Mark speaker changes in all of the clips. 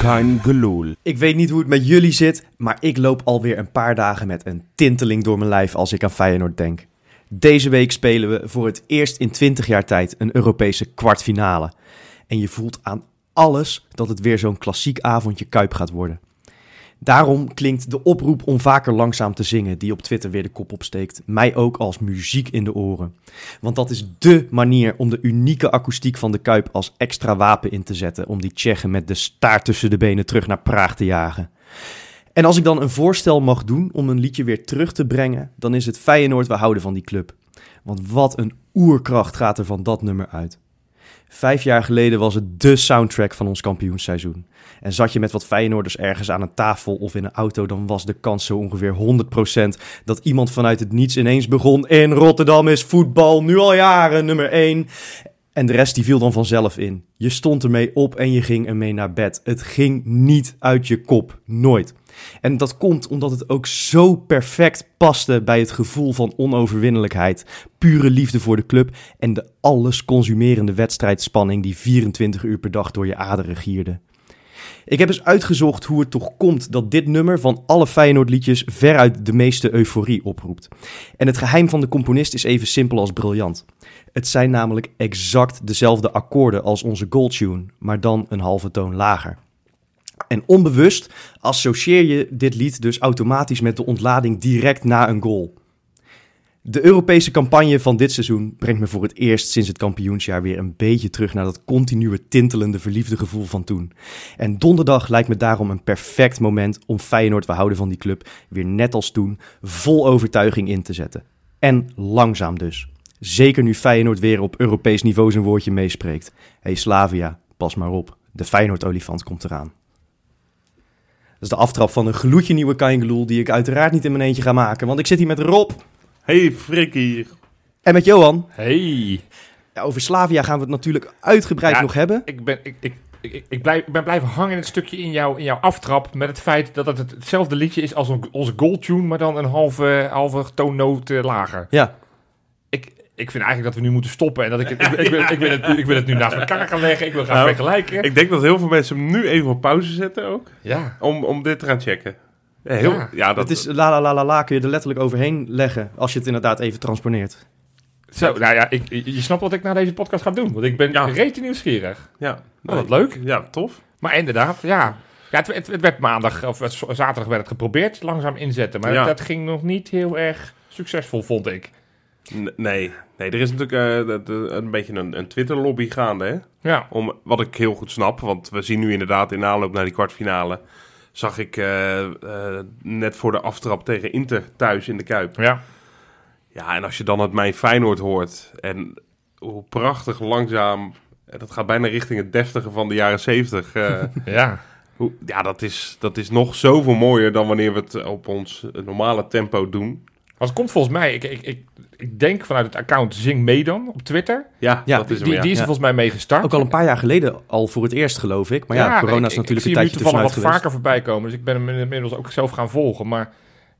Speaker 1: kein geloel.
Speaker 2: Ik weet niet hoe het met jullie zit, maar ik loop alweer een paar dagen met een tinteling door mijn lijf als ik aan Feyenoord denk. Deze week spelen we voor het eerst in 20 jaar tijd een Europese kwartfinale. En je voelt aan alles dat het weer zo'n klassiek avondje Kuip gaat worden. Daarom klinkt de oproep om vaker langzaam te zingen, die op Twitter weer de kop opsteekt, mij ook als muziek in de oren. Want dat is dé manier om de unieke akoestiek van de Kuip als extra wapen in te zetten. Om die Tsjechen met de staart tussen de benen terug naar Praag te jagen. En als ik dan een voorstel mag doen om een liedje weer terug te brengen, dan is het Feyenoord, we houden van die club. Want wat een oerkracht gaat er van dat nummer uit. Vijf jaar geleden was het dé soundtrack van ons kampioensseizoen. En zat je met wat Feyenoorders ergens aan een tafel of in een auto, dan was de kans zo ongeveer 100% dat iemand vanuit het niets ineens begon. In Rotterdam is voetbal nu al jaren nummer 1. En de rest die viel dan vanzelf in. Je stond ermee op en je ging ermee naar bed. Het ging niet uit je kop. Nooit. En dat komt omdat het ook zo perfect paste bij het gevoel van onoverwinnelijkheid, pure liefde voor de club en de alles consumerende wedstrijdspanning die 24 uur per dag door je aderen gierde. Ik heb eens uitgezocht hoe het toch komt dat dit nummer van alle Feyenoord-liedjes veruit de meeste euforie oproept. En het geheim van de componist is even simpel als briljant. Het zijn namelijk exact dezelfde akkoorden als onze goaltune, maar dan een halve toon lager. En onbewust associeer je dit lied dus automatisch met de ontlading direct na een goal. De Europese campagne van dit seizoen brengt me voor het eerst sinds het kampioensjaar weer een beetje terug naar dat continue tintelende verliefde gevoel van toen. En donderdag lijkt me daarom een perfect moment om Feyenoord, we houden van die club, weer net als toen vol overtuiging in te zetten. En langzaam dus. Zeker nu Feyenoord weer op Europees niveau zijn woordje meespreekt. Hé hey Slavia, pas maar op. De Feyenoord-olifant komt eraan. Dat is de aftrap van een gloedje nieuwe Kaingeloel die ik uiteraard niet in mijn eentje ga maken. Want ik zit hier met Rob
Speaker 3: Hey Frikkie.
Speaker 2: en met Johan.
Speaker 3: Hey.
Speaker 2: Ja, over Slavia gaan we het natuurlijk uitgebreid
Speaker 3: Ja.
Speaker 2: nog hebben.
Speaker 3: Ik ben, ik, ik, ik, ik, blijf, ik ben blijven hangen in het stukje in, jou, in jouw aftrap met het feit dat het hetzelfde liedje is als een- onze goaltune, maar dan een halve, halve toonnoot eh, lager.
Speaker 2: Ja,
Speaker 3: Ik, ik vind eigenlijk dat we nu moeten stoppen en dat ik het, ik, ik, wil, ik, wil het, ik wil het nu naast elkaar gaan leggen. Ik wil gaan
Speaker 4: Nou,
Speaker 3: vergelijken.
Speaker 4: Ik denk dat heel veel mensen hem nu even op pauze zetten ook.
Speaker 3: ja.
Speaker 4: Om, om dit te gaan checken. Ja, Heel,
Speaker 3: Ja.
Speaker 4: ja.
Speaker 2: het
Speaker 4: dat
Speaker 2: is la la la la la kun je er letterlijk overheen leggen als je het inderdaad even transponeert.
Speaker 3: Zo, nou ja, ik, je je snapt wat ik na deze podcast ga doen, want ik ben
Speaker 4: Ja. Nou,
Speaker 3: reetje nieuwsgierig.
Speaker 4: Ja,
Speaker 3: Oh, wat leuk.
Speaker 4: Ja, tof.
Speaker 3: Maar inderdaad, ja. ja het, het, het werd maandag, of het- zaterdag werd het geprobeerd, langzaam inzetten. Maar
Speaker 4: Ja.
Speaker 3: dat, dat ging nog niet heel erg succesvol, vond ik.
Speaker 4: N- nee. nee, er is natuurlijk eh, dat, eh, een beetje een, een Twitter-lobby gaande. Hè?
Speaker 3: Ja,
Speaker 4: Om, wat ik heel goed snap, want we zien nu inderdaad in aanloop naar die kwartfinale... zag ik eh, eh, net voor de aftrap tegen Inter thuis in de Kuip.
Speaker 3: ja.
Speaker 4: Ja, en als je dan het Mijn Feyenoord hoort en hoe prachtig langzaam... eh, Dat gaat bijna richting het deftige van de jaren zeventig... eh,
Speaker 3: ja.
Speaker 4: Hoe- Ja, dat is, dat is nog zoveel mooier dan wanneer we het op ons normale tempo doen.
Speaker 3: Als het komt volgens mij, ik, ik, ik, ik denk vanuit het account Zing Meedan op Twitter.
Speaker 4: Ja,
Speaker 2: Ja,
Speaker 4: dat is hem,
Speaker 3: Die,
Speaker 4: ja.
Speaker 3: die is er
Speaker 2: Ja.
Speaker 3: volgens mij mee gestart.
Speaker 2: Ook al een paar jaar geleden al voor het eerst geloof ik. Maar ja, corona is
Speaker 3: ik-
Speaker 2: natuurlijk
Speaker 3: ik,
Speaker 2: een
Speaker 3: zie hem
Speaker 2: tijdje
Speaker 3: nu toevallig
Speaker 2: tussenuit
Speaker 3: wat
Speaker 2: geweest.
Speaker 3: vaker voorbij komen. Dus ik ben hem inmiddels ook zelf gaan volgen. Maar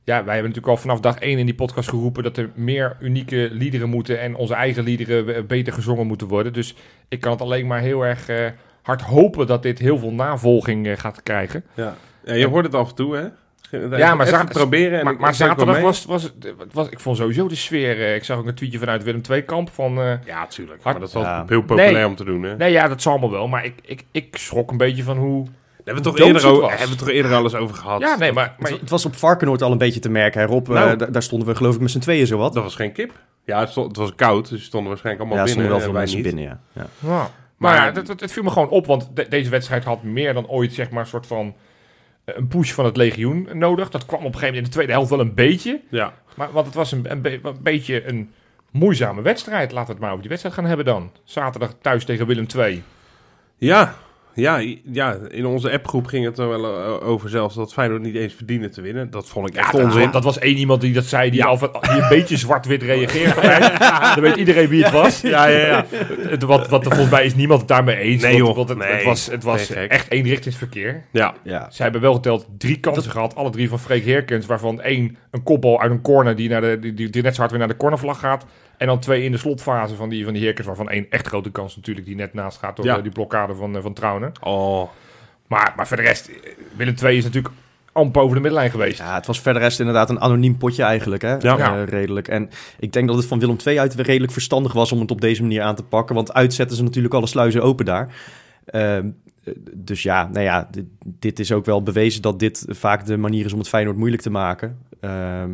Speaker 3: ja, wij hebben natuurlijk al vanaf dag één in die podcast geroepen... dat er meer unieke liederen moeten... en onze eigen liederen eh, beter gezongen moeten worden. Dus ik kan het alleen maar heel erg eh, hard hopen... dat dit heel veel navolging eh, gaat krijgen.
Speaker 4: Ja. Ja, je hoort het af en toe, hè?
Speaker 3: Ja, maar
Speaker 4: even
Speaker 3: za-
Speaker 4: proberen. En
Speaker 3: maar
Speaker 4: ik-
Speaker 3: maar
Speaker 4: ik denk wel
Speaker 3: zaterdag
Speaker 4: mee.
Speaker 3: was, was, was... Ik vond sowieso de sfeer... eh, ik zag ook een tweetje vanuit Willem Tweekamp van... eh,
Speaker 4: Ja, tuurlijk.
Speaker 3: Hard-
Speaker 4: Maar dat is altijd
Speaker 2: Ja.
Speaker 4: heel populair
Speaker 3: Nee.
Speaker 4: om te doen, hè?
Speaker 3: nee, ja, dat zal allemaal wel. Maar ik, ik, ik schrok een beetje van hoe...
Speaker 4: Daar hebben we, toch
Speaker 3: Doodzoet
Speaker 4: eerder o-
Speaker 3: was.
Speaker 4: hebben we toch eerder alles over gehad?
Speaker 3: Ja, nee, maar... maar
Speaker 2: Het, het was op Varkenoord al een beetje te merken hè Rob. Eh,
Speaker 4: Nou.
Speaker 2: da- daar stonden we geloof ik met z'n tweeën zo wat.
Speaker 4: Dat was geen kip. Ja, het, stond- het was koud, dus ze stonden waarschijnlijk
Speaker 2: Ja,
Speaker 4: allemaal
Speaker 2: er stonden
Speaker 4: binnen. eh,
Speaker 2: wel veel
Speaker 4: en wij niet.
Speaker 2: mensen binnen ja. ja.
Speaker 3: Ja. Maar,
Speaker 4: Maar-
Speaker 3: ja, dat, dat, het viel me gewoon op, want de- deze wedstrijd had meer dan ooit zeg maar, een soort van eh, een push van het legioen nodig. Dat kwam op een gegeven moment in de tweede helft wel een beetje.
Speaker 4: Ja,
Speaker 3: Maar, want het was een, een, be- een beetje een moeizame wedstrijd. Laten we het maar over die wedstrijd gaan hebben dan. Zaterdag thuis tegen Willem II.
Speaker 4: Ja, ja, ja, in onze appgroep ging het er wel eh, over zelfs dat Feyenoord niet eens verdiende te winnen. Dat vond ik echt
Speaker 3: dat,
Speaker 4: onzin.
Speaker 3: was- dat was één iemand die dat zei, die,
Speaker 4: Ja.
Speaker 3: al, van- die een beetje zwart-wit reageerde. Dan weet iedereen wie het was.
Speaker 4: Ja, ja, ja.
Speaker 3: Het- Wat, wat er volgens mij is niemand het daarmee eens.
Speaker 4: Nee,
Speaker 3: want-
Speaker 4: joh.
Speaker 3: want het, het
Speaker 4: Nee.
Speaker 3: was, het was
Speaker 4: Nee, gek.
Speaker 3: echt eenrichtingsverkeer.
Speaker 4: Ja,
Speaker 2: ja.
Speaker 3: Ze hebben wel geteld drie kansen gehad. Alle drie van Freek Heerkens. Waarvan één een kopbal uit een corner die, naar de, die, die, die net zo hard weer naar de cornervlag gaat. En dan twee in de slotfase van die, van die Heerkens. Waarvan één echt grote kans natuurlijk die net naast gaat door
Speaker 4: Ja.
Speaker 3: eh, die blokkade van, eh, van Trouwen.
Speaker 4: oh,
Speaker 3: Maar, maar voor de rest, eh, Willem II is natuurlijk amper over de middenlijn geweest.
Speaker 2: Ja, het was verder rest inderdaad een anoniem potje eigenlijk, hè?
Speaker 4: Ja.
Speaker 2: Eh, redelijk. En ik denk dat het van Willem II uit weer redelijk verstandig was om het op deze manier aan te pakken. Want uitzetten ze natuurlijk alle sluizen open daar. Ehm, eh, dus ja, nou ja, dit, dit is ook wel bewezen dat dit vaak de manier is om het Feyenoord moeilijk te maken. Ehm,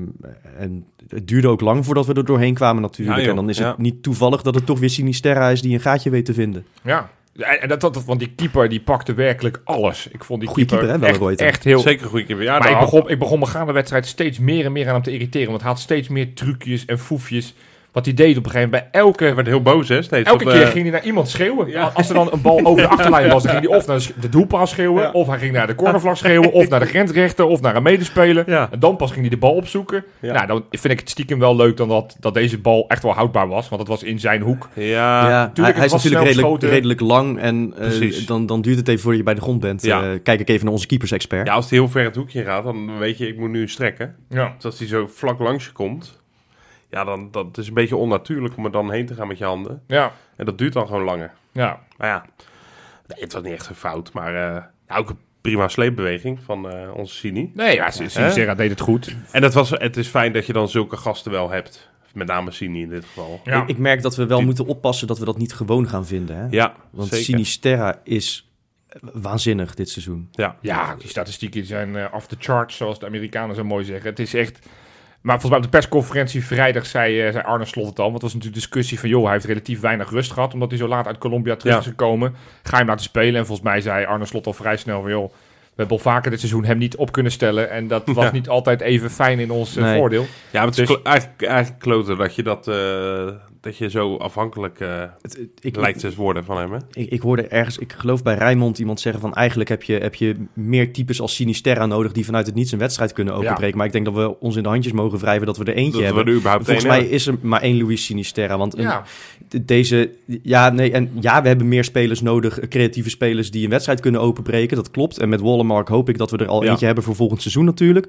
Speaker 2: en het duurde ook lang voordat we er doorheen kwamen natuurlijk.
Speaker 4: Ja, joh.
Speaker 2: en dan is
Speaker 4: Ja.
Speaker 2: het niet toevallig dat het toch weer Sinisterra is die een gaatje weet te vinden.
Speaker 3: Ja. En, en dat, dat, want die keeper die pakte werkelijk alles. Ik vond die
Speaker 2: Goeie
Speaker 3: keeper,
Speaker 2: keeper, hè, wel
Speaker 3: echt,
Speaker 2: Reuter.
Speaker 3: echt heel...
Speaker 4: Zeker een goede keeper. Ja,
Speaker 3: maar
Speaker 4: daar
Speaker 3: ik
Speaker 4: had-
Speaker 3: begon, ik begon me gaande wedstrijd steeds meer en meer aan hem te irriteren. Want hij had steeds meer trucjes en foefjes. Wat hij deed op een gegeven moment bij elke...
Speaker 4: hij werd heel boos, hè? Steeds
Speaker 3: Elke
Speaker 4: op,
Speaker 3: keer
Speaker 4: eh,
Speaker 3: ging hij naar iemand schreeuwen. Als er dan een bal over de achterlijn was, dan ging hij of naar de sch- de doelpaal schreeuwen,
Speaker 4: Ja.
Speaker 3: of hij ging naar de cornervlag schreeuwen, of naar de grensrechter, of naar een medespeler.
Speaker 4: Ja.
Speaker 3: En dan pas ging hij de bal opzoeken.
Speaker 4: Ja.
Speaker 3: Nou, dan vind ik het stiekem wel leuk dan dat, dat deze bal echt wel houdbaar was, want het was in zijn hoek.
Speaker 4: Ja,
Speaker 2: ja,
Speaker 3: tuurlijk,
Speaker 2: hij,
Speaker 3: het
Speaker 2: hij is
Speaker 3: was
Speaker 2: natuurlijk
Speaker 3: snel
Speaker 2: redelijk,
Speaker 3: geschoten.
Speaker 2: redelijk lang en eh,
Speaker 4: Precies.
Speaker 2: dan, dan duurt het even voordat je bij de grond bent.
Speaker 4: Ja.
Speaker 2: Eh, kijk ik even naar onze keepers-expert.
Speaker 4: ja, als hij heel ver het hoekje gaat, dan weet je, ik moet nu strekken.
Speaker 3: Ja.
Speaker 4: Dus als hij zo vlak langs je komt, ja, dan dat is een beetje onnatuurlijk om er dan heen te gaan met je handen.
Speaker 3: Ja.
Speaker 4: En dat duurt dan gewoon langer.
Speaker 3: Ja.
Speaker 4: Maar ja, nee, het was niet echt een fout, maar eh, ja, ook een prima sleepbeweging van eh, onze Sini.
Speaker 3: Nee, ja, Sincera deed het goed.
Speaker 4: En dat was, het is fijn dat je dan zulke gasten wel hebt. Met name Sini in dit geval.
Speaker 3: Ja.
Speaker 2: Ik, ik merk dat we wel
Speaker 4: Die-
Speaker 2: moeten oppassen dat we dat niet gewoon gaan vinden. Hè?
Speaker 4: Ja,
Speaker 2: Want
Speaker 4: zeker.
Speaker 2: Sinisterra is waanzinnig dit seizoen.
Speaker 4: Ja.
Speaker 3: Ja, die statistieken zijn eh, off the charts, zoals de Amerikanen zo mooi zeggen. Het is echt... Maar volgens mij op de persconferentie vrijdag zei, eh, zei Arne Slot het al. Want het was natuurlijk discussie van... joh, hij heeft relatief weinig rust gehad... omdat hij zo laat uit Colombia terug
Speaker 4: Ja.
Speaker 3: is gekomen. Ga je hem laten spelen? En volgens mij zei Arne Slot al vrij snel van... joh, we hebben al vaker dit seizoen hem niet op kunnen stellen. En dat was
Speaker 4: Ja.
Speaker 3: niet altijd even fijn in ons eh,
Speaker 2: Nee.
Speaker 3: voordeel.
Speaker 4: Ja, maar het is
Speaker 3: Dus-
Speaker 4: klo- eigenlijk, eigenlijk kloten dat je, dat, eh, dat je zo afhankelijk eh,
Speaker 2: Het- het- ik,
Speaker 4: lijkt te worden van hem. Hè?
Speaker 2: ik, ik hoorde ergens, ik geloof bij Rijnmond iemand zeggen van... eigenlijk heb je, heb je meer types als Sinisterra nodig... die vanuit het niets een wedstrijd kunnen openbreken. Maar ik denk dat we ons in de handjes mogen wrijven dat we er eentje
Speaker 4: Dat
Speaker 2: hebben.
Speaker 4: we er überhaupt
Speaker 2: Volgens
Speaker 4: één
Speaker 2: mij
Speaker 4: hebben.
Speaker 2: is er maar één Luis Sinisterra. Want een-
Speaker 3: Ja,
Speaker 2: de- deze, ja, nee, en ja, we hebben meer spelers nodig, eh, creatieve spelers die een wedstrijd kunnen openbreken. Dat klopt. En met Wallenmark hoop ik dat we er al
Speaker 4: Ja.
Speaker 2: eentje hebben voor volgend seizoen natuurlijk.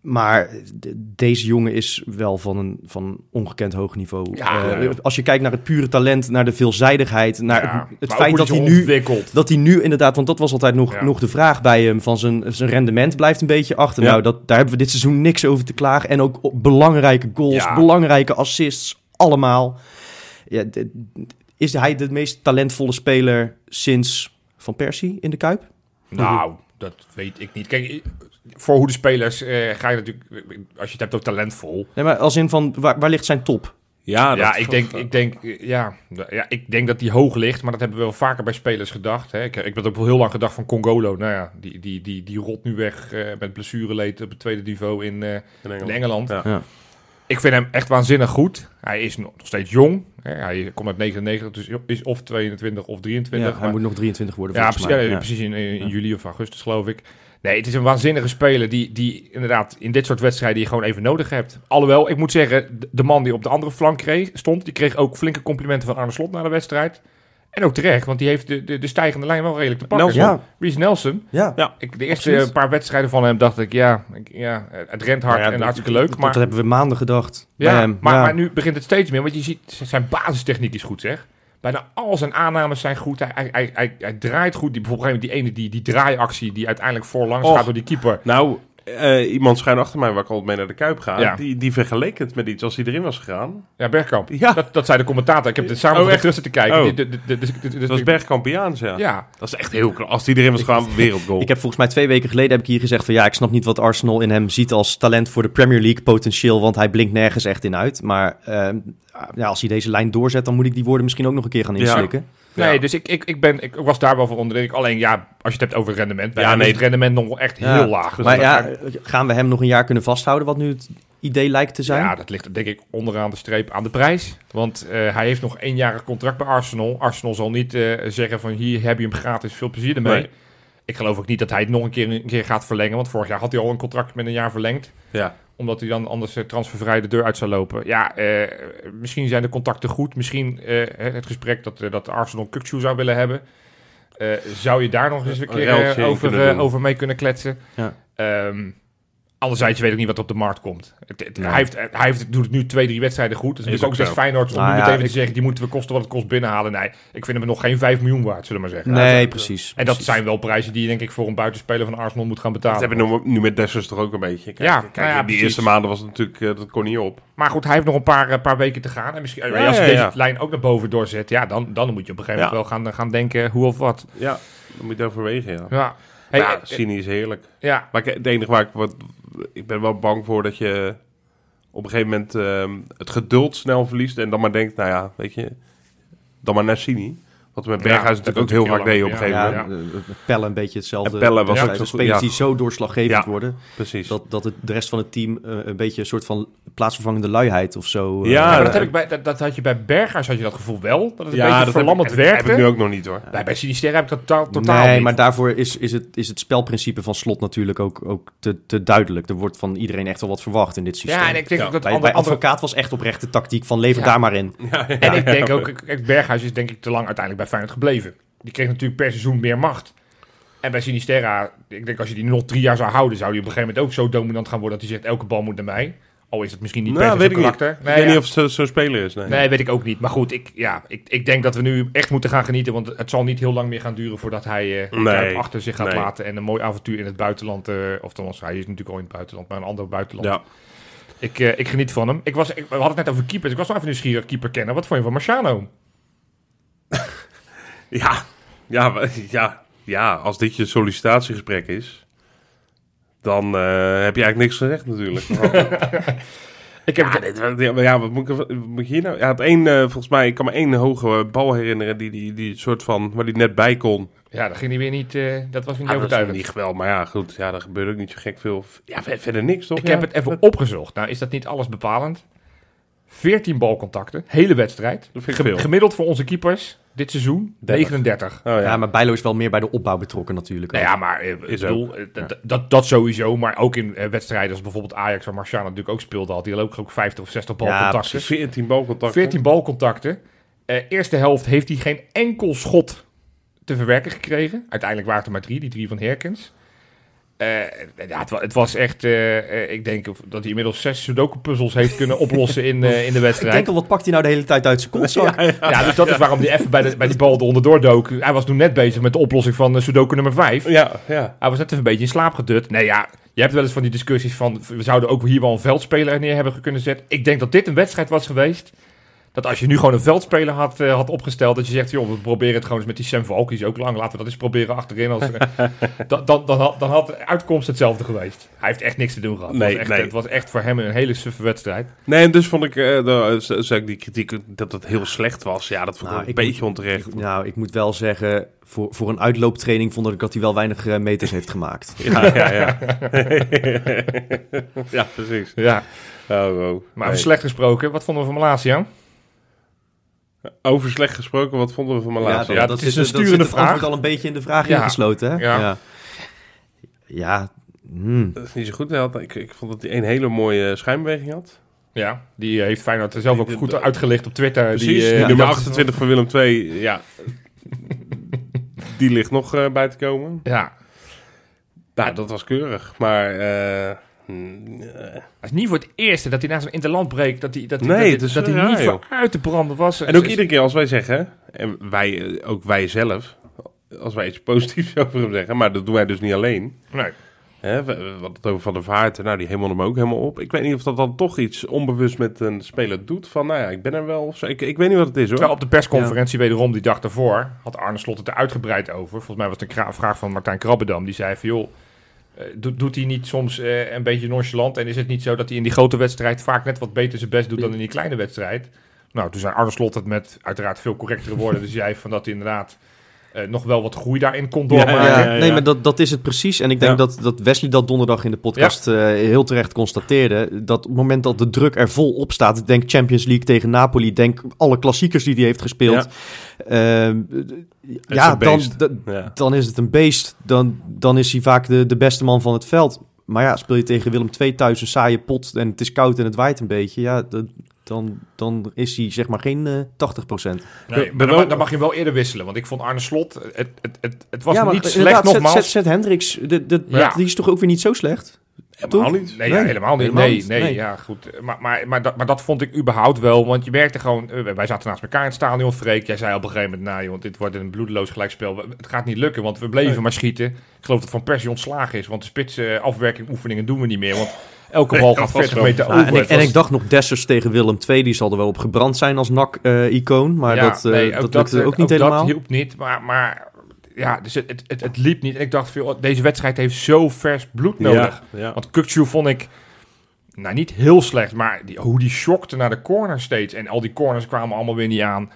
Speaker 2: Maar de- deze jongen is wel van een van ongekend hoog niveau.
Speaker 3: Ja,
Speaker 2: Eh,
Speaker 3: ja, ja.
Speaker 2: Als je kijkt naar het pure talent, naar de veelzijdigheid, naar
Speaker 3: ja.
Speaker 2: het, het
Speaker 3: Maar
Speaker 2: feit
Speaker 3: ook
Speaker 2: dat
Speaker 3: hoe
Speaker 2: hij
Speaker 3: zich
Speaker 2: nu
Speaker 3: ontwikkelt.
Speaker 2: dat hij nu inderdaad, want dat was altijd nog,
Speaker 3: Ja.
Speaker 2: nog de vraag bij hem, van zijn, zijn rendement blijft een beetje achter.
Speaker 4: Ja.
Speaker 2: Nou, dat, daar hebben we dit seizoen niks over te klagen. En ook op belangrijke goals,
Speaker 3: Ja.
Speaker 2: belangrijke assists, allemaal. Ja, d- is hij de meest talentvolle speler sinds Van Persie in de Kuip? Mhm.
Speaker 3: Nou, dat weet ik niet. Kijk, i- voor hoe de spelers eh, ga je natuurlijk... Als je het hebt over talentvol...
Speaker 2: Nee, maar als in van, waar, waar ligt zijn top? Ah,
Speaker 4: Ja,
Speaker 3: ja, ik denk, ik denk, eh, ja, d- ja, ik denk dat die hoog ligt, maar dat hebben we wel vaker bij spelers gedacht. Hè. Ik, ik heb dat ook wel heel lang gedacht van Congolo. Nou ja, die, die, die, die rot nu weg eh, met blessureleed op het tweede niveau in, eh,
Speaker 4: in
Speaker 3: in
Speaker 4: Engeland.
Speaker 3: Engeland.
Speaker 4: Ja.
Speaker 2: Ja.
Speaker 3: Ik vind hem echt waanzinnig goed. Hij is nog nog steeds jong. Hè. Hij komt uit 99, dus is of 22 of
Speaker 2: Ja,
Speaker 3: 23.
Speaker 2: hij
Speaker 3: maar-
Speaker 2: moet nog 23 worden
Speaker 3: ja,
Speaker 2: volgens
Speaker 3: precies,
Speaker 2: mij.
Speaker 3: ja,
Speaker 2: Ja.
Speaker 3: precies in,
Speaker 2: Ja.
Speaker 3: in juli of augustus geloof ik. Nee, het is een waanzinnige speler die, die inderdaad in dit soort wedstrijden je gewoon even nodig hebt. Alhoewel, ik moet zeggen, d- de man die op de andere flank kreeg, stond, die kreeg ook flinke complimenten van Arne Slot na de wedstrijd. En ook terecht, want die heeft de, de, de stijgende lijn wel redelijk te pakken.
Speaker 4: Nelson.
Speaker 2: Ja,
Speaker 3: Reece Nelson.
Speaker 2: ja.
Speaker 3: Ik, de eerste
Speaker 2: Absoluut.
Speaker 3: eh, paar wedstrijden van hem dacht ik, ja, ik- ja eh, het rent hard
Speaker 2: Nou ja,
Speaker 3: en
Speaker 2: dat-
Speaker 3: hartstikke leuk.
Speaker 2: Dat,
Speaker 3: Maar,
Speaker 2: dat hebben we maanden gedacht bij
Speaker 3: ja,
Speaker 2: hem.
Speaker 3: maar,
Speaker 2: Ja.
Speaker 3: maar nu begint het steeds meer, want je ziet, z- zijn basistechniek is goed zeg. Bijna al zijn aannames zijn goed. Hij, hij, hij, hij, hij draait goed. Die, bijvoorbeeld die ene die, die draaiactie die uiteindelijk voorlangs
Speaker 4: Och.
Speaker 3: gaat door die keeper.
Speaker 4: Nou, eh, iemand schuin achter mij waar ik altijd mee naar de Kuip ga,
Speaker 3: Ja.
Speaker 4: die, die vergeleek het met iets als hij erin was gegaan.
Speaker 3: Ja, Bergkamp.
Speaker 4: Ja.
Speaker 3: Dat, dat zei de commentator. Ik heb het samen
Speaker 4: Oh,
Speaker 3: terug
Speaker 4: echt?
Speaker 3: terug zitten kijken.
Speaker 4: Oh.
Speaker 3: Die- de- de- de- de- de- de-
Speaker 4: Dat was Bergkampiaans, ja.
Speaker 3: Ja,
Speaker 4: Dat is echt heel knap. Als die erin was gegaan, wereldgoal.
Speaker 2: Ik heb volgens mij twee weken geleden heb ik hier gezegd van ja, ik snap niet wat Arsenal in hem ziet als talent voor de Premier League potentieel, want hij blinkt nergens echt in uit. Maar ehm, ja, als hij deze lijn doorzet, dan moet ik die woorden misschien ook nog een keer gaan
Speaker 4: Ja.
Speaker 2: inslikken.
Speaker 3: nee,
Speaker 4: Ja.
Speaker 3: dus ik, ik, ik, ben, ik was daar wel van onder. de indruk. Alleen ja, als je het hebt over het rendement. Bij
Speaker 4: Ja,
Speaker 3: ja, nee.
Speaker 4: nee.
Speaker 3: is het rendement nog wel echt
Speaker 2: Ja.
Speaker 3: heel laag.
Speaker 2: maar ja, gaan we hem nog een jaar kunnen vasthouden, wat nu het idee lijkt te zijn?
Speaker 3: Ja, dat ligt denk ik onderaan de streep aan de prijs. Want eh, hij heeft nog éénjarig contract bij Arsenal. Arsenal zal niet eh, zeggen van hier heb je hem gratis, veel plezier ermee.
Speaker 4: Nee.
Speaker 3: Ik geloof ook niet dat hij het nog een keer, een keer gaat verlengen. Want vorig jaar had hij al een contract met een jaar verlengd.
Speaker 4: Ja.
Speaker 3: Omdat hij dan anders eh, transfervrij de deur uit zou lopen. Ja, eh, misschien zijn de contacten goed. Misschien eh, het gesprek dat, eh, dat Arsenal Kukcu zou willen hebben. Eh, zou je daar nog eens een
Speaker 4: Een
Speaker 3: keer eh,
Speaker 4: ruiltje in
Speaker 3: over,
Speaker 4: kunnen
Speaker 3: eh,
Speaker 4: doen.
Speaker 3: over mee kunnen kletsen?
Speaker 2: Ja.
Speaker 3: Ehm, Anderzijds weet ik niet wat op de markt komt. Het- het-
Speaker 2: Nee.
Speaker 3: Hij, heeft, hij heeft, doet het nu twee, drie wedstrijden goed. Dus
Speaker 4: Is
Speaker 3: is ook
Speaker 4: ook
Speaker 3: zegt
Speaker 4: zo.
Speaker 3: Feyenoord om
Speaker 2: Nou
Speaker 3: nu
Speaker 2: ja,
Speaker 3: meteen
Speaker 2: ik-
Speaker 3: te zeggen... die moeten we kosten wat het kost binnenhalen. Nee, ik vind hem nog geen 5 miljoen waard, zullen we maar zeggen.
Speaker 2: nee,
Speaker 4: dat-
Speaker 2: precies.
Speaker 3: En dat
Speaker 2: precies.
Speaker 3: zijn wel prijzen die je denk ik voor een buitenspeler van Arsenal moet gaan
Speaker 4: Dat
Speaker 3: betalen.
Speaker 4: hebben we nu- nu met Dessers toch ook een beetje. Kijk,
Speaker 3: Ja,
Speaker 4: kijk,
Speaker 3: nou ja,
Speaker 4: die
Speaker 3: precies.
Speaker 4: eerste maanden was het natuurlijk, eh, dat kon niet op.
Speaker 3: Maar goed, hij heeft nog een paar, eh, paar weken te gaan. En misschien,
Speaker 4: Ja,
Speaker 3: als je
Speaker 4: ja,
Speaker 3: deze
Speaker 4: ja.
Speaker 3: lijn ook naar boven doorzet, ja, dan, dan moet je op een gegeven
Speaker 4: Ja.
Speaker 3: moment wel gaan, gaan denken hoe of wat.
Speaker 4: Ja, dan moet je overwegen, ja.
Speaker 3: Ja,
Speaker 4: Hey,
Speaker 3: hey,
Speaker 4: ja,
Speaker 3: eh,
Speaker 4: Cini is heerlijk.
Speaker 3: ja.
Speaker 4: Maar ik- het enige waar ik wat... Ik ben wel bang voor dat je op een gegeven moment ehm, het geduld snel verliest. En dan maar denkt, nou ja, weet je, dan maar naar Cini. Wat we met
Speaker 3: Ja,
Speaker 4: Berghuis
Speaker 3: dat
Speaker 4: natuurlijk ook
Speaker 3: doet
Speaker 4: heel
Speaker 3: hij
Speaker 4: vaak deden
Speaker 3: heel
Speaker 4: op
Speaker 3: lang,
Speaker 4: een gegeven
Speaker 2: Ja,
Speaker 4: moment.
Speaker 3: Ja.
Speaker 2: eh, eh, Pellen een beetje hetzelfde.
Speaker 4: En Pellen was
Speaker 2: Dat
Speaker 4: ook
Speaker 2: zijn
Speaker 4: zo goed,
Speaker 2: de spelers
Speaker 4: ja.
Speaker 2: die zo doorslaggevend
Speaker 4: Ja.
Speaker 2: worden...
Speaker 4: Precies.
Speaker 2: dat, dat het, de rest van het team eh, een beetje een soort van plaatsvervangende luiheid of zo... eh,
Speaker 4: Ja,
Speaker 3: Ja, maar dat,
Speaker 4: eh,
Speaker 3: heb ik bij, dat, dat had je bij Berghuis had je dat gevoel wel. Dat het een
Speaker 4: dat heb
Speaker 3: beetje
Speaker 4: ik-
Speaker 3: verlammend
Speaker 4: dat
Speaker 3: werkte.
Speaker 4: heb ik nu ook nog niet hoor.
Speaker 3: Bij, bij Sinisterre heb ik dat totaal, totaal
Speaker 2: nee,
Speaker 3: niet.
Speaker 2: maar daarvoor is, is, het, is het spelprincipe van slot natuurlijk ook, ook te, te duidelijk. Er wordt van iedereen echt wel wat verwacht in dit systeem.
Speaker 3: ja, en ik denk
Speaker 4: Ja,
Speaker 3: ook dat
Speaker 2: bij,
Speaker 3: andere,
Speaker 2: bij
Speaker 3: andere-
Speaker 2: advocaat was echt oprechte tactiek van lever
Speaker 3: Ja.
Speaker 2: daar maar in.
Speaker 3: En ik denk ook, kijk, Berghuis is denk ik te lang uiteindelijk bij Feyenoord gebleven. Die kreeg natuurlijk per seizoen meer macht. En bij Sinisterra, ik denk als je die nog drie jaar zou houden, zou die op een gegeven moment ook zo dominant gaan worden dat hij zegt elke bal moet naar mij. Al is dat misschien niet
Speaker 4: Nou,
Speaker 3: per se
Speaker 4: weet
Speaker 3: zijn
Speaker 4: ik niet.
Speaker 3: karakter.
Speaker 4: Ik
Speaker 3: Nee,
Speaker 4: weet
Speaker 3: ja.
Speaker 4: niet of het zo- zo'n speler is. Nee.
Speaker 3: Nee, weet ik ook niet. Maar goed, ik, ja, ik, ik denk dat we nu echt moeten gaan genieten. Want het zal niet heel lang meer gaan duren voordat hij eh,
Speaker 4: Nee.
Speaker 3: Kuip achter zich gaat
Speaker 4: Nee.
Speaker 3: laten. En een mooi avontuur in het buitenland. eh of dan hij is natuurlijk al in het buitenland, maar een ander buitenland.
Speaker 4: Ja.
Speaker 3: Ik, eh, ik geniet van hem. Ik was, ik, we hadden het net over keepers. Ik was wel even nieuwsgierig keeper kennen. Wat vond je van Marciano?
Speaker 4: Ja. Ja, w- ja, ja, als dit je sollicitatiegesprek is, dan eh, heb je eigenlijk niks gezegd natuurlijk.
Speaker 3: Ik heb
Speaker 4: ja, dit- ja, wat moet, ik, er- moet je hier nou? Ja, het één, eh, volgens mij, ik kan me één hoge bal herinneren die, die, die soort van, waar die net bij kon.
Speaker 3: Ja, dat ging hij weer niet. eh, dat was
Speaker 4: Ja,
Speaker 3: niet
Speaker 4: dat is
Speaker 3: overtuigend.
Speaker 4: niet geweldig, maar ja, goed, ja, daar gebeurt ook niet zo gek veel. Ja, ver- verder niks toch?
Speaker 3: ik
Speaker 4: Ja.
Speaker 3: heb het even opgezocht. Nou, is dat niet alles bepalend? 14 balcontacten, hele wedstrijd.
Speaker 4: Dat vind ik
Speaker 3: Gem-
Speaker 4: veel.
Speaker 3: Gemiddeld voor onze keepers dit seizoen
Speaker 4: 30.
Speaker 3: 39.
Speaker 4: Oh,
Speaker 2: Ja,
Speaker 4: ja.
Speaker 2: maar Bijlo is wel meer bij de opbouw betrokken natuurlijk.
Speaker 3: Nou ja, maar eh, ik
Speaker 4: Is
Speaker 3: bedoel, eh, dat, dat, dat sowieso. Maar ook in eh, wedstrijden als bijvoorbeeld Ajax, waar Marciano natuurlijk ook speelde, had hij ook, ook 50 of 60 balcontacten.
Speaker 4: 14 balcontacten.
Speaker 3: 14 balcontacten. Eh, eerste helft heeft hij geen enkel schot te verwerken gekregen. Uiteindelijk waren het er maar drie, die drie van Herkens. Eh, ja, het, wa- het was echt, eh, eh, ik denk of- dat hij inmiddels zes Sudoku-puzzels heeft kunnen oplossen in, eh, in de
Speaker 2: Ik
Speaker 3: wedstrijd.
Speaker 2: denk al, wat pakt hij nou de hele tijd uit zijn kontzak?
Speaker 3: Ja, dus dat is waarom hij even bij, de, bij die bal eronder dook. Hij was toen net bezig met de oplossing van eh, Sudoku nummer 5.
Speaker 4: Ja, ja.
Speaker 3: Hij was net even een beetje in slaap gedut. Nee, ja, je hebt wel eens van die discussies van... we zouden ook hier wel een veldspeler neer hebben kunnen zetten. Ik denk dat dit een wedstrijd was geweest... dat als je nu gewoon een veldspeler had, eh, had opgesteld... dat je zegt, joh, we proberen het gewoon eens met die Sam Valk. Die is ook lang, laten we dat eens proberen achterin. Als, eh, dan, dan, dan, had, dan had de uitkomst hetzelfde geweest. Hij heeft echt niks te doen gehad. het,
Speaker 4: Nee,
Speaker 3: was echt,
Speaker 4: nee.
Speaker 3: het was echt voor hem een hele suffe wedstrijd.
Speaker 4: Nee, en dus vond ik, eh de, z- zei ik die kritiek dat het heel slecht was. Ja, dat vond ik
Speaker 2: Nou,
Speaker 4: wel
Speaker 2: ik
Speaker 4: een beetje onterecht.
Speaker 2: nou, ik moet wel zeggen, voor, voor een uitlooptraining vond ik dat hij wel weinig eh, meters heeft gemaakt.
Speaker 4: Ja, Ah, ja, ja. ja, precies.
Speaker 3: Ja,
Speaker 4: Oh, wow.
Speaker 3: maar
Speaker 4: Nee.
Speaker 3: over slecht gesproken. Wat vonden we van Malasia?
Speaker 4: Over slecht gesproken, wat vonden we van mijn laatste?
Speaker 3: ja,
Speaker 4: Ja,
Speaker 3: dat is een
Speaker 2: dat
Speaker 3: sturende
Speaker 2: het antwoord
Speaker 3: vraag.
Speaker 2: al een beetje in de vraag
Speaker 3: Ja.
Speaker 2: ingesloten, hè?
Speaker 3: Ja.
Speaker 2: ja. Ja, hmm.
Speaker 4: dat is niet zo goed. Hij had- Ik, ik vond dat hij een hele mooie schijnbeweging had.
Speaker 3: Ja, die heeft Feyenoord zelf ook goed uitgelicht op Twitter.
Speaker 4: Precies,
Speaker 3: Die,
Speaker 4: die,
Speaker 3: eh, die
Speaker 4: nummer
Speaker 3: dacht-
Speaker 4: 28 van Willem II, ja. die ligt nog eh, bij te komen.
Speaker 3: Ja,
Speaker 4: Nou, dat was keurig. Maar, eh, mm, eh,
Speaker 3: Het is niet voor het eerste dat hij na zo'n interland breekt. Dat hij, dat hij,
Speaker 4: Nee,
Speaker 3: dat hij-
Speaker 4: het is
Speaker 3: dat hij
Speaker 4: raar,
Speaker 3: niet
Speaker 4: joh.
Speaker 3: voor uit te branden was.
Speaker 4: En ook iedere keer als wij zeggen, en wij, eh, ook wij zelf, als wij iets positiefs over hem zeggen, maar dat doen wij dus niet alleen.
Speaker 3: Nee.
Speaker 4: Hè, we, we hadden het over Van der Vaart, nou die hemel hem ook helemaal op. Ik weet niet of dat dan toch iets onbewust met een speler doet, van nou ja, ik ben er wel of zo. Ik, ik weet niet wat het is hoor.
Speaker 3: Terwijl op de persconferentie wederom die dag daarvoor had Arne Slot het er uitgebreid over. Volgens mij was het een kra- vraag van Martijn Krabbedam. Die zei van joh, eh, do- doet hij niet soms eh, een beetje nonchalant? En is het niet zo dat hij in die grote wedstrijd vaak net wat beter zijn best doet dan in die kleine wedstrijd? Nou, toen zei Arne Slot het met uiteraard veel correctere woorden. Dus jij van dat hij inderdaad eh, nog wel wat groei daarin kon doormaken.
Speaker 4: Ja, ja,
Speaker 2: Ja,
Speaker 4: ja,
Speaker 2: nee,
Speaker 4: ja.
Speaker 2: maar dat, dat is het precies. En ik denk
Speaker 4: Ja.
Speaker 2: dat, dat Wesley dat donderdag in de podcast eh, heel terecht constateerde. Dat op het moment dat de druk er vol op staat, denk Champions League tegen Napoli, denk alle klassiekers die hij heeft gespeeld. Ehm, ja,
Speaker 4: een
Speaker 2: dan,
Speaker 4: beest.
Speaker 2: da-
Speaker 4: Ja.
Speaker 2: dan is het een beest. Dan, dan is hij vaak de, de beste man van het veld. Maar ja, speel je tegen Willem II thuis een saaie pot en het is koud en het waait een beetje. Ja, dat- dan, dan is hij zeg maar geen eh, 80%.
Speaker 3: Nee,
Speaker 4: Ben-
Speaker 3: maar
Speaker 4: ben
Speaker 3: dan,
Speaker 4: wel-
Speaker 3: ma- dan mag je hem wel eerder wisselen. Want ik vond Arne Slot, het, het, het, het was
Speaker 2: ja, maar
Speaker 3: niet
Speaker 2: inderdaad,
Speaker 3: slecht nogmaals.
Speaker 2: Zet, zet, zet Hendricks, de, de,
Speaker 3: Ja.
Speaker 2: die is toch ook weer niet zo slecht?
Speaker 4: Helemaal
Speaker 2: Toch?
Speaker 4: niet.
Speaker 3: Nee,
Speaker 2: Nee,
Speaker 3: ja, helemaal niet.
Speaker 2: helemaal
Speaker 3: Nee,
Speaker 2: niet.
Speaker 3: nee,
Speaker 2: Nee.
Speaker 3: ja, goed. Maar, maar, maar, dat, maar dat vond ik überhaupt wel, want je merkte gewoon... eh, wij zaten naast elkaar in het stadion, Freek. Jij zei op een gegeven moment, nou joh, dit wordt een bloedeloos gelijkspel. We- Het gaat niet lukken, want we bleven
Speaker 4: Nee.
Speaker 3: maar schieten. Ik geloof dat Van Persie ontslagen is, want de spits eh, afwerking oefeningen doen we niet meer. Want elke bal
Speaker 4: Nee,
Speaker 3: gaat
Speaker 4: dat was
Speaker 3: 40
Speaker 4: wel-
Speaker 3: meter
Speaker 2: Nou,
Speaker 3: over.
Speaker 2: en, ik,
Speaker 3: Het
Speaker 2: en
Speaker 3: was-
Speaker 2: ik dacht nog Dessers tegen Willem II, die zal er wel op gebrand zijn als NAC-icoon. maar
Speaker 3: Ja,
Speaker 2: dat, eh,
Speaker 3: nee,
Speaker 2: dat, lukte
Speaker 3: eh,
Speaker 2: ook niet
Speaker 3: ook
Speaker 2: helemaal.
Speaker 3: Dat hielp niet, maar, maar ja, dus het, het, het, het liep niet. En ik dacht, veel, deze wedstrijd heeft zo vers bloed nodig.
Speaker 4: Ja, ja.
Speaker 3: Want Kukçu vond ik, nou niet heel slecht, maar die, hoe die shockte naar de corner steeds. En al die corners kwamen allemaal weer niet aan.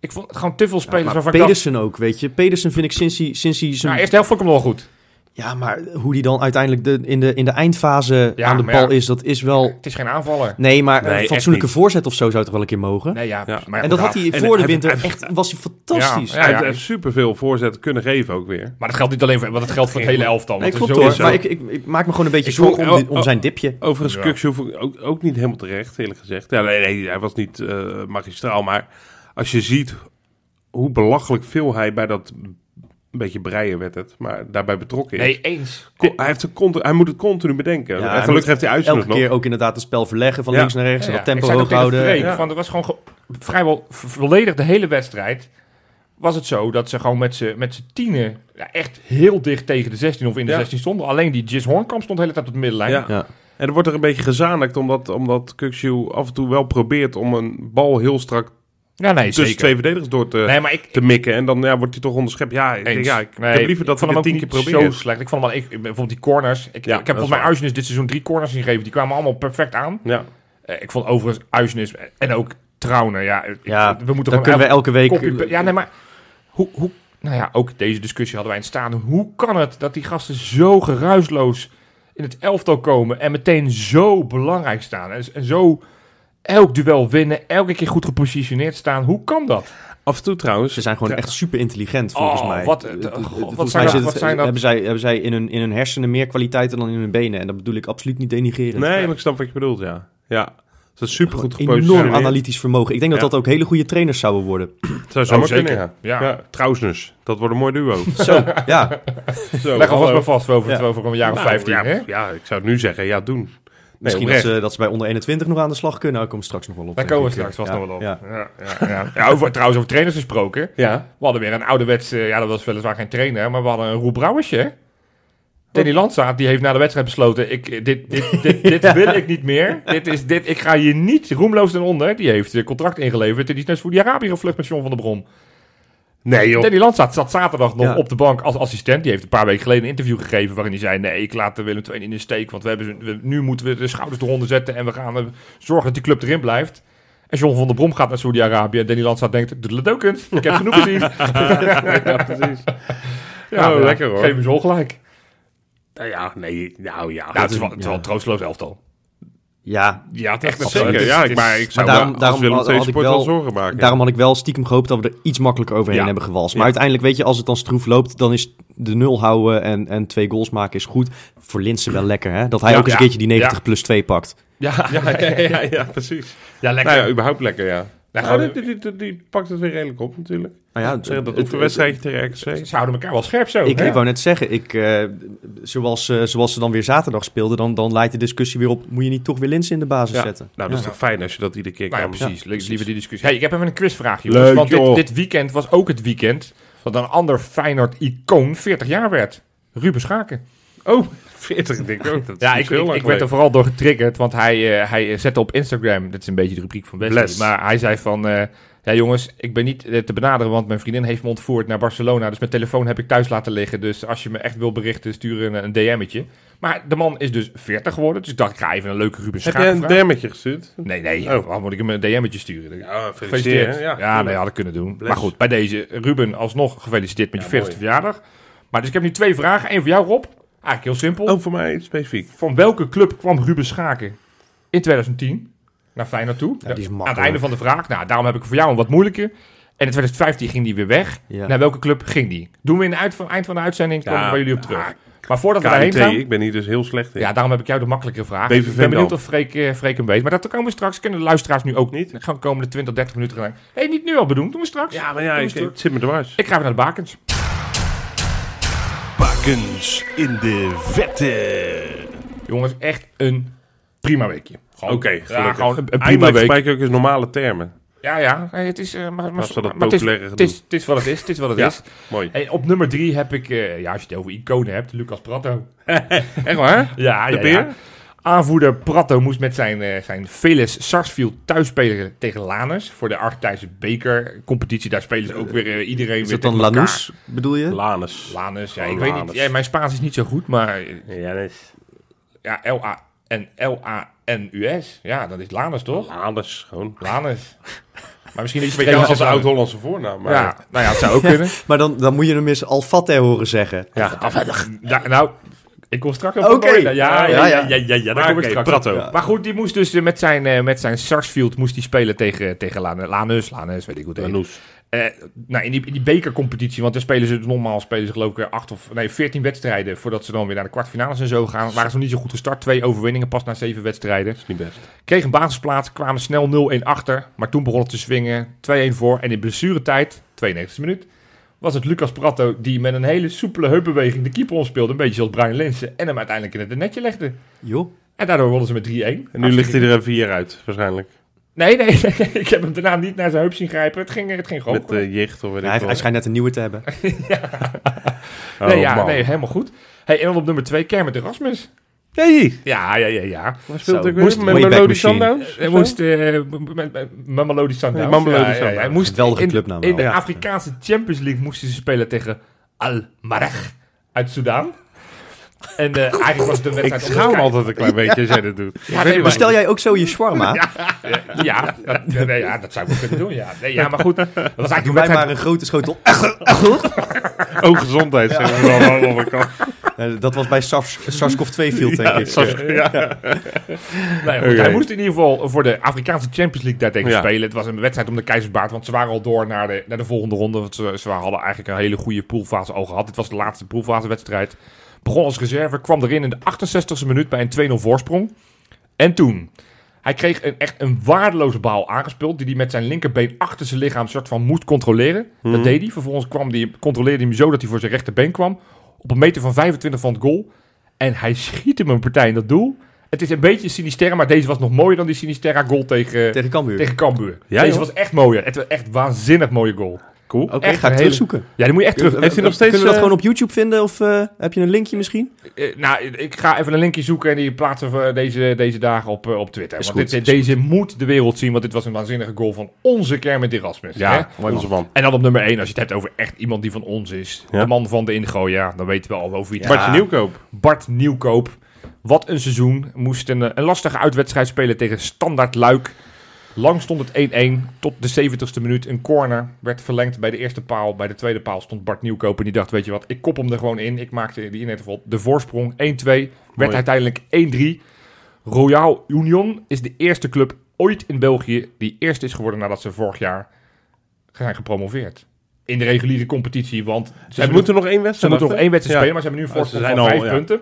Speaker 3: Ik vond gewoon te veel spelers
Speaker 2: Maar
Speaker 3: waarvan ik dacht,
Speaker 2: Pedersen ook, weet je. Pedersen vind ik sinds hij... Sinds hij zijn...
Speaker 3: nou, eerst helft vond ik hem wel goed.
Speaker 2: Ja, maar hoe die dan uiteindelijk de, in, de, in de eindfase
Speaker 3: Ja,
Speaker 2: aan de
Speaker 3: maar ja.
Speaker 2: bal is, dat is wel...
Speaker 3: Het is geen aanvaller.
Speaker 2: Nee, maar
Speaker 4: Nee,
Speaker 2: een
Speaker 4: echt
Speaker 2: fatsoenlijke
Speaker 4: niet.
Speaker 2: voorzet of zo zou toch wel een keer mogen?
Speaker 3: Nee, ja,
Speaker 4: Ja.
Speaker 3: Maar ja,
Speaker 2: en dat had hij
Speaker 4: en
Speaker 2: voor de
Speaker 4: hij-
Speaker 2: winter
Speaker 4: hij-
Speaker 2: echt... Was hij fantastisch.
Speaker 3: Ja,
Speaker 4: Hij
Speaker 3: ja.
Speaker 4: heeft superveel voorzetten kunnen geven ook weer.
Speaker 3: Maar dat geldt niet alleen voor hem, want dat geldt voor het hele elftal.
Speaker 2: Nee,
Speaker 3: want
Speaker 2: klopt
Speaker 3: er is
Speaker 2: hoor.
Speaker 3: sowieso-
Speaker 2: Maar ik, ik, ik maak me gewoon een beetje
Speaker 4: Ik
Speaker 2: zorgen
Speaker 4: vond-
Speaker 2: om, dit-
Speaker 4: oh,
Speaker 2: om
Speaker 4: oh.
Speaker 2: zijn dipje.
Speaker 4: Overigens,
Speaker 3: Ja.
Speaker 4: Kuksu vond ik ook, ook niet helemaal terecht, eerlijk gezegd. Ja, nee, nee, hij was niet eh, magistraal, maar als je ziet hoe belachelijk veel hij bij dat een beetje breien werd het, maar daarbij betrokken is.
Speaker 3: Nee, eens.
Speaker 4: Ko- Hij, heeft de continu- hij moet het continu bedenken.
Speaker 2: Ja,
Speaker 4: en
Speaker 2: hij
Speaker 4: gelukkig
Speaker 2: moet
Speaker 4: heeft hij uitslag
Speaker 2: Elke
Speaker 4: nog.
Speaker 2: keer ook inderdaad het spel verleggen van
Speaker 4: Ja.
Speaker 2: links naar rechts. en
Speaker 3: Ja,
Speaker 2: dat tempo
Speaker 3: ik zei
Speaker 2: hoog
Speaker 3: dat tegen
Speaker 2: houden.
Speaker 3: Freek,
Speaker 4: Ja.
Speaker 3: van, er was gewoon ge- vrijwel v- volledig de hele wedstrijd. Was het zo dat ze gewoon met z'n met z'n tienen ja, echt heel dicht tegen de 16 of in de
Speaker 4: Ja.
Speaker 3: 16 stonden. Alleen die Jis Hornkamp stond de hele tijd op de middenlijn.
Speaker 4: Ja.
Speaker 2: Ja.
Speaker 4: En er wordt er een beetje gezanikt omdat, omdat Kuksu af en toe wel probeert om een bal heel strak
Speaker 3: Ja, nee,
Speaker 4: tussen
Speaker 3: zeker.
Speaker 4: Dus twee verdedigers door te,
Speaker 3: nee, maar ik,
Speaker 4: te mikken. En dan ja, wordt hij toch onderschept. Ja, ik, denk,
Speaker 3: Eens.
Speaker 4: ja, ik
Speaker 3: Nee,
Speaker 4: heb liever dat
Speaker 3: vond
Speaker 4: hij het
Speaker 3: hem
Speaker 4: tien
Speaker 3: ook
Speaker 4: keer
Speaker 3: niet zo
Speaker 4: probeert.
Speaker 3: slecht. Ik vond hem al, ik, bijvoorbeeld die corners. Ik,
Speaker 4: Ja,
Speaker 3: ik heb
Speaker 4: dat is
Speaker 3: volgens mij
Speaker 4: waar.
Speaker 3: Uisnes dit seizoen drie corners ingegeven. Die kwamen allemaal perfect aan.
Speaker 4: Ja.
Speaker 3: Eh, ik vond overigens Uisnes en ook Trauner. Ja, ik-
Speaker 2: Ja,
Speaker 3: we moeten
Speaker 2: Dan
Speaker 3: gewoon
Speaker 2: kunnen we elke week...
Speaker 4: eh,
Speaker 3: Copy- ja, nee, maar hoe, hoe... Nou ja, ook deze discussie hadden wij in staan. Hoe kan het dat die gasten zo geruisloos in het elftal komen en meteen zo belangrijk staan? En, en zo elk duel winnen, elke keer goed gepositioneerd staan. Hoe kan dat?
Speaker 4: Af en toe trouwens.
Speaker 2: Ze zijn gewoon
Speaker 4: Ja.
Speaker 2: echt super intelligent, volgens
Speaker 3: Oh,
Speaker 2: mij.
Speaker 3: wat-
Speaker 2: Eh,
Speaker 3: eh,
Speaker 2: eh,
Speaker 3: god, wat
Speaker 2: volgens
Speaker 3: zijn
Speaker 2: mij
Speaker 3: dat-
Speaker 2: zit
Speaker 3: wat
Speaker 2: het-
Speaker 3: zijn dat-
Speaker 2: Hebben zij, hebben zij in, hun, in hun hersenen meer kwaliteiten dan in hun benen. En dat bedoel ik absoluut niet denigreren.
Speaker 4: Nee, maar ik snap wat je bedoelt, ja. Ja, ze is super goed gepositioneerd.
Speaker 2: Enorm analytisch vermogen. Ik denk
Speaker 4: Ja.
Speaker 2: dat dat ook hele goede trainers zouden worden.
Speaker 4: Het zou zomaar
Speaker 3: Oh, zeker.
Speaker 4: kunnen, ja.
Speaker 3: Ja.
Speaker 4: Ja. trouwens dus. Dat wordt een mooi duo.
Speaker 2: Zo, ja.
Speaker 4: Zo,
Speaker 3: Leg alvast
Speaker 4: hallo.
Speaker 3: maar vast over,
Speaker 2: Ja.
Speaker 3: over een jaar of
Speaker 4: Nou,
Speaker 3: 15,
Speaker 4: ja,
Speaker 3: hè?
Speaker 4: Ja, ik zou het nu zeggen, ja, doen. Nee,
Speaker 2: Misschien dat
Speaker 4: oprecht.
Speaker 2: ze, dat ze bij onder 21 nog aan de slag kunnen. Daar komen we straks nog wel op.
Speaker 3: Daar
Speaker 2: denk
Speaker 3: komen we
Speaker 2: ik.
Speaker 3: straks
Speaker 2: Ja,
Speaker 3: vast nog wel op.
Speaker 2: ja.
Speaker 3: Ja. Ja, ja, Ja, over, trouwens, over trainers gesproken.
Speaker 4: Ja.
Speaker 3: We hadden weer een ouderwets, eh, ja, dat was weliswaar geen trainer, maar we hadden een Roel Brouwersje. hè? Danny Landzaat, die heeft na de wedstrijd besloten, ik, eh, dit, dit, dit, dit wil ik niet meer. Dit is, dit, ik ga hier niet roemloos ten onder. Die heeft eh, contract ingeleverd en die is naar Saudi-Arabië gevlucht met John van der Brom.
Speaker 4: Nee, joh.
Speaker 3: Danny Landzaat zat zaterdag nog
Speaker 2: Ja.
Speaker 3: op de bank als assistent. Die heeft een paar weken geleden een interview gegeven waarin hij zei, nee, ik laat de Willem II niet in de steek. Want we hebben, ze- we- nu moeten we de schouders eronder zetten en we gaan eh, zorgen dat die club erin blijft. En John van der Brom gaat naar Saudi-Arabië en Danny Landzaat denkt, doe het ook eens. Ik heb genoeg gezien.
Speaker 4: Ja, precies.
Speaker 3: Ja,
Speaker 4: Oh,
Speaker 3: ja,
Speaker 4: lekker, hoor.
Speaker 3: Geef hem zo ongelijk.
Speaker 4: Nou ja, nee, nou ja.
Speaker 3: Ja, het is wel,
Speaker 2: ja.
Speaker 3: het is wel een troosteloos elftal.
Speaker 2: Ja,
Speaker 3: Ja,
Speaker 4: Echt
Speaker 3: wel
Speaker 2: absoluut.
Speaker 4: zeker. Ja, ik, maar ik zou
Speaker 2: Maar daarom-
Speaker 4: daarom, als
Speaker 2: daarom
Speaker 4: Willem
Speaker 2: had-
Speaker 4: II
Speaker 2: had ik
Speaker 4: Sport wel
Speaker 2: wel-
Speaker 4: zorgen maken.
Speaker 2: Daarom had ik wel stiekem gehoopt dat we er iets makkelijker overheen
Speaker 4: Ja.
Speaker 2: hebben gewalst. Maar
Speaker 4: Ja.
Speaker 2: uiteindelijk, weet je, als het dan stroef loopt, dan is de nul houden en, en twee goals maken is goed. Voor Linsen wel lekker, hè? Dat hij
Speaker 3: Ja,
Speaker 2: ook eens een
Speaker 3: ja,
Speaker 2: keertje die 90 plus 2 pakt.
Speaker 3: Ja, ja,
Speaker 4: Ja, ja, ja, ja, precies.
Speaker 3: lekker.
Speaker 4: Nou ja, überhaupt lekker, ja.
Speaker 3: Nou,
Speaker 4: Nou,
Speaker 3: gewoon-
Speaker 4: die, die, die- die pakt het weer redelijk op natuurlijk.
Speaker 2: Nou ja,
Speaker 4: Zeggen dat
Speaker 2: het-
Speaker 4: ook een wedstrijdje tegen RKC.
Speaker 3: Ze houden elkaar wel scherp zo.
Speaker 2: Ik,
Speaker 3: hè?
Speaker 2: ik wou net zeggen, ik, eh, zoals, eh, zoals ze dan weer zaterdag speelden, dan, dan leidt de discussie weer op, moet je niet toch weer Linsen in de basis
Speaker 4: Ja.
Speaker 2: zetten?
Speaker 4: Nou, dat is toch fijn als je dat iedere keer
Speaker 3: Nou ja,
Speaker 4: kan.
Speaker 3: precies.
Speaker 2: Ja,
Speaker 3: Li-
Speaker 2: precies.
Speaker 3: Liever die discussie. Hey, ik heb even een quizvraag, jongens.
Speaker 4: Leuk,
Speaker 3: want dit,
Speaker 4: joh.
Speaker 3: dit weekend was ook het weekend dat een ander Feyenoord-icoon 40 jaar werd. Ruben Schaken.
Speaker 4: Oh, 40 denk ik ook. Dat
Speaker 3: Ja,
Speaker 4: is
Speaker 3: ik,
Speaker 4: heel
Speaker 3: ik,
Speaker 4: lang
Speaker 3: ik werd er vooral door getriggerd, want hij, eh, hij eh, zette op Instagram, dat is een beetje de rubriek van Wesley,
Speaker 4: Bless.
Speaker 3: maar hij zei van, eh, ja jongens, ik ben niet eh, te benaderen, want mijn vriendin heeft me ontvoerd naar Barcelona, dus mijn telefoon heb ik thuis laten liggen, dus als je me echt wil berichten, stuur een, een DM'tje. Maar de man is dus 40 geworden, dus ik dacht, ik ga even een leuke Ruben
Speaker 4: Heb
Speaker 3: Schaak
Speaker 4: jij een
Speaker 3: vragen.
Speaker 4: dermetje gestuurd?
Speaker 3: Nee, nee,
Speaker 4: Oh.
Speaker 3: waarom moet ik hem een DM'tje sturen?
Speaker 4: Ja,
Speaker 3: Gefeliciteerd. Ja,
Speaker 4: Ja,
Speaker 3: nee, had ik kunnen doen.
Speaker 4: Bless.
Speaker 3: Maar goed, bij deze. Ruben, alsnog gefeliciteerd met
Speaker 4: Ja,
Speaker 3: je 40ste
Speaker 4: mooi.
Speaker 3: verjaardag. Maar dus ik heb nu twee vragen. Eén voor jou, Rob. Eigenlijk heel simpel.
Speaker 4: Oh, voor mij specifiek.
Speaker 3: Van welke club kwam Ruben Schaken in 2010 naar Feyenoord toe?
Speaker 2: Ja, die is
Speaker 3: Aan het
Speaker 2: makkelijk.
Speaker 3: einde van de vraag. Nou, daarom heb ik voor jou een wat moeilijker. En in 2015 ging die weer weg.
Speaker 2: Ja.
Speaker 3: Naar welke club ging die? Doen we in het uit- van- eind van de uitzending. Komen
Speaker 4: Ja,
Speaker 3: we bij jullie op terug. maar voordat we daarheen
Speaker 4: KNT,
Speaker 3: gaan...
Speaker 4: ik ben hier dus heel slecht in.
Speaker 3: Ja, daarom heb ik jou de makkelijkere vraag.
Speaker 4: BVV
Speaker 3: ik ben benieuwd
Speaker 4: dan.
Speaker 3: of Freek, eh, Freek hem weet. Maar dat komen we straks. Kunnen de luisteraars nu ook niet. Dan gaan we komende 20, 30 minuten gaan. hey, niet nu al bedoeld. Doen we straks.
Speaker 4: Ja, maar ja, ik,
Speaker 3: Doe eens
Speaker 4: het zit me dwars.
Speaker 3: Ik ga even naar de bakens.
Speaker 1: Bakens in de vette.
Speaker 3: Jongens, echt een prima weekje.
Speaker 4: Oké,
Speaker 3: Gewoon- Ja,
Speaker 4: gelukkig.
Speaker 3: gewoon een, een prima
Speaker 4: Eindelijk
Speaker 3: week.
Speaker 4: spreek je ook eens normale termen.
Speaker 3: Ja, ja. Nee, het is, eh, maar, maar,
Speaker 4: Als we dat
Speaker 3: maar het, is,
Speaker 4: populaire
Speaker 3: het, is, het is wat het is. Het is wat het
Speaker 4: Ja.
Speaker 3: is.
Speaker 4: Mooi.
Speaker 3: Hey, op nummer drie heb ik, eh, ja, als je het over iconen hebt, Lucas Pratto.
Speaker 4: Echt waar?
Speaker 3: Ja,
Speaker 4: De
Speaker 3: ja,
Speaker 4: beer?
Speaker 3: ja. Aanvoerder Pratto moest met zijn, eh, zijn Veles Sarsfield thuis spelen tegen Laners. Voor de Argentijnse bekercompetitie. Daar spelen ze ook weer eh, iedereen
Speaker 2: Is
Speaker 3: weer
Speaker 2: dat dan
Speaker 3: tegen elkaar.
Speaker 2: Lanús, bedoel je?
Speaker 4: Lanus.
Speaker 3: Laners, ja,
Speaker 4: Oh,
Speaker 3: ik weet niet.
Speaker 4: Laners.
Speaker 3: Ja, mijn Spaans is niet zo goed, maar eh,
Speaker 4: Lanus.
Speaker 3: ja, L-A en L-A-N-U-S. Ja, dat is Laners toch?
Speaker 4: Lanus, gewoon.
Speaker 3: Laners. Maar misschien iets
Speaker 4: Beetje als een oud-Hollandse voornaam. Maar
Speaker 3: Ja, nou ja, het zou ook kunnen.
Speaker 2: Maar dan, dan moet je hem eens Alfatte horen zeggen.
Speaker 4: Ja,
Speaker 3: Ja, nou, ik kom straks op
Speaker 2: Oké.
Speaker 3: Ja, ja, ja, ja, ja, ja, daar
Speaker 4: Maar
Speaker 3: kom ik
Speaker 4: oké,
Speaker 3: straks
Speaker 4: Pratto.
Speaker 3: op.
Speaker 4: Ja.
Speaker 3: Maar goed, die moest dus eh, met zijn, eh, met zijn Sarsfield moest die spelen tegen, tegen Lan- Lanus, Lanus, weet ik hoe het heet.
Speaker 4: Lanus.
Speaker 3: Eh, nou, in die, in die bekercompetitie, want daar spelen ze normaal spelen ze geloof ik eh, acht of nee, 14 wedstrijden voordat ze dan weer naar de kwartfinales en zo gaan. Waren ze nog niet zo goed gestart. Twee overwinningen pas na zeven wedstrijden.
Speaker 4: Is niet best.
Speaker 3: Kreeg een basisplaats, kwamen snel 0-1 achter. Maar toen begon het te swingen. 2-1 voor. En in blessuretijd, 92e minuut, was het Lucas Pratto die met een hele soepele heupbeweging de keeper omspeelde. Een beetje zoals Brian Linsen. En hem uiteindelijk in het netje legde.
Speaker 2: Joh.
Speaker 3: En daardoor wonnen ze met 3-1.
Speaker 4: En nu ligt hij er een vier uit, waarschijnlijk.
Speaker 3: Nee, nee, nee, ik heb hem daarna niet naar zijn heup zien grijpen. Het ging, het ging gewoon
Speaker 4: Met
Speaker 3: goed.
Speaker 4: eh jicht of weet
Speaker 2: Ja, hij,
Speaker 4: ik
Speaker 2: hij schijnt net een nieuwe te hebben.
Speaker 4: wel.
Speaker 3: nee,
Speaker 4: Oh,
Speaker 3: ja,
Speaker 4: man.
Speaker 3: nee, helemaal goed. Hey, en dan op nummer 2, Kermit Erasmus.
Speaker 4: Hey,
Speaker 3: Ja, ja, ja, ja.
Speaker 4: waar speelt
Speaker 2: Zo,
Speaker 4: ik weer?
Speaker 2: moest-
Speaker 4: Met
Speaker 2: Wayback
Speaker 4: Melody
Speaker 2: Machine.
Speaker 4: Sundowns?
Speaker 3: Hij moest eh, m- met- met Mamelodi Sundowns.
Speaker 4: Ja, Mamelodi
Speaker 3: Ja, ja, ja.
Speaker 4: Sundowns.
Speaker 3: Hij moest
Speaker 2: Geweldige
Speaker 3: in,
Speaker 2: clubnaam
Speaker 3: In
Speaker 2: wel.
Speaker 3: de
Speaker 4: Ja.
Speaker 3: Afrikaanse Champions League moesten ze spelen tegen Al Marag uit Soudaan. En eh, eigenlijk was het een
Speaker 4: Ik
Speaker 3: wedstrijd... om te
Speaker 4: schaam me
Speaker 3: kijken.
Speaker 4: altijd een klein beetje als jij dat doet.
Speaker 3: Ja, nee,
Speaker 2: Maar
Speaker 3: maar-
Speaker 2: stel jij ook zo je shawarma?
Speaker 3: ja, dat, nee, ja, dat zou ik wel kunnen doen, ja. Nee, ja, maar goed. Dat was eigenlijk een
Speaker 2: Doe mij
Speaker 3: wedstrijd...
Speaker 2: maar een grote schotel.
Speaker 4: Ook gezondheid, zeggen we dan aan de andere kant.
Speaker 2: Eh, dat was bij SARS- SARS-CoV-2 viel, denk ik.
Speaker 3: Nee, goed,
Speaker 4: Oké.
Speaker 3: Hij moest in ieder geval voor de Afrikaanse Champions League daartegen
Speaker 4: Ja.
Speaker 3: spelen. Het was een wedstrijd om de keizersbaard, want ze waren al door naar de, naar de volgende ronde. Want ze, ze hadden eigenlijk een hele goede poolfase al gehad. Dit was de laatste poolfasewedstrijd. Begon als reserve, kwam erin in de 68e minuut bij een 2-0 voorsprong. En toen, hij kreeg een, echt een waardeloze baal aangespeeld... die hij met zijn linkerbeen achter zijn lichaam soort van moest controleren.
Speaker 2: Mhm.
Speaker 3: Dat deed hij. Vervolgens kwam die, controleerde hij hem zo dat hij voor zijn rechterbeen kwam. Op een meter van 25 van het goal. En hij schiet hem een partij in dat doel. Het is een beetje Sinisterra, maar deze was nog mooier dan die Sinisterra goal tegen,
Speaker 2: Tegen Cambuur.
Speaker 3: tegen Cambuur.
Speaker 4: Ja,
Speaker 3: deze
Speaker 4: joh.
Speaker 3: was echt mooier. Het was echt een waanzinnig mooie goal.
Speaker 4: Cool.
Speaker 2: Oké,
Speaker 3: echt
Speaker 2: ga
Speaker 3: een
Speaker 2: ik
Speaker 3: hele-
Speaker 2: terugzoeken.
Speaker 3: Ja, die moet je echt terug.
Speaker 4: Heeft hij nog steeds,
Speaker 2: Kunnen we dat
Speaker 4: eh,
Speaker 2: gewoon op YouTube vinden? Of eh, heb je een linkje misschien?
Speaker 3: Eh, nou, ik ga even een linkje zoeken en die plaatsen we deze, deze dagen op, eh, op Twitter.
Speaker 2: Is
Speaker 3: want
Speaker 2: goed,
Speaker 3: dit,
Speaker 2: is goed.
Speaker 3: deze moet de wereld zien, want dit was een waanzinnige goal van onze Kermit Erasmus. hè?
Speaker 4: Ja, onze man.
Speaker 3: En dan op nummer 1, als je het hebt over echt iemand die van ons is.
Speaker 4: Ja.
Speaker 3: De man van de ingooi, ja, dan weten we al over wie het
Speaker 4: Bartje Nieuwkoop.
Speaker 3: Bart Nieuwkoop. Wat een seizoen. Moest een, eh, een lastige uitwedstrijd spelen tegen Standaard Luik. Lang stond het 1-1 tot de 70ste minuut. Een corner werd verlengd bij de eerste paal. Bij de tweede paal stond Bart Nieuwkoop. En die dacht, weet je wat, ik kop hem er gewoon in. Ik maakte die in ieder geval de voorsprong 1-2. Werd
Speaker 4: Mooi.
Speaker 3: uiteindelijk 1-3. Royal Union is de eerste club ooit in België... die eerst is geworden nadat ze vorig jaar zijn gepromoveerd. In de reguliere competitie, want ze
Speaker 4: Ze
Speaker 3: hebben-
Speaker 4: moeten nog één
Speaker 3: ze
Speaker 4: wedstrijd
Speaker 3: moeten
Speaker 4: achter.
Speaker 3: nog één wedstrijd
Speaker 4: Ja.
Speaker 3: spelen, maar ze hebben nu een
Speaker 4: Oh, ze
Speaker 3: voorsprong
Speaker 4: zijn
Speaker 3: van vijf
Speaker 4: al, ja.
Speaker 3: punten.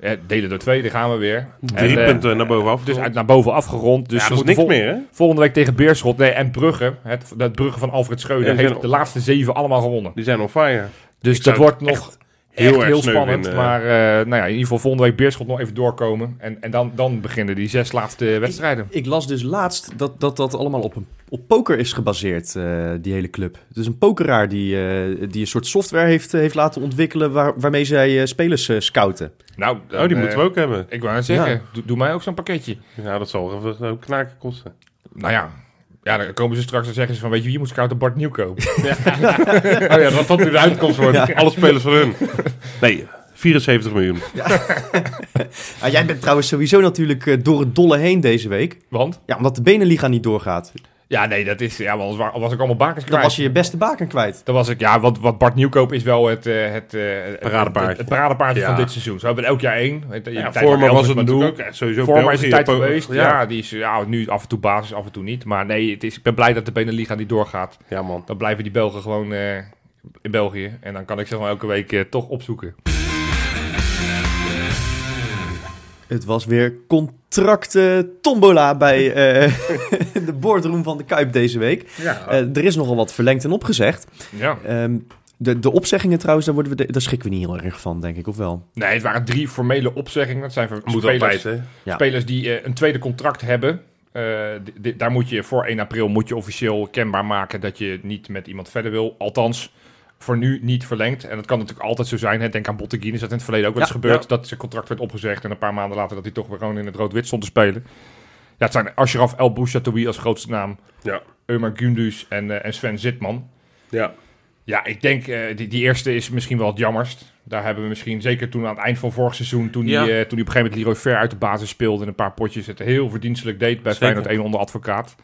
Speaker 3: Eh, delen door twee, daar gaan we weer.
Speaker 4: Drie
Speaker 3: En, eh,
Speaker 4: punten naar bovenaf.
Speaker 3: Dus uit naar boven afgerond. Dus
Speaker 4: ja,
Speaker 3: ze
Speaker 4: dat is
Speaker 3: moeten
Speaker 4: niks
Speaker 3: vol-
Speaker 4: meer, hè?
Speaker 3: Volgende week tegen Beerschot nee, en Brugge. Het, dat Brugge van Alfred
Speaker 4: Ja,
Speaker 3: Schreuder
Speaker 4: die
Speaker 3: heeft
Speaker 4: zijn-
Speaker 3: de laatste zeven allemaal gewonnen.
Speaker 4: Die zijn on fire.
Speaker 3: Dus dat
Speaker 4: zou
Speaker 3: wordt nog echt heel,
Speaker 4: heel erg sneu
Speaker 3: spannend.
Speaker 4: vinden, ja.
Speaker 3: maar eh, nou ja, in ieder geval volgende week Beerschot nog even doorkomen. En, en dan, dan beginnen die zes laatste wedstrijden.
Speaker 2: Ik las dus laatst dat dat, dat allemaal op, een, op poker is gebaseerd, eh, die hele club. Dus een pokeraar die, eh, die een soort software heeft, eh, heeft laten ontwikkelen waar, waarmee zij eh, spelers eh, scouten.
Speaker 3: Nou,
Speaker 4: Oh, die moeten we ook hebben.
Speaker 3: Ik wou net zeggen,
Speaker 2: Ja.
Speaker 3: doe, doe mij ook zo'n pakketje.
Speaker 4: Ja, dat zal wel even knaken kosten.
Speaker 3: Nou ja, ja, dan komen ze straks en zeggen ze van, weet je wie moet scouten? Bart Nieuwkoop.
Speaker 4: Oh ja, dat dat nu de uitkomst wordt. Alle spelers van hun. Nee, 74 miljoen.
Speaker 2: Ah, jij bent trouwens sowieso natuurlijk eh, door het dolle heen deze week.
Speaker 3: Want?
Speaker 2: Ja, omdat de Beneliga niet doorgaat.
Speaker 3: Ja, nee, dat is. Ja, want anders wa- was ik allemaal bakens
Speaker 2: Dan
Speaker 3: kwijt.
Speaker 2: was je je beste baken kwijt.
Speaker 3: Dan was ik, ja, wat, wat Bart Nieuwkoop is wel het, eh, het, eh, het
Speaker 4: Paradepaardje.
Speaker 3: Het, het paradepaardje
Speaker 4: Ja.
Speaker 3: van dit seizoen. Zo hebben we er elk jaar één. Het- in de
Speaker 4: Ja,
Speaker 3: tijd van
Speaker 4: Vormer was
Speaker 3: Elvers
Speaker 4: het
Speaker 3: Madu.
Speaker 4: natuurlijk ook. eh, Sowieso
Speaker 3: Vormer is
Speaker 4: België,
Speaker 3: een tijd
Speaker 4: Po-
Speaker 3: geweest. Ja.
Speaker 4: eh, Ja.
Speaker 3: die is ja, nu af en toe basis, af en toe niet. Maar nee, het is, ik ben blij dat de Beneliga niet doorgaat.
Speaker 4: ja, man.
Speaker 3: Dan blijven die Belgen gewoon eh, in België. En dan kan ik ze gewoon elke week eh, toch opzoeken.
Speaker 2: Het was weer contracten tombola bij eh, de boardroom van de Kuip deze week.
Speaker 3: Ja.
Speaker 2: Eh, er is nogal wat verlengd en opgezegd.
Speaker 3: ja.
Speaker 2: Ehm, De, de opzeggingen trouwens, daar, worden we de- daar schrikken we niet heel erg van, denk ik, of wel?
Speaker 3: Nee, het waren drie formele opzeggingen. Dat zijn
Speaker 4: Moet
Speaker 3: spelers,
Speaker 4: altijd, hè?
Speaker 2: Ja.
Speaker 3: spelers die eh, een tweede contract hebben. Eh, di- di- daar moet je voor 1 april moet je officieel kenbaar maken dat je niet met iemand verder wil. Althans, voor nu niet verlengd. En dat kan natuurlijk altijd zo zijn. Hè. Denk aan Botteguin, is dat in het verleden ook wel eens
Speaker 2: Ja,
Speaker 3: gebeurd.
Speaker 4: ja.
Speaker 3: Dat zijn contract werd opgezegd en een paar maanden later dat hij toch weer gewoon in het rood-wit stond te spelen. Ja, het zijn Ashraf El Bouchatoui als grootste naam.
Speaker 4: Ja.
Speaker 3: Ömer Gündüz en, eh, en Sven Zitman.
Speaker 4: Ja.
Speaker 3: Ja, ik denk, eh, die, die eerste is misschien wel het jammerst. Daar hebben we misschien, zeker toen aan het eind van vorig seizoen, toen
Speaker 4: Ja.
Speaker 3: hij eh, toen die op een gegeven moment Leroy Ver uit de basis speelde en een paar potjes het heel verdienstelijk deed bij
Speaker 4: Zeker.
Speaker 3: Feyenoord 1 onder advocaat.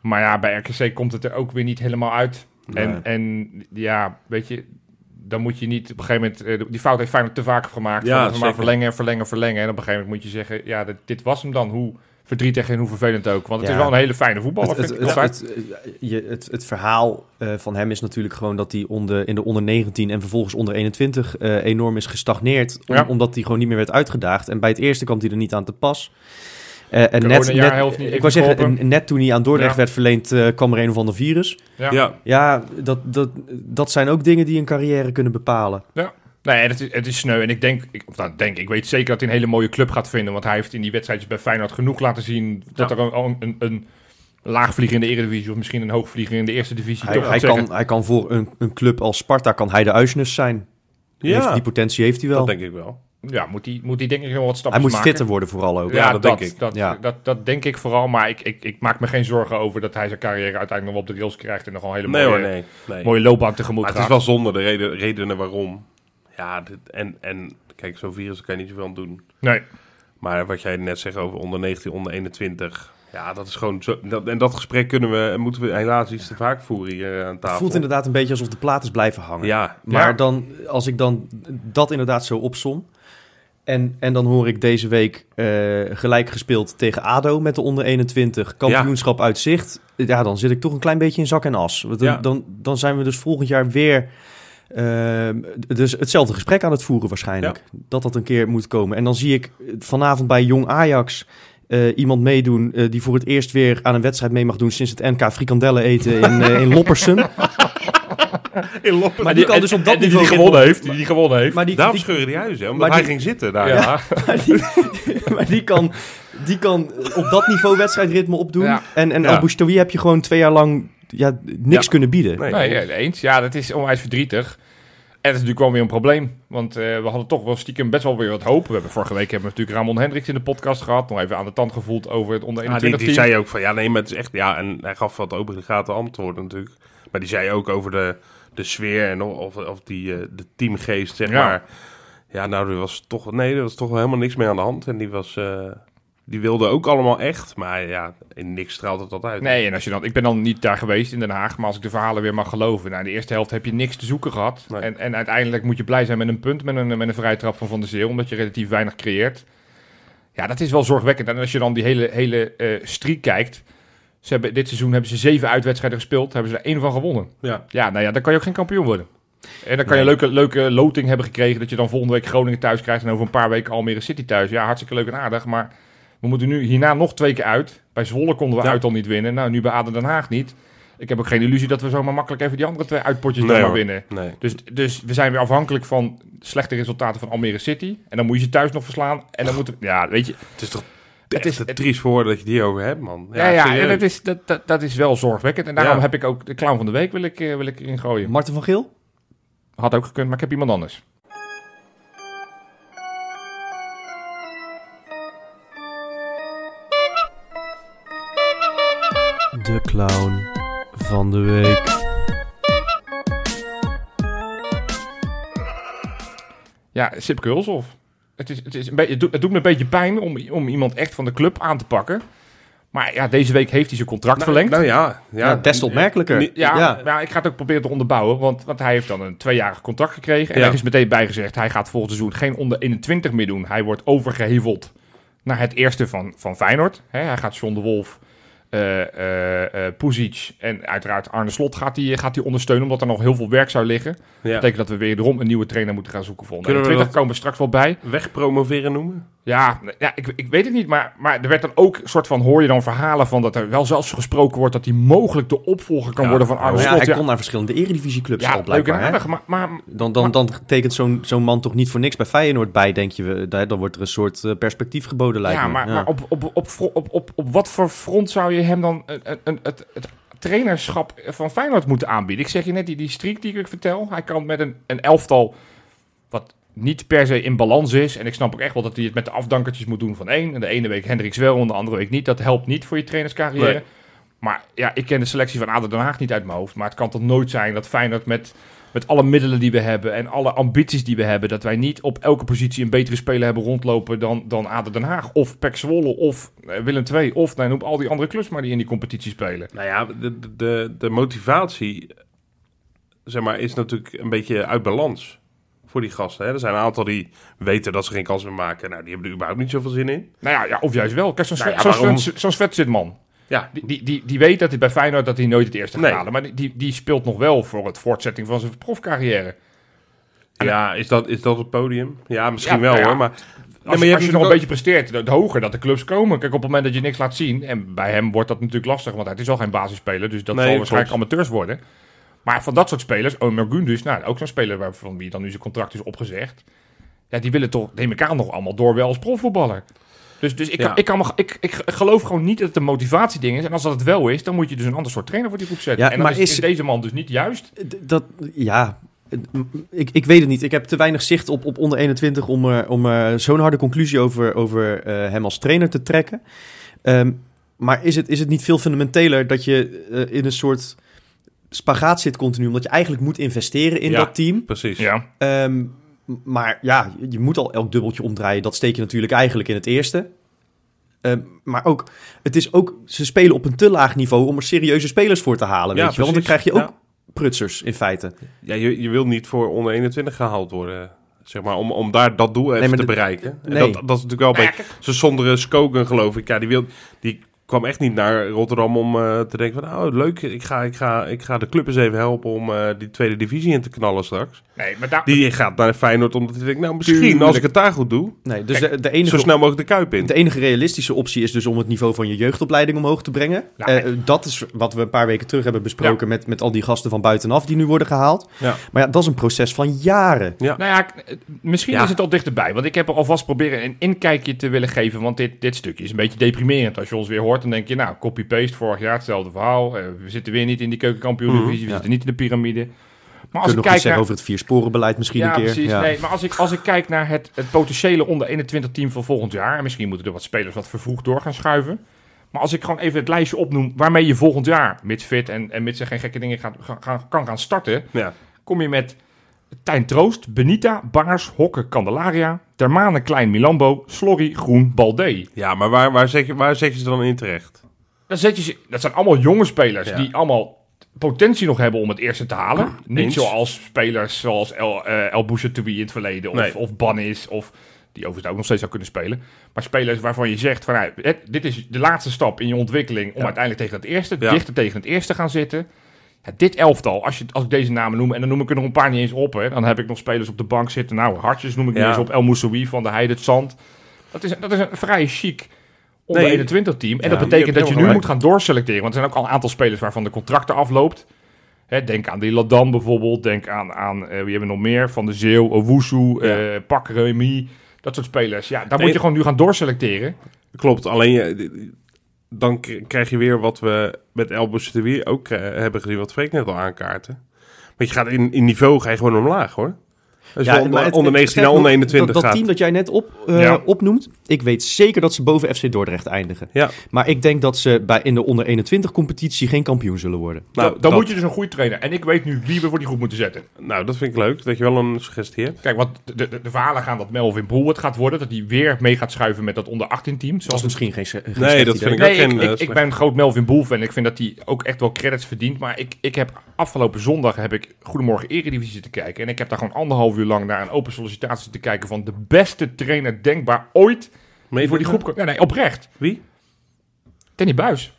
Speaker 3: Maar ja, bij RKC komt het er ook weer niet helemaal uit.
Speaker 2: Nee.
Speaker 3: En, en ja, weet je, dan moet je niet op een gegeven moment... eh, die fout heeft Feyenoord te vaak gemaakt.
Speaker 4: Ja,
Speaker 3: Van, van maar
Speaker 4: zeker.
Speaker 3: verlengen, verlengen, verlengen. En op een gegeven moment moet je zeggen, ja, dit, dit was hem dan. Hoe verdrietig en hoe vervelend ook. Want het
Speaker 2: Ja.
Speaker 3: is wel een hele fijne voetballer,
Speaker 2: Het, het,
Speaker 3: vind ik
Speaker 2: het-
Speaker 3: altijd.
Speaker 2: het- je- het- het verhaal eh, van hem is natuurlijk gewoon dat hij onder, in de onder 19 en vervolgens onder 21 eh, enorm is gestagneerd. om-
Speaker 3: Ja.
Speaker 2: Omdat hij gewoon niet meer werd uitgedaagd. En bij het eerste kwam hij er niet aan te pas. Eh, en net,
Speaker 3: Corona-jaar helft
Speaker 2: net,
Speaker 3: niet
Speaker 2: ik wou zeggen,
Speaker 3: ingekopen.
Speaker 2: eh, net toen hij aan Dordrecht
Speaker 3: Ja.
Speaker 2: werd verleend, eh, kwam er een of ander virus.
Speaker 3: Ja.
Speaker 4: Ja.
Speaker 2: Ja, dat, dat, dat zijn ook dingen die een carrière kunnen bepalen.
Speaker 3: Nee, Nou het is, het is sneu. En ik denk, ik, of nou, denk, ik weet zeker dat hij een hele mooie club gaat vinden. Want hij heeft in die wedstrijdjes bij Feyenoord genoeg laten zien dat
Speaker 4: Ja.
Speaker 3: er een, een, een laagvlieger in de Eredivisie of misschien een hoogvlieger in de Eerste Divisie
Speaker 2: Hij,
Speaker 3: toch gaat
Speaker 2: hij,
Speaker 3: zeggen,
Speaker 2: kan, hij kan voor een, een club als Sparta, kan hij de uisnes zijn. Die heeft- die potentie heeft hij wel.
Speaker 4: dat denk ik wel.
Speaker 3: Ja, moet hij, moet hij denk ik nog wat
Speaker 2: Hij
Speaker 3: stappen
Speaker 2: moet
Speaker 3: maken.
Speaker 2: fitter worden vooral ook.
Speaker 3: Ja, dat, denk ik. Dat,
Speaker 2: Ja.
Speaker 3: Dat, dat denk ik vooral. Maar ik, ik, ik maak me geen zorgen over dat hij zijn carrière uiteindelijk nog op de rails krijgt. En nog een hele
Speaker 4: Nee
Speaker 3: mooie,
Speaker 4: hoor, nee. nee.
Speaker 3: mooie loopbaan tegemoet
Speaker 4: Maar het
Speaker 3: gaat.
Speaker 4: is wel zonde, de reden, redenen waarom. Ja, dit- en, en kijk, zo'n virus kan je niet zoveel aan doen.
Speaker 3: Nee,
Speaker 4: Maar wat jij net zegt over onder 19, onder 21. Ja, dat is gewoon zo. Dat, en dat gesprek kunnen we en moeten we helaas iets te vaak voeren hier eh, aan tafel.
Speaker 2: Het voelt inderdaad een beetje alsof de plaat is blijven hangen.
Speaker 4: Ja,
Speaker 2: Maar
Speaker 3: Ja.
Speaker 2: dan, als ik dan dat inderdaad zo opsom. En, en dan hoor ik deze week eh, gelijk gespeeld tegen ADO met de onder 21. Kampioenschap uit zicht. Ja, dan zit ik toch een klein beetje in zak en as. Want Dan,
Speaker 4: Ja.
Speaker 2: dan, dan zijn we dus volgend jaar weer eh, dus hetzelfde gesprek aan het voeren waarschijnlijk. Dat dat een keer moet komen. En dan zie ik eh, vanavond bij Jong Ajax... eh, iemand meedoen eh, die voor het eerst weer aan een wedstrijd mee mag doen sinds het NK frikandellen eten in, eh, in Loppersum. Maar die kan dus op dat
Speaker 3: die,
Speaker 2: niveau
Speaker 3: die gewonnen heeft. Die, die gewonnen heeft.
Speaker 2: Maar die,
Speaker 4: daarom
Speaker 2: die-
Speaker 4: scheuren die huizen, hè, omdat
Speaker 2: maar
Speaker 4: hij
Speaker 2: die-
Speaker 4: ging zitten daar.
Speaker 3: ja.
Speaker 2: Maar die, maar die kan, die kan op dat niveau wedstrijdritme opdoen.
Speaker 3: Ja.
Speaker 2: En, en
Speaker 4: Ja.
Speaker 2: El Bouchtoui heb je gewoon twee jaar lang ja, niks
Speaker 4: Ja.
Speaker 2: kunnen bieden.
Speaker 4: Nee,
Speaker 3: Nee, ja, eens. Ja, dat is onwijs verdrietig. En dat is natuurlijk wel weer een probleem. Want eh, we hadden toch wel stiekem best wel weer wat hoop. We hebben vorige week hebben we natuurlijk Ramon Hendricks in de podcast gehad. Nog even aan de tand gevoeld over het onder
Speaker 4: Ah, die,
Speaker 3: 21
Speaker 4: die
Speaker 3: team.
Speaker 4: zei ook van ja, nee, maar het is echt. Ja, en hij gaf wat open de gaten antwoorden natuurlijk. Maar die zei ook over de, de sfeer en of, of die, eh, de teamgeest, zeg
Speaker 3: Ja.
Speaker 4: maar. Ja, nou, er was toch, nee, er was toch wel helemaal niks mee aan de hand. En die was. eh, die wilde ook allemaal echt, maar ja, in niks straalt het dat uit.
Speaker 3: Nee, en als je dan, ik ben dan niet daar geweest in Den Haag. Maar als ik de verhalen weer mag geloven. Nou, in de eerste helft heb je niks te zoeken gehad.
Speaker 4: Nee.
Speaker 3: En, en uiteindelijk moet je blij zijn met een punt. Met een, met een vrije trap van Van der Zeel. Omdat je relatief weinig creëert. Ja, dat is wel zorgwekkend. En als je dan die hele, hele eh streak kijkt. Ze hebben, dit seizoen hebben ze zeven uitwedstrijden gespeeld. Hebben ze er één van gewonnen.
Speaker 4: Ja,
Speaker 3: Ja, nou ja, dan kan je ook geen kampioen worden. En dan kan je
Speaker 2: Nee.
Speaker 3: een leuke, leuke loting hebben gekregen... dat je dan volgende week Groningen thuis krijgt... en over een paar weken Almere City thuis. Ja, hartstikke leuk en aardig, maar we moeten nu hierna nog twee keer uit. Bij Zwolle konden we
Speaker 4: Ja.
Speaker 3: uit al niet winnen. Nou, nu bij Aden Den Haag niet. Ik heb ook geen illusie dat we zomaar makkelijk even die andere twee uitpotjes
Speaker 4: Nee,
Speaker 3: dan maar
Speaker 4: hoor.
Speaker 3: winnen.
Speaker 4: nee.
Speaker 3: Dus, dus we zijn weer afhankelijk van slechte resultaten van Almere City. En dan moet je ze thuis nog verslaan. En dan moeten... Ja, weet je,
Speaker 4: Het is toch
Speaker 3: het
Speaker 4: echt
Speaker 3: is,
Speaker 4: een triest voor dat je die over hebt, man.
Speaker 3: ja, ja,
Speaker 4: serieus.
Speaker 3: en dat is, dat, dat, dat is wel zorgwekkend. En daarom
Speaker 4: Ja.
Speaker 3: heb ik ook de clown van de week wil ik, eh, wil ik erin gooien.
Speaker 2: Marten van Geel?
Speaker 3: Had ook gekund, maar ik heb iemand anders.
Speaker 2: De clown van de week.
Speaker 3: Ja, Sip Kulshoff. Het, is, het, is een beetje, het, doet, het doet me een beetje pijn om, om iemand echt van de club aan te pakken. Maar ja, deze week heeft hij zijn contract
Speaker 4: Nou,
Speaker 3: verlengd.
Speaker 4: Nou ja,
Speaker 2: Ja,
Speaker 4: ja.
Speaker 2: des te opmerkelijker.
Speaker 4: Nee,
Speaker 3: ja, Maar ik ga het ook proberen te onderbouwen. Want, want hij heeft dan een tweejarig contract gekregen. En
Speaker 4: Ja.
Speaker 3: er is meteen bijgezegd, hij gaat volgend seizoen geen onder 21 meer doen. Hij wordt overgeheveld naar het eerste van, van Feyenoord. Hè, hij gaat John de Wolf eh eh, eh, Puzic en uiteraard Arne Slot gaat die, gaat die ondersteunen, omdat er nog heel veel werk zou liggen. Dat
Speaker 4: Ja.
Speaker 3: betekent dat we weer erom een nieuwe trainer moeten gaan zoeken voor
Speaker 4: Kunnen we
Speaker 3: 20
Speaker 4: dat-
Speaker 3: komen we straks wel bij.
Speaker 4: Wegpromoveren noemen?
Speaker 3: Ja, nou, ja ik, ik weet het niet, maar, maar er werd dan ook soort van, hoor je dan verhalen van dat er wel zelfs gesproken wordt dat hij mogelijk de opvolger kan
Speaker 4: Ja,
Speaker 3: worden van Arne
Speaker 2: Maar ja,
Speaker 3: Slot.
Speaker 2: hij
Speaker 3: Ja,
Speaker 2: kon naar verschillende eredivisieclubs
Speaker 3: ja,
Speaker 2: al
Speaker 3: leuk en
Speaker 2: blijkbaar. hè?
Speaker 3: aardig, maar, maar
Speaker 2: Dan, dan, dan tekent zo'n zo'n man toch niet voor niks bij Feyenoord bij, denk je. we- daar- Dan wordt er een soort eh, perspectief geboden, lijkt
Speaker 3: ja,
Speaker 2: me.
Speaker 3: maar, maar op, op, op, fro- op, op, op wat voor front zou je hem dan een, een, een- het, het trainerschap van Feyenoord moeten aanbieden? Ik zeg je net, die, die streak die ik vertel, hij kan met een, een elftal wat niet per se in balans is. En ik snap ook echt wel dat hij het met de afdankertjes moet doen van één. En de ene week Hendricks wel, en de andere week niet. Dat helpt niet voor je trainerscarrière.
Speaker 4: Nee.
Speaker 3: Maar ja, ik ken de selectie van Aden Den Haag niet uit mijn hoofd. Maar het kan toch nooit zijn dat Feyenoord met, met alle middelen die we hebben... en alle ambities die we hebben... dat wij niet op elke positie een betere speler hebben rondlopen dan, dan Aden Den Haag. Of Pek Zwolle, of eh, Willem II, of nou, noem al die andere clubs maar die in die competitie spelen.
Speaker 4: Nou ja, de, de, de motivatie zeg maar, is natuurlijk een beetje uit balans voor die gasten. Hè? Er zijn een aantal die weten dat ze geen kans meer maken. Nou, die hebben er überhaupt niet zoveel zin in.
Speaker 3: Nou ja, ja of juist wel. Kijk, zo'n
Speaker 4: Nou
Speaker 3: Sven-
Speaker 4: ja,
Speaker 3: zo'n
Speaker 4: waarom-
Speaker 3: Sven- zo'n Sven zit man.
Speaker 4: Ja,
Speaker 3: Die, die, die, die weet dat hij bij Feyenoord dat hij nooit het eerste gaat
Speaker 4: Nee.
Speaker 3: halen. Maar die- die, die speelt nog wel voor het voortzetting van zijn profcarrière.
Speaker 4: ja is, dat, is dat het podium? Ja, misschien
Speaker 3: Ja,
Speaker 4: wel
Speaker 3: nou ja.
Speaker 4: hoor, maar...
Speaker 3: Als,
Speaker 4: maar je
Speaker 3: je,
Speaker 4: hebt
Speaker 3: als je nog een
Speaker 4: natuurlijk
Speaker 3: beetje presteert, de, de hoger dat de clubs komen. Kijk, op het moment dat je niks laat zien, en bij hem wordt dat natuurlijk lastig, want hij is al geen basisspeler, dus
Speaker 4: Nee,
Speaker 3: dat zal
Speaker 4: klopt.
Speaker 3: waarschijnlijk amateurs worden. Maar van dat soort spelers, Omer Gundus, nou, ook zo'n speler waarvan wie dan nu zijn contract is opgezegd. Ja, die willen toch, neem ik aan, nog allemaal door wel als profvoetballer. Dus, dus ik, kan-
Speaker 4: Ja.
Speaker 3: ik, kan, me- ik, ik geloof gewoon niet dat het een motivatieding is. En als dat het wel is, dan moet je dus een ander soort trainer voor die groep zetten.
Speaker 2: Ja,
Speaker 3: en dan
Speaker 2: maar
Speaker 3: is,
Speaker 2: is-
Speaker 3: is deze man dus niet juist.
Speaker 2: D- Dat, ja, ik, ik weet het niet. Ik heb te weinig zicht op, op onder 21 om, er- om er zo'n harde conclusie over, over eh, hem als trainer te trekken. Ehm, maar is het, is het niet veel fundamenteler dat je eh, in een soort spagaat zit continu? Omdat je eigenlijk moet investeren in
Speaker 4: Ja.
Speaker 2: dat team.
Speaker 4: Precies.
Speaker 3: Ja.
Speaker 2: Ehm, m- maar ja, je- je moet al elk dubbeltje omdraaien. Dat steek je natuurlijk eigenlijk in het eerste. Ehm, maar ook, het is ook, ze spelen op een te laag niveau om er serieuze spelers voor te halen.
Speaker 4: Ja,
Speaker 2: weet je wel? Want dan krijg
Speaker 4: precies.
Speaker 2: je ook prutsers in feite.
Speaker 4: Ja, je, je wil niet voor onder 21 gehaald worden, zeg maar, om, om daar dat doel even
Speaker 2: maar
Speaker 4: te
Speaker 2: de-
Speaker 4: bereiken. En
Speaker 2: nee.
Speaker 4: Dat, dat is natuurlijk wel een
Speaker 3: Nou ja,
Speaker 4: beetje... Ze zonder Skogen, geloof ik, ja, die, wil, die kwam echt niet naar Rotterdam om eh, te denken van... Oh, leuk, ik ga, ik, ga, ik ga de club eens even helpen om eh, die tweede divisie in te knallen straks.
Speaker 3: Nee, maar daar,
Speaker 4: Die gaat naar Feyenoord omdat hij denkt, nou, misschien
Speaker 2: Tuurlijk.
Speaker 4: als ik het daar goed doe...
Speaker 2: Nee, dus
Speaker 3: Kijk,
Speaker 2: de, de
Speaker 4: Zo
Speaker 2: enige
Speaker 4: snel mogelijk de Kuip in.
Speaker 2: De enige realistische optie is dus om het niveau van je jeugdopleiding omhoog te brengen.
Speaker 3: Ja.
Speaker 2: Eh, dat is wat we een paar weken terug hebben besproken met, met al die gasten van buitenaf die nu worden gehaald.
Speaker 4: Ja.
Speaker 2: Maar ja, dat is een proces van jaren.
Speaker 3: Nou ja, k- eh, misschien
Speaker 4: Ja.
Speaker 3: is het al dichterbij. Want ik heb er alvast proberen een inkijkje te willen geven. Want dit, dit stukje is een beetje deprimerend. Als je ons weer hoort, dan denk je, nou, copy-paste, vorig jaar hetzelfde verhaal. Eh, we zitten weer niet in die keukenkampioen-divisie.
Speaker 2: Mhm,
Speaker 3: We
Speaker 2: ja.
Speaker 3: zitten niet in de piramide. Maar als
Speaker 2: Kunnen
Speaker 3: ik
Speaker 2: nog iets
Speaker 3: kijk
Speaker 2: zeggen
Speaker 3: naar...
Speaker 2: over het viersporenbeleid misschien
Speaker 3: Ja,
Speaker 2: een keer.
Speaker 3: precies.
Speaker 2: ja.
Speaker 3: Nee, maar als ik, als ik kijk naar het, het potentiële onder 21 team van volgend jaar. En misschien moeten er wat spelers wat vervroegd door gaan schuiven. Maar als ik gewoon even het lijstje opnoem waarmee je volgend jaar, mits fit en, en mits er geen gekke dingen gaat, ga- ga- kan gaan starten
Speaker 4: Ja.
Speaker 3: kom je met Tijn Troost, Benita, Bangers, Hokken, Candelaria, Termane, Klein, Milambo, Slorry, Groen, Balde.
Speaker 4: ja, maar waar, waar, zet je, waar zet je ze dan in terecht?
Speaker 3: Dan zet je, ze- dat zijn allemaal jonge spelers
Speaker 4: Ja.
Speaker 3: die allemaal potentie nog hebben om het eerste te halen. Niet
Speaker 4: Eens.
Speaker 3: zoals spelers zoals El, eh El Bouchatoui in het verleden of,
Speaker 4: Nee.
Speaker 3: of Bannis of... Die overigens ook nog steeds zou kunnen spelen. Maar spelers waarvan je zegt: van, nou, het- dit is de laatste stap in je ontwikkeling. om uiteindelijk tegen het eerste,
Speaker 4: Ja.
Speaker 3: dichter tegen het eerste gaan zitten. Ja, dit elftal, als, je, als ik deze namen noem, en dan noem ik er nog een paar niet eens op. Hè, dan heb ik nog spelers op de bank zitten. Nou, Hartjes noem ik niet
Speaker 4: Ja.
Speaker 3: eens op. El Moussaoui van de Heide het Zand. Dat is, dat is een vrij chic onder
Speaker 4: Nee.
Speaker 3: 21 team. En
Speaker 4: Ja,
Speaker 3: dat
Speaker 4: je
Speaker 3: betekent
Speaker 4: hebt
Speaker 3: dat je nu
Speaker 4: helemaal
Speaker 3: moet gaan doorselecteren. Want er zijn ook al een aantal spelers waarvan de contracten afloopt. Hè, denk aan die Ladan bijvoorbeeld. Denk aan, aan eh, wie hebben we nog meer? Van de Zeeuw, Owusu, eh Pak Remy. Dat soort spelers. Ja, daar moet je gewoon nu gaan
Speaker 4: Nou,
Speaker 3: doorselecteren.
Speaker 4: Klopt, alleen je, dan k- krijg je weer wat we met El Bouchatoui ook eh, hebben gezien, wat Freek net al aankaarten. Want je gaat in, in niveau ga je gewoon omlaag hoor. Dus
Speaker 2: Ja,
Speaker 4: van onder,
Speaker 2: maar het-
Speaker 4: onder
Speaker 2: het-
Speaker 4: 19 naar
Speaker 2: sterker
Speaker 4: onder
Speaker 2: nog,
Speaker 4: 21
Speaker 2: Dat, dat
Speaker 4: gaat.
Speaker 2: team dat jij net op, eh,
Speaker 3: Ja.
Speaker 2: opnoemt, ik weet zeker dat ze boven FC Dordrecht eindigen.
Speaker 4: Ja,
Speaker 2: Maar ik denk dat ze bij, in de onder 21 competitie geen kampioen zullen worden.
Speaker 4: nou,
Speaker 3: dan
Speaker 4: dat,
Speaker 3: moet je dus een goede trainer. En ik weet nu wie we voor die groep moeten zetten.
Speaker 4: nou, dat vind ik leuk, dat je wel een suggestie hebt.
Speaker 3: Kijk, want de, de, de verhalen gaan dat Melvin Boel het gaat worden. Dat hij weer mee gaat schuiven met dat onder 18 team.
Speaker 2: Dat
Speaker 3: Zoals
Speaker 2: is misschien geen, geen
Speaker 4: dat
Speaker 2: slecht
Speaker 4: vind
Speaker 2: idee.
Speaker 4: ik
Speaker 3: Nee, ik,
Speaker 4: ken, eh,
Speaker 3: ik, ik
Speaker 4: slecht.
Speaker 3: ben een groot Melvin Boel fan. Ik vind dat hij ook echt wel credits verdient. Maar ik, ik heb afgelopen zondag heb ik Goedemorgen Eredivisie zitten kijken. En ik heb daar gewoon anderhalf uur lang naar een open sollicitatie te kijken van de beste trainer denkbaar ooit.
Speaker 4: Mee
Speaker 3: Voor die groep. Nee, nee, oprecht.
Speaker 4: Wie?
Speaker 3: Danny Buis.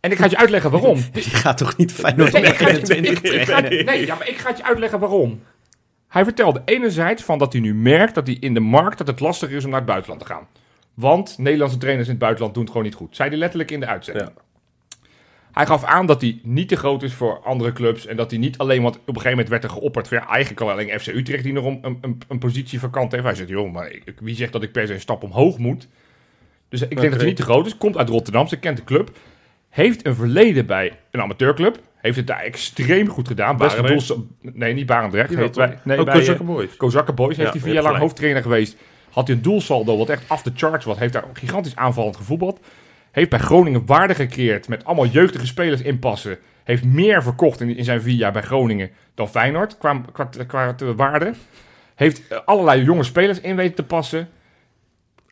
Speaker 3: En ik ga het je uitleggen waarom.
Speaker 2: Die gaat toch niet Feyenoord
Speaker 3: Nee,
Speaker 2: nee,
Speaker 3: ik ga het-
Speaker 2: 21
Speaker 3: ik- ik ga het-
Speaker 2: trainen?
Speaker 3: Nee, ja, maar ik ga het je uitleggen waarom. Hij vertelde enerzijds van dat hij nu merkt dat hij in de markt dat het lastiger is om naar het buitenland te gaan. Want Nederlandse trainers in het buitenland doen het gewoon niet goed. Zei hij letterlijk in de uitzending.
Speaker 4: Ja.
Speaker 3: Hij gaf aan dat hij niet te groot is voor andere clubs. En dat hij niet alleen, want op een gegeven moment werd er geopperd. Van, ja, eigenlijk kan alleen FC Utrecht die nog een, een- een, een positie vakant heeft. Hij zegt, joh, maar ik- ik- wie zegt dat ik per se een stap omhoog moet? Dus ik denk dat hij niet te groot is. Komt uit Rotterdam, ze kent de club. Heeft een verleden bij een amateurclub. Heeft het daar extreem goed gedaan. Best een
Speaker 4: Barendrecht?
Speaker 3: doelsta- Nee, niet Barendrecht.
Speaker 4: Jawel,
Speaker 3: Heeft bij,
Speaker 4: toch?
Speaker 3: nee,
Speaker 4: Ook
Speaker 3: bij, eh,
Speaker 4: Kozakken Boys.
Speaker 3: Kozakken Boys heeft
Speaker 4: Ja,
Speaker 3: hij
Speaker 4: je
Speaker 3: vier jaar
Speaker 4: hebt
Speaker 3: lang
Speaker 4: gelijk.
Speaker 3: hoofdtrainer geweest. Had hij een doelsaldo wat echt af de charts was. Heeft daar gigantisch aanvallend gevoetbald. Heeft bij Groningen waarde gecreëerd met allemaal jeugdige spelers inpassen. Heeft meer verkocht in, in zijn vier jaar bij Groningen dan Feyenoord qua, qua, qua te- waarde. Heeft eh, allerlei jonge spelers in weten te passen.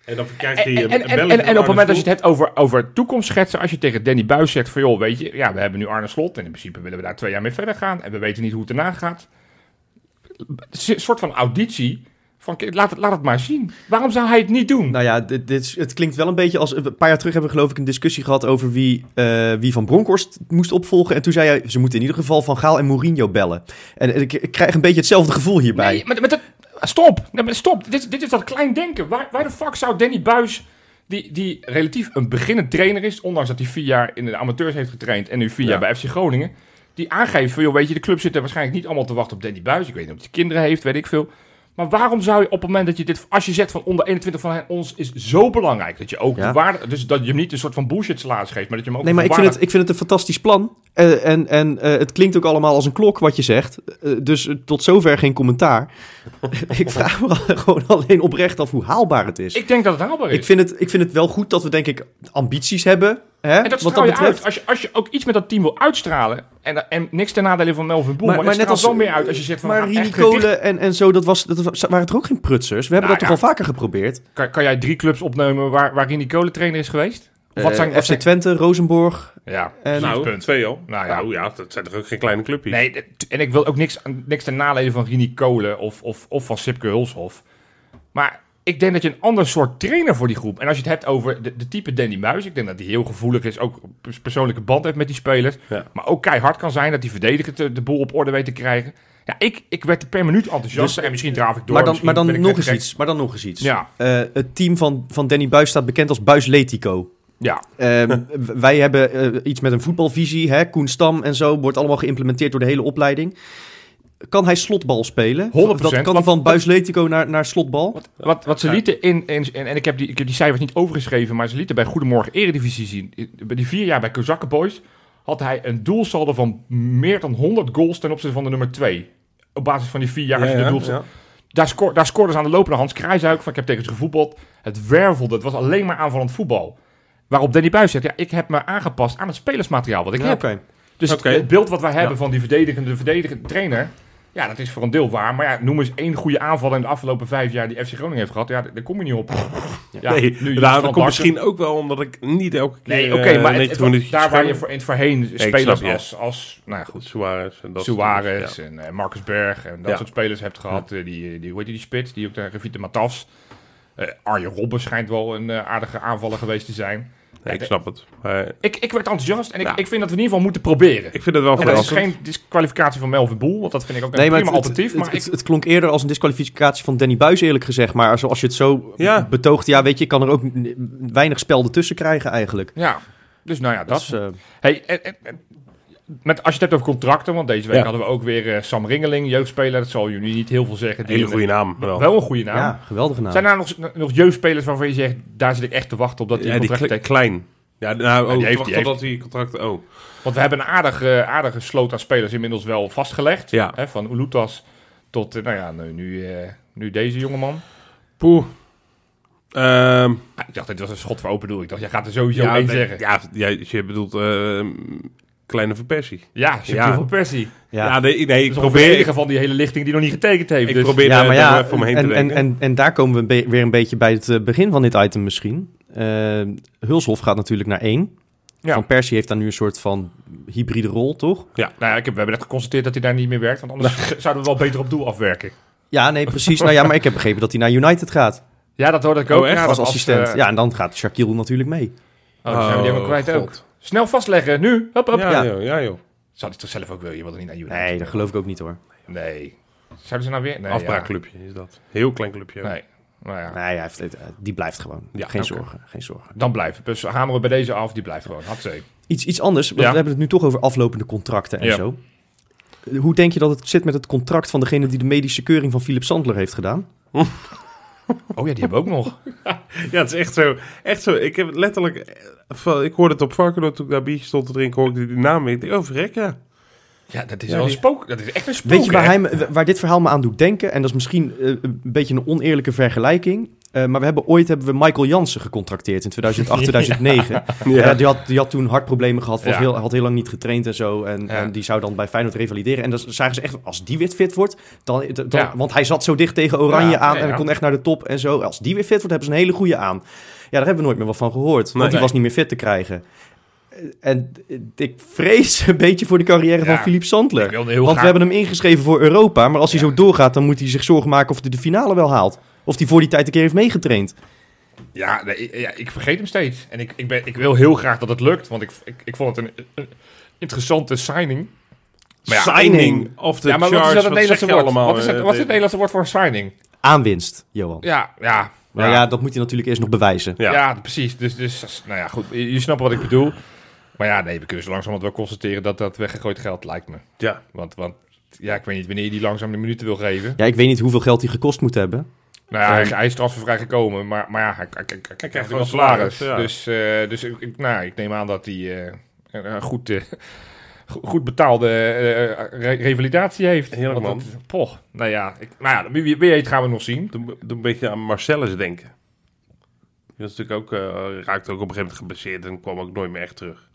Speaker 4: En dan verkrijgt
Speaker 3: En,
Speaker 4: hij
Speaker 3: en,
Speaker 4: een
Speaker 3: en, en, en op het moment dat je het hebt over, over toekomst schetsen, als je tegen Danny Buis zegt van joh, weet je, ja, we hebben nu Arne Slot en in principe willen we daar twee jaar mee verder gaan en we weten niet hoe het erna gaat. Het is Een soort van auditie van "Kijk, laat het, laat het maar zien. Waarom zou hij het niet doen?
Speaker 2: Nou ja, dit, dit is, het klinkt wel een beetje als... Een paar jaar terug hebben we geloof ik een discussie gehad over wie, eh, wie Van Bronckhorst moest opvolgen. En toen zei hij, ze moeten in ieder geval Van Gaal en Mourinho bellen. En ik, ik krijg een beetje hetzelfde gevoel hierbij.
Speaker 3: Nee, maar, maar dat, stop. Nee, maar stop. Dit, dit is dat klein denken. Waar, waar de fuck zou Danny Buis, die, die relatief een beginnend trainer is, ondanks dat hij vier jaar in de amateurs heeft getraind en nu vier
Speaker 4: Ja.
Speaker 3: jaar bij FC Groningen, die aangeeft van, joh, weet je, de club zit er waarschijnlijk niet allemaal te wachten op Danny Buis. Ik weet niet of hij kinderen heeft, weet ik veel. Maar waarom zou je op het moment dat je dit, als je zegt van onder 21 van ons is zo belangrijk, dat je ook
Speaker 2: Ja.
Speaker 3: de waarde, dus dat je hem niet een soort van bullshit salaris geeft, maar dat je hem ook
Speaker 2: Nee, maar
Speaker 3: de
Speaker 2: ik vind,
Speaker 3: waarde-
Speaker 2: het, ik vind het een fantastisch plan. Eh, en en eh, het klinkt ook allemaal als een klok wat je zegt. Eh, dus eh, tot zover geen commentaar. ik vraag me al- gewoon alleen oprecht af hoe haalbaar het is. Ik,
Speaker 3: Ik denk dat het haalbaar is.
Speaker 2: vind, het, ik vind het wel goed dat we denk ik ambities hebben. Hè,
Speaker 3: En dat
Speaker 2: wat
Speaker 3: straal
Speaker 2: dat
Speaker 3: je
Speaker 2: betreft.
Speaker 3: uit. Als je, als je ook iets met dat team wil uitstralen... en, en niks ten nadele van Melvin Boel... maar, het straalt wel meer uit als je zegt van...
Speaker 2: Maar
Speaker 3: Maar
Speaker 2: Rini
Speaker 3: echt eh, gedicht-
Speaker 2: Kolen en, en zo, dat, was, dat was- waren toch ook geen prutsers? We hebben
Speaker 3: Nou
Speaker 2: dat
Speaker 3: ja.
Speaker 2: toch al vaker geprobeerd?
Speaker 3: kan, kan jij drie clubs opnemen waar, waar Rini Kolen trainer is geweest? Of wat
Speaker 2: Eh,
Speaker 3: zijn... wat
Speaker 2: FC
Speaker 3: zijn-
Speaker 2: Twente, Rozenborg.
Speaker 3: Ja.
Speaker 2: En,
Speaker 4: Nou,
Speaker 3: punt.
Speaker 4: twee al.
Speaker 3: Nou
Speaker 4: Nou
Speaker 3: ja.
Speaker 4: ja. dat zijn toch ook geen kleine clubjes?
Speaker 3: Nee, dat- en ik wil ook niks, niks ten nadele van Rini Kolen... Of, of, of van Sipke Hulshof. Maar ik denk dat je een ander soort trainer voor die groep... en als je het hebt over de, de type Danny Muis... ik denk dat die heel gevoelig is... ook pers- persoonlijke band heeft met die spelers...
Speaker 4: Ja.
Speaker 3: maar ook keihard kan zijn... dat die verdedigend de, de boel op orde weet te krijgen... Ja, ik, ik werd er per minuut enthousiaster en misschien draaf ik door.
Speaker 2: maar, dan,
Speaker 3: misschien
Speaker 2: maar,
Speaker 3: ben
Speaker 2: dan nog
Speaker 3: ik net
Speaker 2: eens
Speaker 3: gek.
Speaker 2: iets, maar dan nog eens iets.
Speaker 3: Ja.
Speaker 2: Eh, het team van, van Danny Buis staat bekend als Buisletico.
Speaker 3: Ja,
Speaker 2: Ehm, w- wij hebben eh, iets met een voetbalvisie. Hè? Koen Stam en zo wordt allemaal geïmplementeerd door de hele opleiding. Kan hij slotbal spelen?
Speaker 3: 100%,
Speaker 2: Dat kan hij
Speaker 3: want-
Speaker 2: van Buisletico naar, naar slotbal?
Speaker 3: wat, wat ze lieten in, in- en, en ik heb, die, ik heb die cijfers niet overgeschreven, maar ze lieten bij Goedemorgen Eredivisie zien. I- Bij die vier jaar bij Kozakken Boys had hij een doelsaldo van meer dan 100 goals ten opzichte van de nummer 2. Op basis van die vier jaar. als je de doelsaldo- Daar, scoor, daar scoorden ze aan de lopende Hans Kruijshuik van ik heb tegen ze gevoetbald. Het wervelde, het was alleen maar aanvallend voetbal. Waarop Danny Buis zegt, ja, ik heb me aangepast aan het spelersmateriaal wat ik
Speaker 2: Ja,
Speaker 3: heb.
Speaker 2: oké.
Speaker 3: Dus
Speaker 4: Oké.
Speaker 3: het, het beeld wat wij hebben van die verdedigende, verdedigende trainer... Ja, dat is voor een deel waar. Maar ja, noem eens één goede aanval in de afgelopen vijf jaar die FC Groningen heeft gehad. Ja, daar daar kom je niet op. Ja,
Speaker 4: nee,
Speaker 3: nu-
Speaker 4: nou, dat
Speaker 3: van
Speaker 4: komt
Speaker 3: Bakker.
Speaker 4: misschien ook wel omdat ik niet elke keer
Speaker 3: Nee, oké,
Speaker 4: eh,
Speaker 3: maar het-
Speaker 4: 90
Speaker 3: het-
Speaker 4: minuutjes
Speaker 3: daar waar je
Speaker 4: scherm-
Speaker 3: voor, in het voorheen
Speaker 4: snap
Speaker 3: spelers
Speaker 4: je.
Speaker 3: als, als nou ja, goed,
Speaker 4: Suarez en dat soort
Speaker 3: Suarez
Speaker 4: dingen,
Speaker 3: en eh, Marcus Berg en dat
Speaker 4: Ja.
Speaker 3: soort spelers hebt gehad. eh, Die, eh, die, hoe heet die, die spits? Die ook daar, Revite Matas. Eh Arjen Robben schijnt wel een eh, aardige aanvaller geweest te zijn.
Speaker 4: ja. Nee, ik snap het. Maar
Speaker 3: Ik, ik werd enthousiast en ik,
Speaker 4: Ja.
Speaker 3: ik vind dat we in ieder geval moeten proberen.
Speaker 4: ik vind het wel
Speaker 3: En dat is
Speaker 4: verrassend.
Speaker 3: dus geen disqualificatie van Melvin Boel, want dat vind ik ook een
Speaker 2: Nee, maar
Speaker 3: prima
Speaker 2: het, het,
Speaker 3: alternatief.
Speaker 2: het-
Speaker 3: maar ik,
Speaker 2: het- het klonk eerder als een disqualificatie van Danny Buis, eerlijk gezegd. Maar zoals je het zo
Speaker 4: Ja.
Speaker 2: betoogt, ja, weet je, kan er ook n- weinig spel ertussen krijgen eigenlijk.
Speaker 3: Ja, dus nou ja, dat.
Speaker 2: is, eh,
Speaker 3: Hey, en, en- en met, als je het hebt over contracten, want deze week
Speaker 4: Ja.
Speaker 3: hadden we ook weer eh, Sam Ringeling, jeugdspeler. Dat zal jullie niet heel veel zeggen. Die
Speaker 4: Hele goede naam.
Speaker 3: Wel.
Speaker 4: Wel.
Speaker 3: een goede naam.
Speaker 2: ja, geweldige naam.
Speaker 3: Zijn er nog, nog jeugdspelers waarvan je zegt, daar zit ik echt te wachten op dat die
Speaker 4: ja, die
Speaker 3: contract
Speaker 4: kle-
Speaker 3: tekent?
Speaker 4: klein. Ja, nou, oh,
Speaker 3: die heeft-
Speaker 4: wacht
Speaker 3: die heeft-
Speaker 4: totdat hij contract... Oh,
Speaker 3: Want we hebben een aardige, aardige sloot aan spelers inmiddels wel vastgelegd.
Speaker 4: Ja.
Speaker 3: Hè, van Ulutas tot, eh, nou ja, nu, nu, eh, nu deze jongeman.
Speaker 4: poeh. Ehm,
Speaker 3: Ah, ik dacht, dit was een schot voor open doel. Ik dacht, jij gaat er sowieso
Speaker 4: ja,
Speaker 3: één
Speaker 4: nee,
Speaker 3: zeggen. Ja,
Speaker 4: Ja, ja, je bedoelt eh, kleine verpersie.
Speaker 3: Sjoerd
Speaker 4: Ja.
Speaker 3: van Persie.
Speaker 4: Ja,
Speaker 2: Ja.
Speaker 4: nee, nee, ik
Speaker 3: Ik probeer
Speaker 4: probeer...
Speaker 3: enige van die hele lichting die nog niet getekend heeft.
Speaker 4: Ik
Speaker 3: dus-
Speaker 4: probeer
Speaker 2: ja,
Speaker 4: er-
Speaker 2: maar
Speaker 4: er
Speaker 2: ja,
Speaker 4: even omheen te
Speaker 2: en, en,
Speaker 4: denken.
Speaker 2: en, en daar komen we een be- weer een beetje bij het eh, begin van dit item misschien. Eh Hulshof gaat natuurlijk naar één.
Speaker 3: Ja.
Speaker 2: Van Persie heeft daar nu een soort van hybride rol, toch?
Speaker 3: Nou ja, ik heb, we hebben net geconstateerd dat hij daar niet meer werkt. Want anders zouden we wel beter op doel afwerken.
Speaker 2: Ja, nee, precies. nou ja, maar ik heb begrepen dat hij naar United gaat
Speaker 3: Ja, dat hoorde ik
Speaker 4: Oh,
Speaker 3: ook.
Speaker 4: echt?
Speaker 3: Ja, dat
Speaker 2: als
Speaker 3: was,
Speaker 2: assistent.
Speaker 3: eh,
Speaker 2: ja, en dan gaat Shaquille natuurlijk mee.
Speaker 3: Oh, die zijn we die helemaal
Speaker 4: Oh,
Speaker 3: kwijt
Speaker 4: God.
Speaker 3: ook. Snel vastleggen, nu. Hop, hop.
Speaker 4: Ja, joh, ja, joh.
Speaker 3: Zou het toch zelf ook willen? Je wilde niet naar Juventus.
Speaker 2: Nee, dat geloof ik ook niet hoor.
Speaker 3: Nee. Zouden ze nou weer... Nee,
Speaker 4: Afbraakclubje is dat. Heel klein clubje.
Speaker 3: ja. Nee. Nou ja.
Speaker 2: Nee, hij heeft, het- eh, die blijft gewoon.
Speaker 4: Ja,
Speaker 2: geen
Speaker 4: oké.
Speaker 2: zorgen, geen zorgen.
Speaker 3: Dan blijft. Dus hameren we bij deze af. Die blijft gewoon. Hatzee.
Speaker 2: Iets, iets anders, want
Speaker 3: Ja.
Speaker 2: we hebben het nu toch over aflopende contracten en
Speaker 3: Ja.
Speaker 2: zo. Eh, Hoe denk je dat het zit met het contract van degene die de medische keuring van Philip Sandler heeft gedaan?
Speaker 3: Oh ja, die hebben we ook nog.
Speaker 4: Ja, het is echt zo. Echt zo. Ik heb letterlijk... eh, van- Ik hoorde het op Varkenoord toen ik daar biertje stond te drinken. Hoorde ik die naam weer. Ik denk, oh verrek, ja.
Speaker 3: Ja, dat is
Speaker 4: Ja,
Speaker 3: wel
Speaker 4: die-
Speaker 3: een spook. Dat is echt een spook.
Speaker 2: Weet je waar,
Speaker 3: hè?
Speaker 2: hij, me- waar dit verhaal me aan doet denken? En dat is misschien eh, een beetje een oneerlijke vergelijking. eh, maar we hebben ooit hebben we Michael Jansen gecontracteerd in 2008, 2009. Ja, Eh, die, had, die had toen hartproblemen gehad, was
Speaker 3: Ja.
Speaker 2: heel, had heel lang niet getraind en zo. En, en die zou dan bij Feyenoord revalideren. En dan zagen ze echt, als die weer fit wordt... Dan, dan-
Speaker 3: Ja.
Speaker 2: Want hij zat zo dicht tegen Oranje
Speaker 3: Ja,
Speaker 2: aan
Speaker 3: ja,
Speaker 2: en
Speaker 3: ja.
Speaker 2: kon echt naar de top en zo. Als die weer fit wordt, hebben ze een hele goede aan. Ja, daar hebben we nooit meer wat van gehoord. Want
Speaker 4: Nee.
Speaker 2: die was niet meer fit te krijgen. En eh, ik vrees een beetje voor de carrière van
Speaker 3: Ja.
Speaker 2: Philippe Sandler.
Speaker 3: Ik wilde heel
Speaker 2: Want we
Speaker 3: graag...
Speaker 2: hebben hem ingeschreven voor Europa. Maar als hij zo doorgaat, dan moet hij zich zorgen maken of hij de finale wel haalt. Of hij voor die tijd een keer heeft meegetraind.
Speaker 3: Ja, nee, ik- ja, ik vergeet hem steeds. En ik, ik, ben, ik wil heel graag dat het lukt. Want ik, ik, ik vond het een, een interessante signing. Maar ja,
Speaker 4: Signing of the
Speaker 3: ja, maar
Speaker 4: charge.
Speaker 3: wat is dat het
Speaker 4: zeg
Speaker 3: Nederlandse
Speaker 4: je
Speaker 3: woord?
Speaker 4: allemaal?
Speaker 3: wat is het,
Speaker 4: eh,
Speaker 3: wat is het
Speaker 4: David?
Speaker 3: Nederlandse woord voor signing?
Speaker 2: Aanwinst, Johan.
Speaker 3: Ja, ja.
Speaker 2: Maar ja, dat moet hij natuurlijk eerst nog bewijzen.
Speaker 3: Ja,
Speaker 4: Ja.
Speaker 3: precies. Dus, dus, nou ja, goed. Je, je snapt wat ik bedoel. Maar ja, nee, we kunnen zo langzamerhand wel constateren dat dat weggegooid geld lijkt me.
Speaker 4: Ja.
Speaker 3: Want, want ja, ik weet niet wanneer je die langzaam de minuten wil geven.
Speaker 2: Ja, ik weet niet hoeveel geld hij gekost moet hebben.
Speaker 3: Nou ja, hij,
Speaker 4: Ja.
Speaker 3: hij is transfervrij gekomen, maar, maar ja, hij, hij, hij- hij krijgt
Speaker 4: gewoon
Speaker 3: wel salaris.
Speaker 4: salaris, ja.
Speaker 3: Dus, eh, dus ik, ik- nou, ja, ik neem aan dat hij eh, een een goed, eh, go- goed betaalde eh, re- revalidatie heeft.
Speaker 4: Heerlijk,
Speaker 3: Want dat- poch, nou ja, ik, nou ja wie, wie- wie weet gaan we nog zien.
Speaker 4: Doe, doe een beetje aan Marcellus denken. Die was natuurlijk ook, eh, raakte ook op een gegeven moment geblesseerd en kwam ook nooit meer echt terug.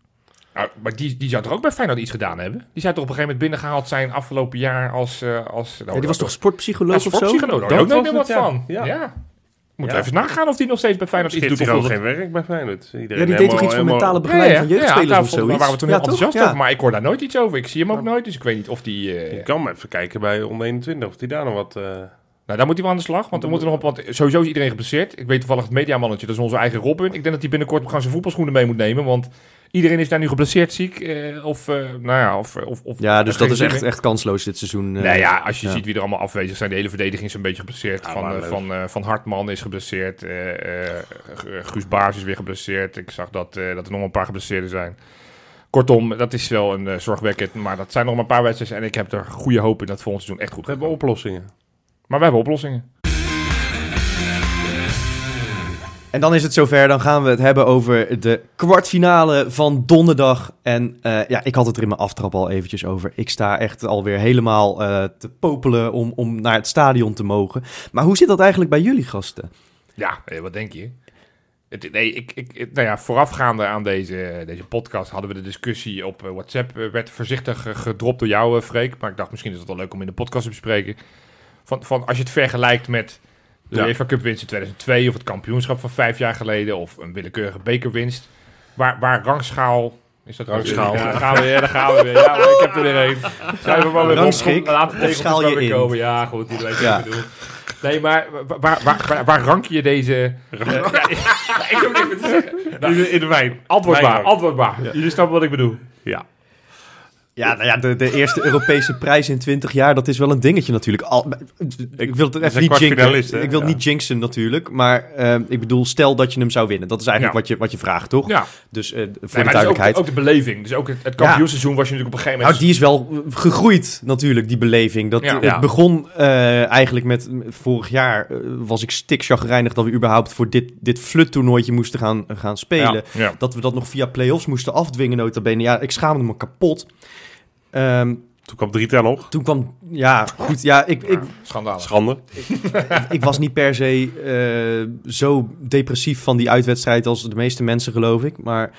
Speaker 3: Nou, maar die, die zou toch ook bij Feyenoord iets gedaan hebben? Die zou toch op een gegeven moment binnengehaald zijn afgelopen jaar als... eh, als nou,
Speaker 2: Ja, die was toch sportpsycholoog
Speaker 3: als
Speaker 2: of zo?
Speaker 3: sportpsycholoog? Daar
Speaker 4: Dat
Speaker 3: heb ik ook
Speaker 4: was
Speaker 3: nog wat
Speaker 4: het, ja.
Speaker 3: van. Ja.
Speaker 4: Ja.
Speaker 3: Moet
Speaker 4: Ja.
Speaker 3: even nagaan of die nog steeds bij Feyenoord
Speaker 4: Misschien
Speaker 3: iets doet.
Speaker 4: heeft hij
Speaker 3: of
Speaker 4: gewoon
Speaker 3: dat-
Speaker 4: geen werk bij Feyenoord. Iedereen
Speaker 2: Ja, die deed
Speaker 4: helemaal-
Speaker 2: toch iets van
Speaker 4: helemaal-
Speaker 2: mentale begeleiding van jeugdspelers
Speaker 3: daar
Speaker 2: of
Speaker 3: vond- daar
Speaker 2: zoiets?
Speaker 3: waren we toen heel
Speaker 2: Ja, toch?
Speaker 3: enthousiast
Speaker 2: Ja.
Speaker 3: over, maar ik hoor daar nooit iets over. Ik zie hem ook nooit, dus ik weet niet of die... eh,
Speaker 4: Ik kan maar even kijken bij onder 21 of die daar nog wat... eh,
Speaker 3: Nou, daar moet hij wel aan de slag, want, er moet er nog, op- want sowieso is iedereen geblesseerd. Ik weet toevallig het mediamannetje, dat is onze eigen Robin. Ik denk dat hij binnenkort gewoon zijn voetbalschoenen mee moet nemen, want iedereen is daar nu geblesseerd ziek. eh, of, eh, nou ja, of... of, of
Speaker 2: Ja, dus dat is echt,
Speaker 3: Nee,
Speaker 2: echt kansloos dit seizoen. eh.
Speaker 3: ja, als je
Speaker 2: ja.
Speaker 3: ziet wie er allemaal afwezig zijn, de hele verdediging is een beetje geblesseerd.
Speaker 4: Ja,
Speaker 3: van,
Speaker 4: maar
Speaker 3: eh,
Speaker 4: leuk.
Speaker 3: van, eh, van Hartman is geblesseerd, eh, eh, Gu- Guus Baars is weer geblesseerd. Ik zag dat, eh, dat er nog een paar geblesseerden zijn. Kortom, dat is wel een eh, zorgwekkend, maar dat zijn nog maar een paar wedstrijden. En ik heb er goede hoop in dat volgend seizoen echt goed
Speaker 4: we
Speaker 3: gaat
Speaker 4: hebben
Speaker 3: komen.
Speaker 4: oplossingen.
Speaker 3: Maar we hebben oplossingen.
Speaker 2: En dan is het zover, dan gaan we het hebben over de kwartfinale van donderdag. En eh, ja, ik had het er in mijn aftrap al eventjes over. Ik sta echt alweer helemaal eh, te popelen om, om naar het stadion te mogen. Maar hoe zit dat eigenlijk bij jullie gasten?
Speaker 3: Ja, eh, wat denk je? Het, nee, ik, ik, het- nou ja, voorafgaande aan deze, deze podcast hadden we de discussie op eh, WhatsApp. eh, werd voorzichtig eh, gedropt door jou, eh, Freek. Maar ik dacht, misschien is het wel leuk om in de podcast te bespreken. Van, van als je het vergelijkt met de
Speaker 4: Ja.
Speaker 3: UEFA Cup winst in 2002... of het kampioenschap van vijf jaar geleden... of een willekeurige bekerwinst. Waar, waar rangschaal... Is dat
Speaker 4: Rangschaal.
Speaker 3: Ja, daar gaan we weer, daar gaan we weer. Ja, hoor, ik heb er weer een. Schrijf hem maar weer
Speaker 2: Rangschik
Speaker 3: op. Laat het
Speaker 2: of schaal je in?
Speaker 3: komen. Oh Ja, goed, iedereen weet
Speaker 2: Ja.
Speaker 3: wat ik bedoel. Nee, maar wa- waar, waar, waar, waar rank je deze... Eh, ja, ik heb niks meer te zeggen. Nou,
Speaker 4: in de wijn.
Speaker 3: antwoordbaar,
Speaker 4: Wijnrank.
Speaker 3: antwoordbaar. Jullie snappen wat ik bedoel.
Speaker 4: Ja.
Speaker 2: Ja, nou ja, de, de eerste Europese prijs in 20 jaar, dat is wel een dingetje natuurlijk. Al, ik wil het
Speaker 4: is
Speaker 2: even
Speaker 4: een
Speaker 2: niet
Speaker 4: kwartfinalist,
Speaker 2: jinxen.
Speaker 4: hè?
Speaker 2: Ik wil
Speaker 4: Ja.
Speaker 2: niet jinxen natuurlijk, maar ehm, ik bedoel, stel dat je hem zou winnen. Dat is eigenlijk
Speaker 3: Ja.
Speaker 2: wat, je, wat je vraagt, toch?
Speaker 3: Ja,
Speaker 2: Dus eh, voor
Speaker 3: nee,
Speaker 2: de
Speaker 3: maar dus ook,
Speaker 2: duidelijkheid.
Speaker 3: ook de beleving. Dus ook het, het kampioenseizoen was je natuurlijk op een gegeven
Speaker 2: Nou,
Speaker 3: moment...
Speaker 2: die is wel eh, gegroeid natuurlijk, die beleving. Dat,
Speaker 3: Ja.
Speaker 2: Het
Speaker 4: Ja.
Speaker 2: begon eh, eigenlijk met... Vorig jaar eh, was ik stikchagrijnig dat we überhaupt voor dit, dit fluttoernooitje moesten gaan, eh, gaan Nou, spelen.
Speaker 3: Ja.
Speaker 2: Dat we dat nog via play-offs moesten afdwingen, nota bene. Ja, ik schaamde me kapot. Ehm,
Speaker 4: Toen kwam Drita nog.
Speaker 2: toen kwam... Ja, goed. Ja, ik, ik,
Speaker 3: Ja, schandalig.
Speaker 4: Schande.
Speaker 2: ik was niet per se eh, zo depressief van die uitwedstrijd als de meeste mensen, geloof ik. Maar...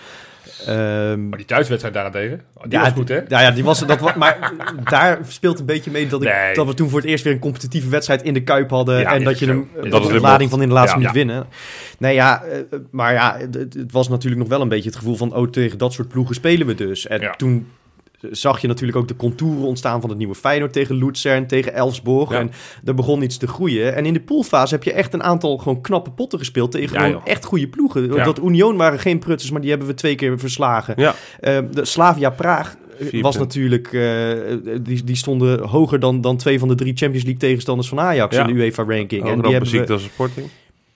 Speaker 2: ehm,
Speaker 3: Maar die thuiswedstrijd daarentegen, die
Speaker 2: Ja, nou
Speaker 3: was goed, hè?
Speaker 2: Ja, ja die was, dat, wa- maar daar speelt een beetje mee dat, ik,
Speaker 3: Nee.
Speaker 2: dat we toen voor het eerst weer een competitieve wedstrijd in de Kuip hadden.
Speaker 3: Ja,
Speaker 2: en
Speaker 3: is
Speaker 2: dat je
Speaker 3: zo.
Speaker 2: hem
Speaker 3: Is
Speaker 2: eh,
Speaker 4: dat
Speaker 2: op
Speaker 4: het
Speaker 2: de
Speaker 4: weer
Speaker 2: lading van in de laatste
Speaker 3: Ja.
Speaker 2: minuut winnen. Nee, ja, eh, maar ja, het, het was natuurlijk nog wel een beetje het gevoel van... oh, tegen dat soort ploegen spelen we dus. En
Speaker 3: Ja.
Speaker 2: toen zag je natuurlijk ook de contouren ontstaan van het nieuwe Feyenoord tegen Luzern, tegen Elfsborg.
Speaker 4: Ja.
Speaker 2: En er begon iets te groeien. En in de poolfase heb je echt een aantal gewoon knappe potten gespeeld tegen
Speaker 4: Ja,
Speaker 2: gewoon
Speaker 4: joh.
Speaker 2: echt goede ploegen.
Speaker 4: Ja.
Speaker 2: Dat Union waren geen prutsers, maar die hebben we twee keer verslagen.
Speaker 4: Ja.
Speaker 2: Ehm, de Slavia Praag eh,
Speaker 4: Vier
Speaker 2: was
Speaker 4: punten.
Speaker 2: natuurlijk, eh, die, die stonden hoger dan, dan twee van de drie Champions League tegenstanders van Ajax
Speaker 4: Ja.
Speaker 2: in de UEFA-ranking.
Speaker 4: Ook
Speaker 2: En
Speaker 4: nog
Speaker 2: die
Speaker 4: muziek
Speaker 2: hebben we,
Speaker 4: als een sporting.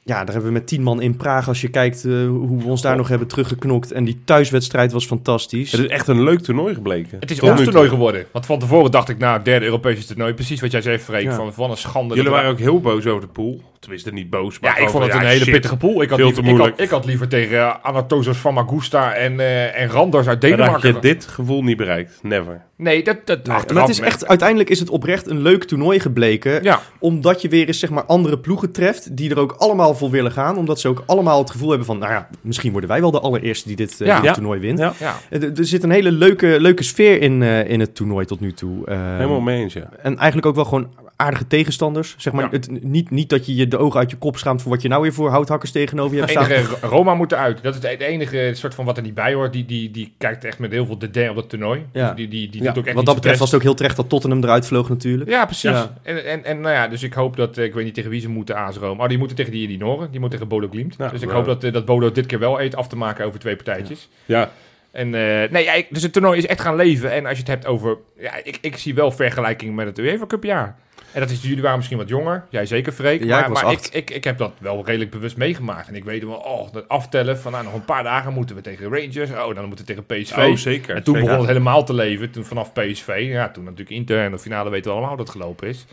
Speaker 2: ja, daar hebben we met tien man in Praag, als je kijkt eh, hoe we ons daar nog hebben teruggeknokt. En die thuiswedstrijd was fantastisch.
Speaker 4: Het is echt een leuk toernooi gebleken.
Speaker 3: Het is
Speaker 4: Tot
Speaker 3: ons
Speaker 4: nu toe.
Speaker 3: toernooi geworden. Want van tevoren dacht ik, nou, derde Europese toernooi. Precies wat jij zei, Freek.
Speaker 2: Ja.
Speaker 3: Van, van een schande.
Speaker 4: Jullie
Speaker 3: dat-
Speaker 4: waren ook heel boos over de pool. Tenminste, niet boos, maar
Speaker 3: Ja, ik
Speaker 4: gewoon
Speaker 3: vond het
Speaker 4: van,
Speaker 3: een
Speaker 4: ja,
Speaker 3: hele
Speaker 4: shit.
Speaker 3: pittige pool. Ik had,
Speaker 4: Veel
Speaker 3: liever,
Speaker 4: te
Speaker 3: ik, had,
Speaker 4: moeilijk.
Speaker 3: ik had liever tegen eh, Anatosas van Magusta en, eh, en Randers uit
Speaker 4: Maar dan had
Speaker 3: Denemarken.
Speaker 4: je dit gevoel niet bereikt. Never.
Speaker 3: Nee, dat... dat achteraf
Speaker 2: maar het is
Speaker 3: merk-
Speaker 2: echt, uiteindelijk is het oprecht een leuk toernooi gebleken.
Speaker 3: Ja,
Speaker 2: Omdat je weer eens zeg maar, andere ploegen treft die er ook allemaal voor willen gaan. Omdat ze ook allemaal het gevoel hebben van, nou ja, misschien worden wij wel de allereerste die dit, eh,
Speaker 3: Ja. Ehm,
Speaker 2: dit
Speaker 4: Ja.
Speaker 2: toernooi wint.
Speaker 4: Ja,
Speaker 3: ja.
Speaker 2: Eh, Er er zit een hele leuke, leuke sfeer in, eh, in het toernooi tot nu toe. Eh,
Speaker 4: helemaal mee eens, ja.
Speaker 2: En eigenlijk ook wel gewoon aardige tegenstanders. Zeg maar,
Speaker 3: Ja.
Speaker 2: het, niet, niet dat je je de ogen uit je kop schaamt voor wat je nou weer voor houthakkers tegenover je hebt
Speaker 3: Het
Speaker 2: staan.
Speaker 3: enige eh, Roma moet eruit. Dat is het enige soort van wat er niet bij hoort. Die, die, die kijkt echt met heel veel dédain op dat toernooi.
Speaker 2: Ja.
Speaker 3: Dus die, die, die
Speaker 4: Ja,
Speaker 3: doet ook
Speaker 2: Wat
Speaker 3: echt niet
Speaker 2: dat betreft was
Speaker 3: zijn
Speaker 2: het ook heel terecht dat Tottenham eruit vloog natuurlijk.
Speaker 3: best. Ja, precies.
Speaker 2: Ja.
Speaker 3: En, en, en nou ja, dus ik hoop dat... eh, Ik weet niet tegen wie ze moeten AS Rome. Oh, die moeten tegen die Noren. Die moeten tegen Bodo Glimt.
Speaker 4: Ja,
Speaker 3: dus ik
Speaker 4: nou.
Speaker 3: hoop dat, eh, dat Bodo dit keer wel eet af te maken over twee partijtjes.
Speaker 4: Ja,
Speaker 3: En eh, nee, ja, ik- dus het toernooi is echt gaan leven. En als je het hebt over... Ja, ik, ik zie wel vergelijking met het UEFA Cup jaar. En dat is, jullie waren misschien wat jonger. Jij zeker, Freek.
Speaker 2: Ja,
Speaker 3: maar
Speaker 2: ik was
Speaker 3: maar
Speaker 2: acht.
Speaker 3: Ik, ik, ik heb dat wel redelijk bewust meegemaakt. En ik weet wel, oh, dat aftellen van nou, nog een paar dagen moeten we tegen Rangers. Oh, dan moeten we tegen PSV.
Speaker 4: oh, zeker.
Speaker 3: en toen
Speaker 4: zeker.
Speaker 3: begon het helemaal te leven. Toen vanaf PSV. Ja, toen natuurlijk Inter. En de finale weten we allemaal hoe dat gelopen is.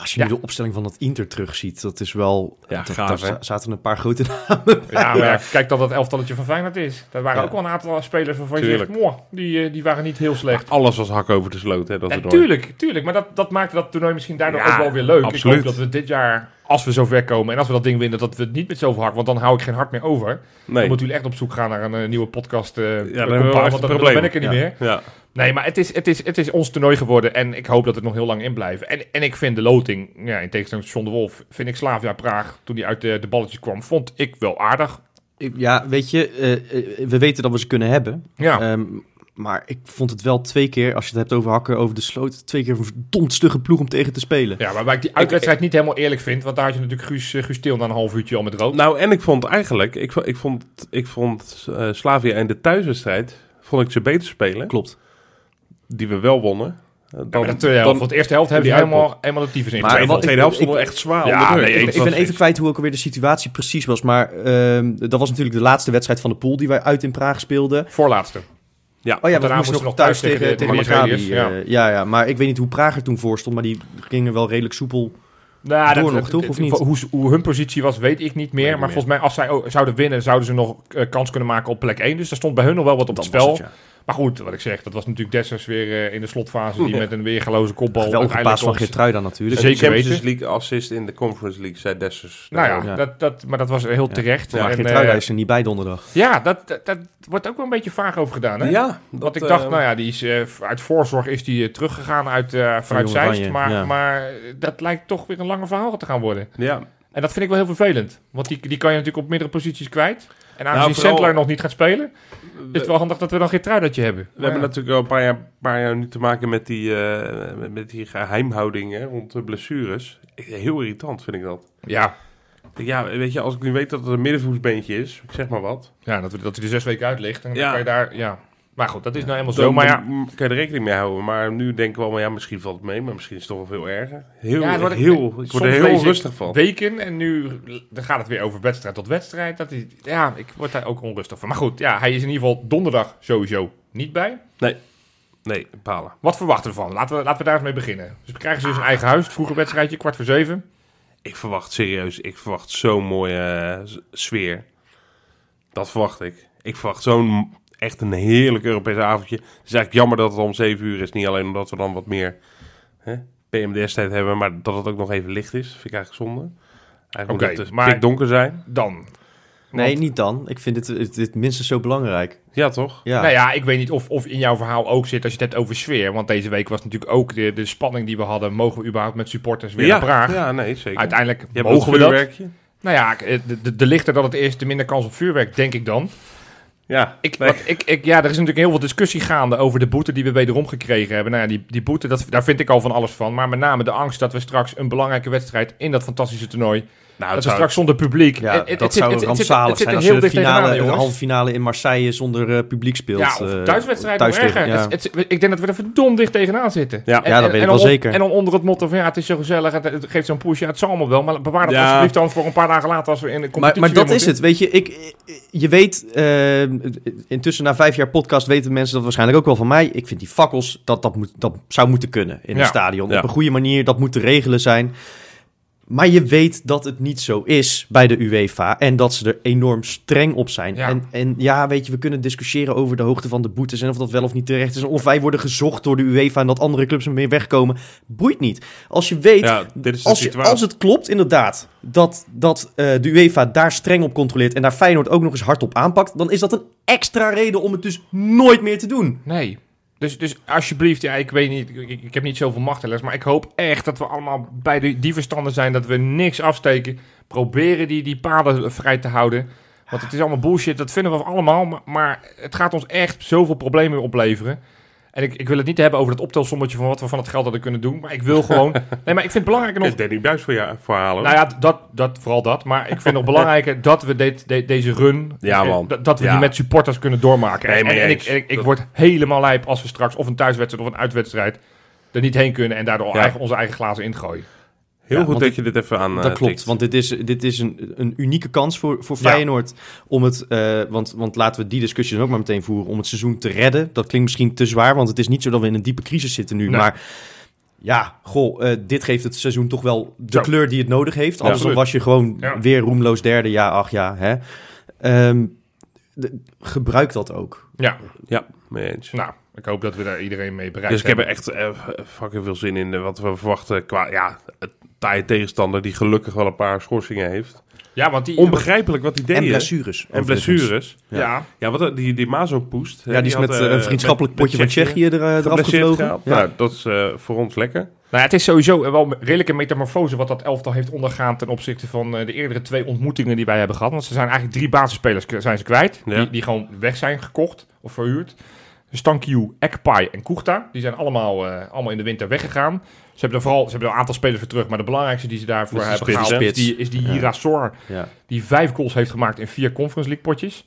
Speaker 2: Als je nu de opstelling van dat Inter terugziet, dat is wel...
Speaker 4: Ja,
Speaker 2: dat-
Speaker 4: gaaf,
Speaker 2: daar
Speaker 4: hè?
Speaker 2: za- zaten een paar grote
Speaker 3: Ja, maar ja, kijk dat dat elftalletje van Feyenoord is. Daar waren
Speaker 2: Ja.
Speaker 3: ook wel een aantal spelers waarvan je zegt,
Speaker 4: Tuurlijk.
Speaker 3: moh, die, eh, die waren niet heel slecht.
Speaker 4: Alles was hak over de sloot, hè, dat
Speaker 3: Ja,
Speaker 4: toernooi.
Speaker 3: tuurlijk, tuurlijk. Maar dat, dat maakte dat toernooi misschien daardoor
Speaker 4: Ja,
Speaker 3: ook wel weer leuk.
Speaker 4: absoluut.
Speaker 3: Ik hoop dat we dit jaar, als we zo ver komen en als we dat ding winnen, dat we het niet met zoveel hak, want dan hou ik geen hart meer over. Dan
Speaker 4: Nee.
Speaker 3: moeten jullie echt op zoek gaan naar een eh, nieuwe podcast. eh
Speaker 4: dan
Speaker 3: compaan,
Speaker 4: hebben we wel echt
Speaker 3: want
Speaker 4: een
Speaker 3: dan, dan
Speaker 4: probleem.
Speaker 3: ben ik er niet
Speaker 2: Ja.
Speaker 3: meer.
Speaker 4: Ja.
Speaker 3: Nee, maar het is, het, is, het is ons toernooi geworden en ik hoop dat we er nog heel lang in blijven. En, en ik vind de loting, ja, in tegenstelling tot John de Wolf, vind ik Slavia Praag, toen die uit de, de balletjes kwam, vond ik wel aardig.
Speaker 2: Ik- Ja, weet je, eh, eh, we weten dat we ze kunnen hebben.
Speaker 3: Ja,
Speaker 2: Ehm, maar ik vond het wel twee keer, als je het hebt over hakken over de sloot, twee keer een verdomd stugge ploeg om tegen te spelen.
Speaker 3: ja maar waar ik die uitwedstrijd niet helemaal eerlijk vind, want daar had je natuurlijk Guus, eh, Guus Til na een half uurtje al met rood.
Speaker 4: Nou, en ik vond eigenlijk, ik, vo- ik vond, ik vond eh, Slavia in de thuiswedstrijd, vond ik ze beter spelen,
Speaker 2: Klopt.
Speaker 4: die we wel wonnen. eh,
Speaker 3: Ja,
Speaker 4: Dan,
Speaker 3: maar de tweede helft,
Speaker 4: dan-
Speaker 3: want de eerste helft hebben ze
Speaker 4: die uitpot.
Speaker 3: helemaal, helemaal de tyfus in.
Speaker 2: Maar
Speaker 4: Tweede,
Speaker 2: wat-
Speaker 4: tweede
Speaker 2: ik-
Speaker 4: helft
Speaker 2: ik-
Speaker 4: stond wel echt zwaar
Speaker 3: Ja,
Speaker 4: onder druk.
Speaker 3: nee,
Speaker 4: Dat
Speaker 2: Ik,
Speaker 3: Eens
Speaker 2: ik
Speaker 4: was
Speaker 2: ben even
Speaker 4: echt-
Speaker 2: kwijt hoe ook alweer de situatie precies was. Maar ehm, dat was natuurlijk de laatste wedstrijd van de pool die wij uit in Praag speelden.
Speaker 3: Voorlaatste.
Speaker 2: Oh ja,
Speaker 3: daarna
Speaker 2: we moesten nog thuis tegen, tegen
Speaker 3: de
Speaker 2: Maccabi.
Speaker 3: Israëliërs,
Speaker 2: eh, ja, ja, maar ik weet niet hoe Praag er toen voor stond. Maar die gingen wel redelijk soepel.
Speaker 3: Nou,
Speaker 2: Door nog, toch, of niet?
Speaker 3: Hoe, ze- hoe hun positie was, weet ik niet meer.
Speaker 4: Weet ik
Speaker 3: maar
Speaker 4: niet
Speaker 3: volgens mij, als zij ook zouden winnen, zouden ze nog eh, kans kunnen maken op plek 1. Dus daar stond bij hun nog wel wat op
Speaker 2: Dat
Speaker 3: het
Speaker 2: was
Speaker 3: spel.
Speaker 2: het, ja.
Speaker 3: Maar goed, wat ik zeg, dat was natuurlijk Dessers weer eh, in de slotfase. Die
Speaker 4: Ja.
Speaker 3: met een weergeloze kopbal
Speaker 2: Geweldige paas van
Speaker 3: ons-
Speaker 2: Geertruida natuurlijk.
Speaker 3: Zeker
Speaker 4: Champions
Speaker 3: weten.
Speaker 4: League assist in de Conference League, zei Dessers.
Speaker 3: Nou ja,
Speaker 2: Ja.
Speaker 3: Dat, dat, maar dat was heel terecht.
Speaker 2: Maar
Speaker 3: en,
Speaker 2: Geertruida
Speaker 3: eh,
Speaker 2: is er niet bij donderdag.
Speaker 3: ja dat, dat, dat wordt ook wel een beetje vaag over gedaan. Nou Hè?
Speaker 4: Ja, dat,
Speaker 3: Want ik dacht,
Speaker 4: eh,
Speaker 3: nou ja, die is, eh, uit voorzorg is die eh, teruggegaan uit, eh vanuit
Speaker 2: Jong
Speaker 3: Zeist.
Speaker 2: Oranje,
Speaker 3: Maar,
Speaker 2: ja.
Speaker 3: maar eh, dat lijkt toch weer een langer verhaal te gaan worden.
Speaker 4: ja,
Speaker 3: En dat vind ik wel heel vervelend. Want die, die kan je natuurlijk op meerdere posities kwijt. En aangezien
Speaker 4: Nou, vooral-
Speaker 3: Sandler nog niet gaat spelen, is
Speaker 4: we,
Speaker 3: het wel handig dat we dan Gertruidatje hebben.
Speaker 4: we hebben
Speaker 3: Maar
Speaker 4: natuurlijk al een paar jaar, paar jaar nu te maken met die, eh, met- met die geheimhouding hè, rond de blessures. Heel irritant vind ik dat.
Speaker 3: ja,
Speaker 4: Ja, weet je, als ik nu weet dat het een middenvoetsbeentje is, ik zeg maar wat.
Speaker 3: ja dat, we- dat hij er zes weken uit ligt. En dan
Speaker 4: Ja.
Speaker 3: kan je daar, ja. Maar goed, dat is nou eenmaal
Speaker 4: Zo,
Speaker 3: zo. Maar ja,
Speaker 4: dan kan je er rekening mee houden. Maar nu denken we allemaal, ja, misschien valt het mee, maar misschien is het toch wel veel erger. Heel,
Speaker 3: Ja, het wordt-
Speaker 4: heel, ik
Speaker 3: soms
Speaker 4: word er
Speaker 3: lees
Speaker 4: heel
Speaker 3: ik
Speaker 4: rustig van.
Speaker 3: weken en nu dan gaat het weer over wedstrijd tot wedstrijd. Dat is, ja, ik word daar ook onrustig van. Maar goed, ja, hij is in ieder geval donderdag sowieso niet bij.
Speaker 4: Nee, palen.
Speaker 3: Wat verwachten we ervan? Laten we, laten we daar eens mee beginnen. Dus we krijgen ze dus een eigen huis. Vroeger wedstrijdje, kwart voor zeven.
Speaker 4: Ik verwacht serieus, ik verwacht zo'n mooie eh, s- sfeer. Dat verwacht ik. Ik verwacht zo'n echt een heerlijk Europees avondje. Het is eigenlijk jammer dat het om 7 uur is. Niet alleen omdat we dan wat meer hè, PMDS-tijd hebben, maar dat het ook nog even licht is. Vind ik eigenlijk zonde. Eigenlijk
Speaker 3: Oké,
Speaker 4: moet het
Speaker 3: maar-
Speaker 4: maar... donker zijn.
Speaker 3: Dan.
Speaker 2: Nee,
Speaker 3: Want-
Speaker 2: niet dan. Ik vind dit, dit, dit minstens zo belangrijk.
Speaker 4: Ja, toch?
Speaker 2: Ja.
Speaker 3: Nou ja, ik weet niet of, of in jouw verhaal ook zit als je het hebt over sfeer. Want deze week was natuurlijk ook de, de spanning die we hadden. Mogen we überhaupt met supporters weer
Speaker 4: ja,
Speaker 3: naar Praag?
Speaker 4: Ja, nee, zeker.
Speaker 3: Uiteindelijk
Speaker 4: Je hebt
Speaker 3: mogen we
Speaker 4: dat
Speaker 3: dat.
Speaker 4: vuurwerkje.
Speaker 3: Nou ja, ik- eh, de, de, de lichter dat het is, de minder kans op vuurwerk, denk ik dan.
Speaker 4: Ja,
Speaker 3: Ik,
Speaker 4: nee.
Speaker 3: wat, ik, ik, ja, er is natuurlijk heel veel discussie gaande over de boete die we wederom gekregen hebben. Nou ja, die, die boete, dat, daar vind ik al van alles van. Maar met name de angst dat we straks een belangrijke wedstrijd in dat fantastische toernooi...
Speaker 4: nou,
Speaker 3: dat
Speaker 4: het
Speaker 3: we
Speaker 4: zou-
Speaker 3: straks zonder publiek...
Speaker 2: Ja,
Speaker 3: het- het-
Speaker 2: dat
Speaker 3: het zit-
Speaker 2: zou
Speaker 3: het- het zit-
Speaker 2: rampzalig
Speaker 3: het zit
Speaker 2: zijn
Speaker 3: er
Speaker 2: als je
Speaker 3: heel
Speaker 2: de,
Speaker 3: dicht tegenaan,
Speaker 2: finale, de
Speaker 3: jongens.
Speaker 2: halve finale in Marseille zonder eh, publiek speelt.
Speaker 3: Ja, of
Speaker 2: eh,
Speaker 3: thuiswedstrijd, nog
Speaker 2: thuiswedstrijd,
Speaker 3: erger.
Speaker 2: ja.
Speaker 3: Het- het- ik denk dat we er verdomd dicht tegenaan zitten.
Speaker 4: Ja.
Speaker 2: Ja, dat weet ik
Speaker 3: dan
Speaker 2: wel
Speaker 3: on-
Speaker 2: zeker.
Speaker 3: En dan onder het motto van ja, het is zo gezellig, het, het geeft zo'n push, ja, het zal allemaal wel. Maar bewaar dat
Speaker 4: Ja.
Speaker 3: alsjeblieft dan voor een paar dagen later als we in de
Speaker 2: Maar,
Speaker 3: competitie
Speaker 2: maar
Speaker 3: weer
Speaker 2: dat is
Speaker 3: moeten.
Speaker 2: het, weet je. Ik, je weet, eh, intussen na vijf jaar podcast weten mensen dat waarschijnlijk ook wel van mij. Ik vind die fakkels, dat, dat, moet, dat zou moeten kunnen in
Speaker 3: Ja,
Speaker 2: een stadion.
Speaker 4: ja.
Speaker 2: Op een goede manier, dat moet te regelen zijn. Maar je weet dat het niet zo is bij de UEFA en dat ze er enorm streng op zijn.
Speaker 3: Ja.
Speaker 2: En, en ja, weet je, we kunnen discussiëren over de hoogte van de boetes en of dat wel of niet terecht is. En of wij worden gezocht door de UEFA en dat andere clubs ermee wegkomen. Boeit niet. Als je weet
Speaker 4: Ja, dit is de
Speaker 2: als, je-
Speaker 4: situatie.
Speaker 2: als het klopt, inderdaad, dat, dat eh, de UEFA daar streng op controleert en daar Feyenoord ook nog eens hard op aanpakt, dan is dat een extra reden om het dus nooit meer te doen.
Speaker 3: Nee. Dus, dus alsjeblieft, ja, ik weet niet, ik, ik heb niet zoveel macht helaas, maar ik hoop echt dat we allemaal bij de, die verstanden zijn, dat we niks afsteken, proberen die, die paden vrij te houden. Want het is allemaal bullshit, dat vinden we allemaal, maar, maar het gaat ons echt zoveel problemen opleveren. En ik, ik wil het niet hebben over dat optelsommetje van wat we van het geld hadden kunnen doen, maar ik wil gewoon... Nee, maar ik vind het belangrijker nog...
Speaker 4: Is Danny Buis voor jou verhalen?
Speaker 3: Nou ja, dat, dat, vooral dat. Maar ik vind nog belangrijker dat we dit, de- deze run,
Speaker 4: Ja,
Speaker 3: eh,
Speaker 4: man.
Speaker 3: dat- dat we
Speaker 4: Ja.
Speaker 3: die met supporters kunnen doormaken.
Speaker 4: Nee,
Speaker 3: en,
Speaker 4: mee
Speaker 3: en ik,
Speaker 4: eens.
Speaker 3: en ik, ik
Speaker 4: Dat-
Speaker 3: word helemaal lijp als we straks of een thuiswedstrijd of een uitwedstrijd er niet heen kunnen en daardoor
Speaker 4: Ja.
Speaker 3: eigen- onze eigen glazen ingooien.
Speaker 4: Heel
Speaker 2: Ja,
Speaker 4: goed
Speaker 2: want
Speaker 4: dat je dit even aan. eh,
Speaker 2: dat klopt,
Speaker 4: tikt.
Speaker 2: want dit is, dit is een, een unieke kans voor, voor
Speaker 3: Ja.
Speaker 2: Feyenoord om het, eh, want, want laten we die discussie dan ook maar meteen voeren, om het seizoen te redden. Dat klinkt misschien te zwaar, want het is niet zo dat we in een diepe crisis zitten nu,
Speaker 3: Nee.
Speaker 2: maar... Ja, goh, eh, dit geeft het seizoen toch wel de
Speaker 3: Zo.
Speaker 2: kleur die het nodig heeft. Anders dan
Speaker 3: absoluut.
Speaker 2: was je gewoon
Speaker 3: Ja.
Speaker 2: weer roemloos derde. Ja, ach ja, hè. Ehm, de- gebruik dat ook.
Speaker 3: Ja,
Speaker 4: Ja, mee eens.
Speaker 3: nou, ik hoop dat we daar iedereen mee bereiken.
Speaker 4: Dus ik heb er echt eh, fucking veel zin in eh, wat we verwachten qua ja, het taaie tegenstander die gelukkig wel een paar schorsingen heeft.
Speaker 3: Ja, want die...
Speaker 4: Onbegrijpelijk wat hij deed.
Speaker 2: En
Speaker 4: hè?
Speaker 2: blessures.
Speaker 4: En
Speaker 2: overigens.
Speaker 4: blessures.
Speaker 3: ja.
Speaker 4: Ja, wat eh, die, die Mazo poest. hè,
Speaker 2: Ja, die is
Speaker 4: had,
Speaker 2: met
Speaker 4: eh,
Speaker 2: eh, een vriendschappelijk
Speaker 4: met- met
Speaker 2: potje van Tsjechië er, eh, eraf
Speaker 4: geblesseerd
Speaker 2: gevlogen.
Speaker 4: geraakt.
Speaker 2: Ja.
Speaker 4: Nou, dat is eh, voor ons lekker.
Speaker 3: Nou ja, het is sowieso wel een redelijke metamorfose wat dat elftal heeft ondergaan ten opzichte van eh, de eerdere twee ontmoetingen die wij hebben gehad. Want ze zijn eigenlijk drie basisspelers k- zijn ze kwijt,
Speaker 4: Ja.
Speaker 3: die, die gewoon weg zijn gekocht of verhuurd. Stankiu, Ekpai en Koegta, die zijn allemaal, eh, allemaal in de winter weggegaan. Ze hebben er vooral ze hebben er een aantal spelers voor terug, maar de belangrijkste die ze daarvoor
Speaker 4: Dat is de
Speaker 3: hebben
Speaker 4: spits,
Speaker 3: gehaald
Speaker 2: hè?
Speaker 3: is die, is die
Speaker 2: Ja.
Speaker 3: Jirasor,
Speaker 2: Ja.
Speaker 3: die vijf goals heeft gemaakt in vier Conference League potjes.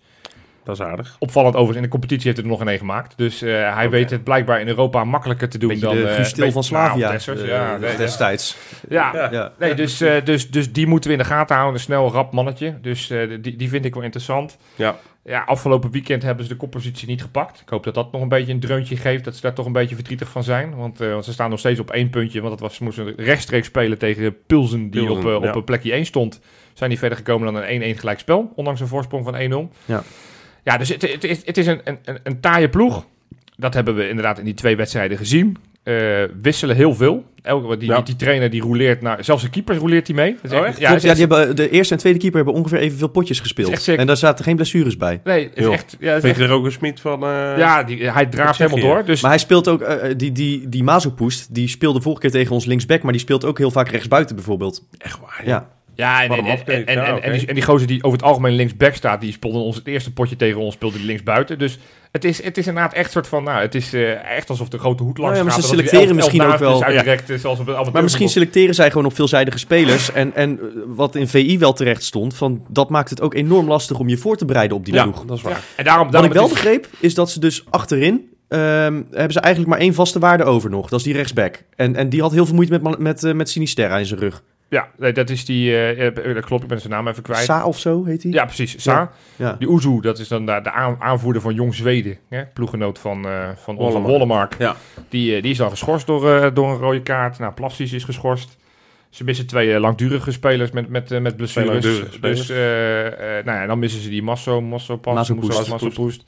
Speaker 4: Dat is aardig.
Speaker 3: Opvallend overigens, in de competitie heeft hij er nog een gemaakt. Dus eh, hij weet het blijkbaar in Europa makkelijker te doen
Speaker 2: Beetje
Speaker 3: dan...
Speaker 2: de
Speaker 3: eh,
Speaker 2: Guus Til
Speaker 3: beetje-
Speaker 2: van Slavia
Speaker 3: nou, Dessers,
Speaker 2: eh,
Speaker 3: ja, nee,
Speaker 2: destijds.
Speaker 3: ja,
Speaker 4: Ja.
Speaker 2: Ja.
Speaker 3: Nee, dus, eh, dus, dus die moeten we in de gaten houden. Een snel, rap mannetje. Dus eh, die, die vind ik wel interessant.
Speaker 4: Ja.
Speaker 3: Ja, afgelopen weekend hebben ze de koppositie niet gepakt. Ik hoop dat dat nog een beetje een dreuntje geeft. Dat ze daar toch een beetje verdrietig van zijn. Want, eh, want ze staan nog steeds op één puntje. Want dat was, ze moesten rechtstreeks spelen tegen Pilsen, die
Speaker 4: Pilsen,
Speaker 3: op, eh,
Speaker 4: ja.
Speaker 3: op een plekje 1 stond. Zijn die verder gekomen dan een 1-1 gelijkspel. Ondanks een voorsprong van 1-0.
Speaker 2: Ja.
Speaker 3: ja, dus het, het, is- het is een, een, een, een taaie ploeg. Dat hebben we inderdaad in die twee wedstrijden gezien. Eh, wisselen heel veel. Elke, die,
Speaker 4: Ja.
Speaker 3: die, die trainer die rouleert naar... Zelfs de keepers rouleert hij mee. Dat
Speaker 4: Oh,
Speaker 3: is echt?
Speaker 4: echt?
Speaker 3: Ja,
Speaker 2: Klopt,
Speaker 3: het
Speaker 2: ja,
Speaker 3: is
Speaker 2: die hebben, eh, de eerste en tweede keeper hebben ongeveer evenveel potjes
Speaker 3: Het
Speaker 2: gespeeld.
Speaker 3: is echt sick.
Speaker 2: En daar zaten geen blessures bij.
Speaker 3: Nee, het is
Speaker 4: Joh.
Speaker 3: echt... Ja, het is
Speaker 4: Vind
Speaker 3: echt-
Speaker 4: je er ook een smid van? eh,
Speaker 3: ja die, hij draaft
Speaker 4: zeg
Speaker 3: helemaal
Speaker 4: je?
Speaker 3: door. Dus
Speaker 2: Maar hij speelt ook, eh, eh, die, die, die Mazopoest, die speelde vorige keer tegen ons linksback, maar die speelt ook heel vaak rechtsbuiten bijvoorbeeld.
Speaker 4: Echt waar. Ja.
Speaker 2: Ja,
Speaker 3: Ja, en,
Speaker 4: Wat
Speaker 3: en,
Speaker 4: hem
Speaker 3: en,
Speaker 4: afkeek.
Speaker 3: en-
Speaker 4: Ja,
Speaker 3: en-
Speaker 4: oké.
Speaker 3: en die, en die gozer die over het algemeen linksback staat, die speelde ons het eerste potje tegen ons, speelde die linksbuiten. Dus het is, het is inderdaad echt soort van, nou, het is eh, echt alsof de grote hoed
Speaker 2: Nou
Speaker 3: langs
Speaker 2: ja, maar
Speaker 3: gaat.
Speaker 2: ze
Speaker 3: en dat
Speaker 2: selecteren
Speaker 3: hij elf- elf
Speaker 2: misschien ook
Speaker 3: naast
Speaker 2: wel.
Speaker 3: is uitgerekt, eh, zoals op het
Speaker 2: maar
Speaker 3: amateurvoetbal.
Speaker 2: misschien selecteren zij gewoon op veelzijdige spelers. En, en eh, wat in VI wel terecht stond, van, dat maakt het ook enorm lastig om je voor te bereiden op die
Speaker 4: Ja,
Speaker 2: ploeg.
Speaker 4: dat is waar.
Speaker 3: Ja, En daarom,
Speaker 2: Wat ik
Speaker 3: daarom
Speaker 2: wel
Speaker 3: het is-
Speaker 2: begreep, is dat ze dus achterin... ehm, hebben ze eigenlijk maar één vaste waarde over nog. Dat is die rechtsback. En, en die had heel veel moeite met, met, eh, met Sinisterra in zijn rug.
Speaker 3: Ja, nee, dat is die, eh, eh, dat klopt, ik ben zijn naam even kwijt.
Speaker 2: Sa of zo heet hij?
Speaker 3: Ja, precies. Sa.
Speaker 2: Ja.
Speaker 3: Die Oezu, dat is dan de, de aan- aanvoerder van Jong Zweden. Hè? Ploeggenoot van, eh van onze
Speaker 4: Wollemark.
Speaker 3: Wollemark.
Speaker 4: Ja.
Speaker 3: Die, eh, die is dan geschorst door, eh, door een rode kaart. Nou, Plastic is geschorst. Ze missen twee eh, langdurige spelers met, met, eh, met blessures.
Speaker 4: langdurige spelers.
Speaker 3: Dus eh, eh, nou ja, dan missen ze die Masso, Masso Pas,
Speaker 2: Massopoest.
Speaker 3: Moesso-
Speaker 4: Massopoest.
Speaker 3: Massopoest.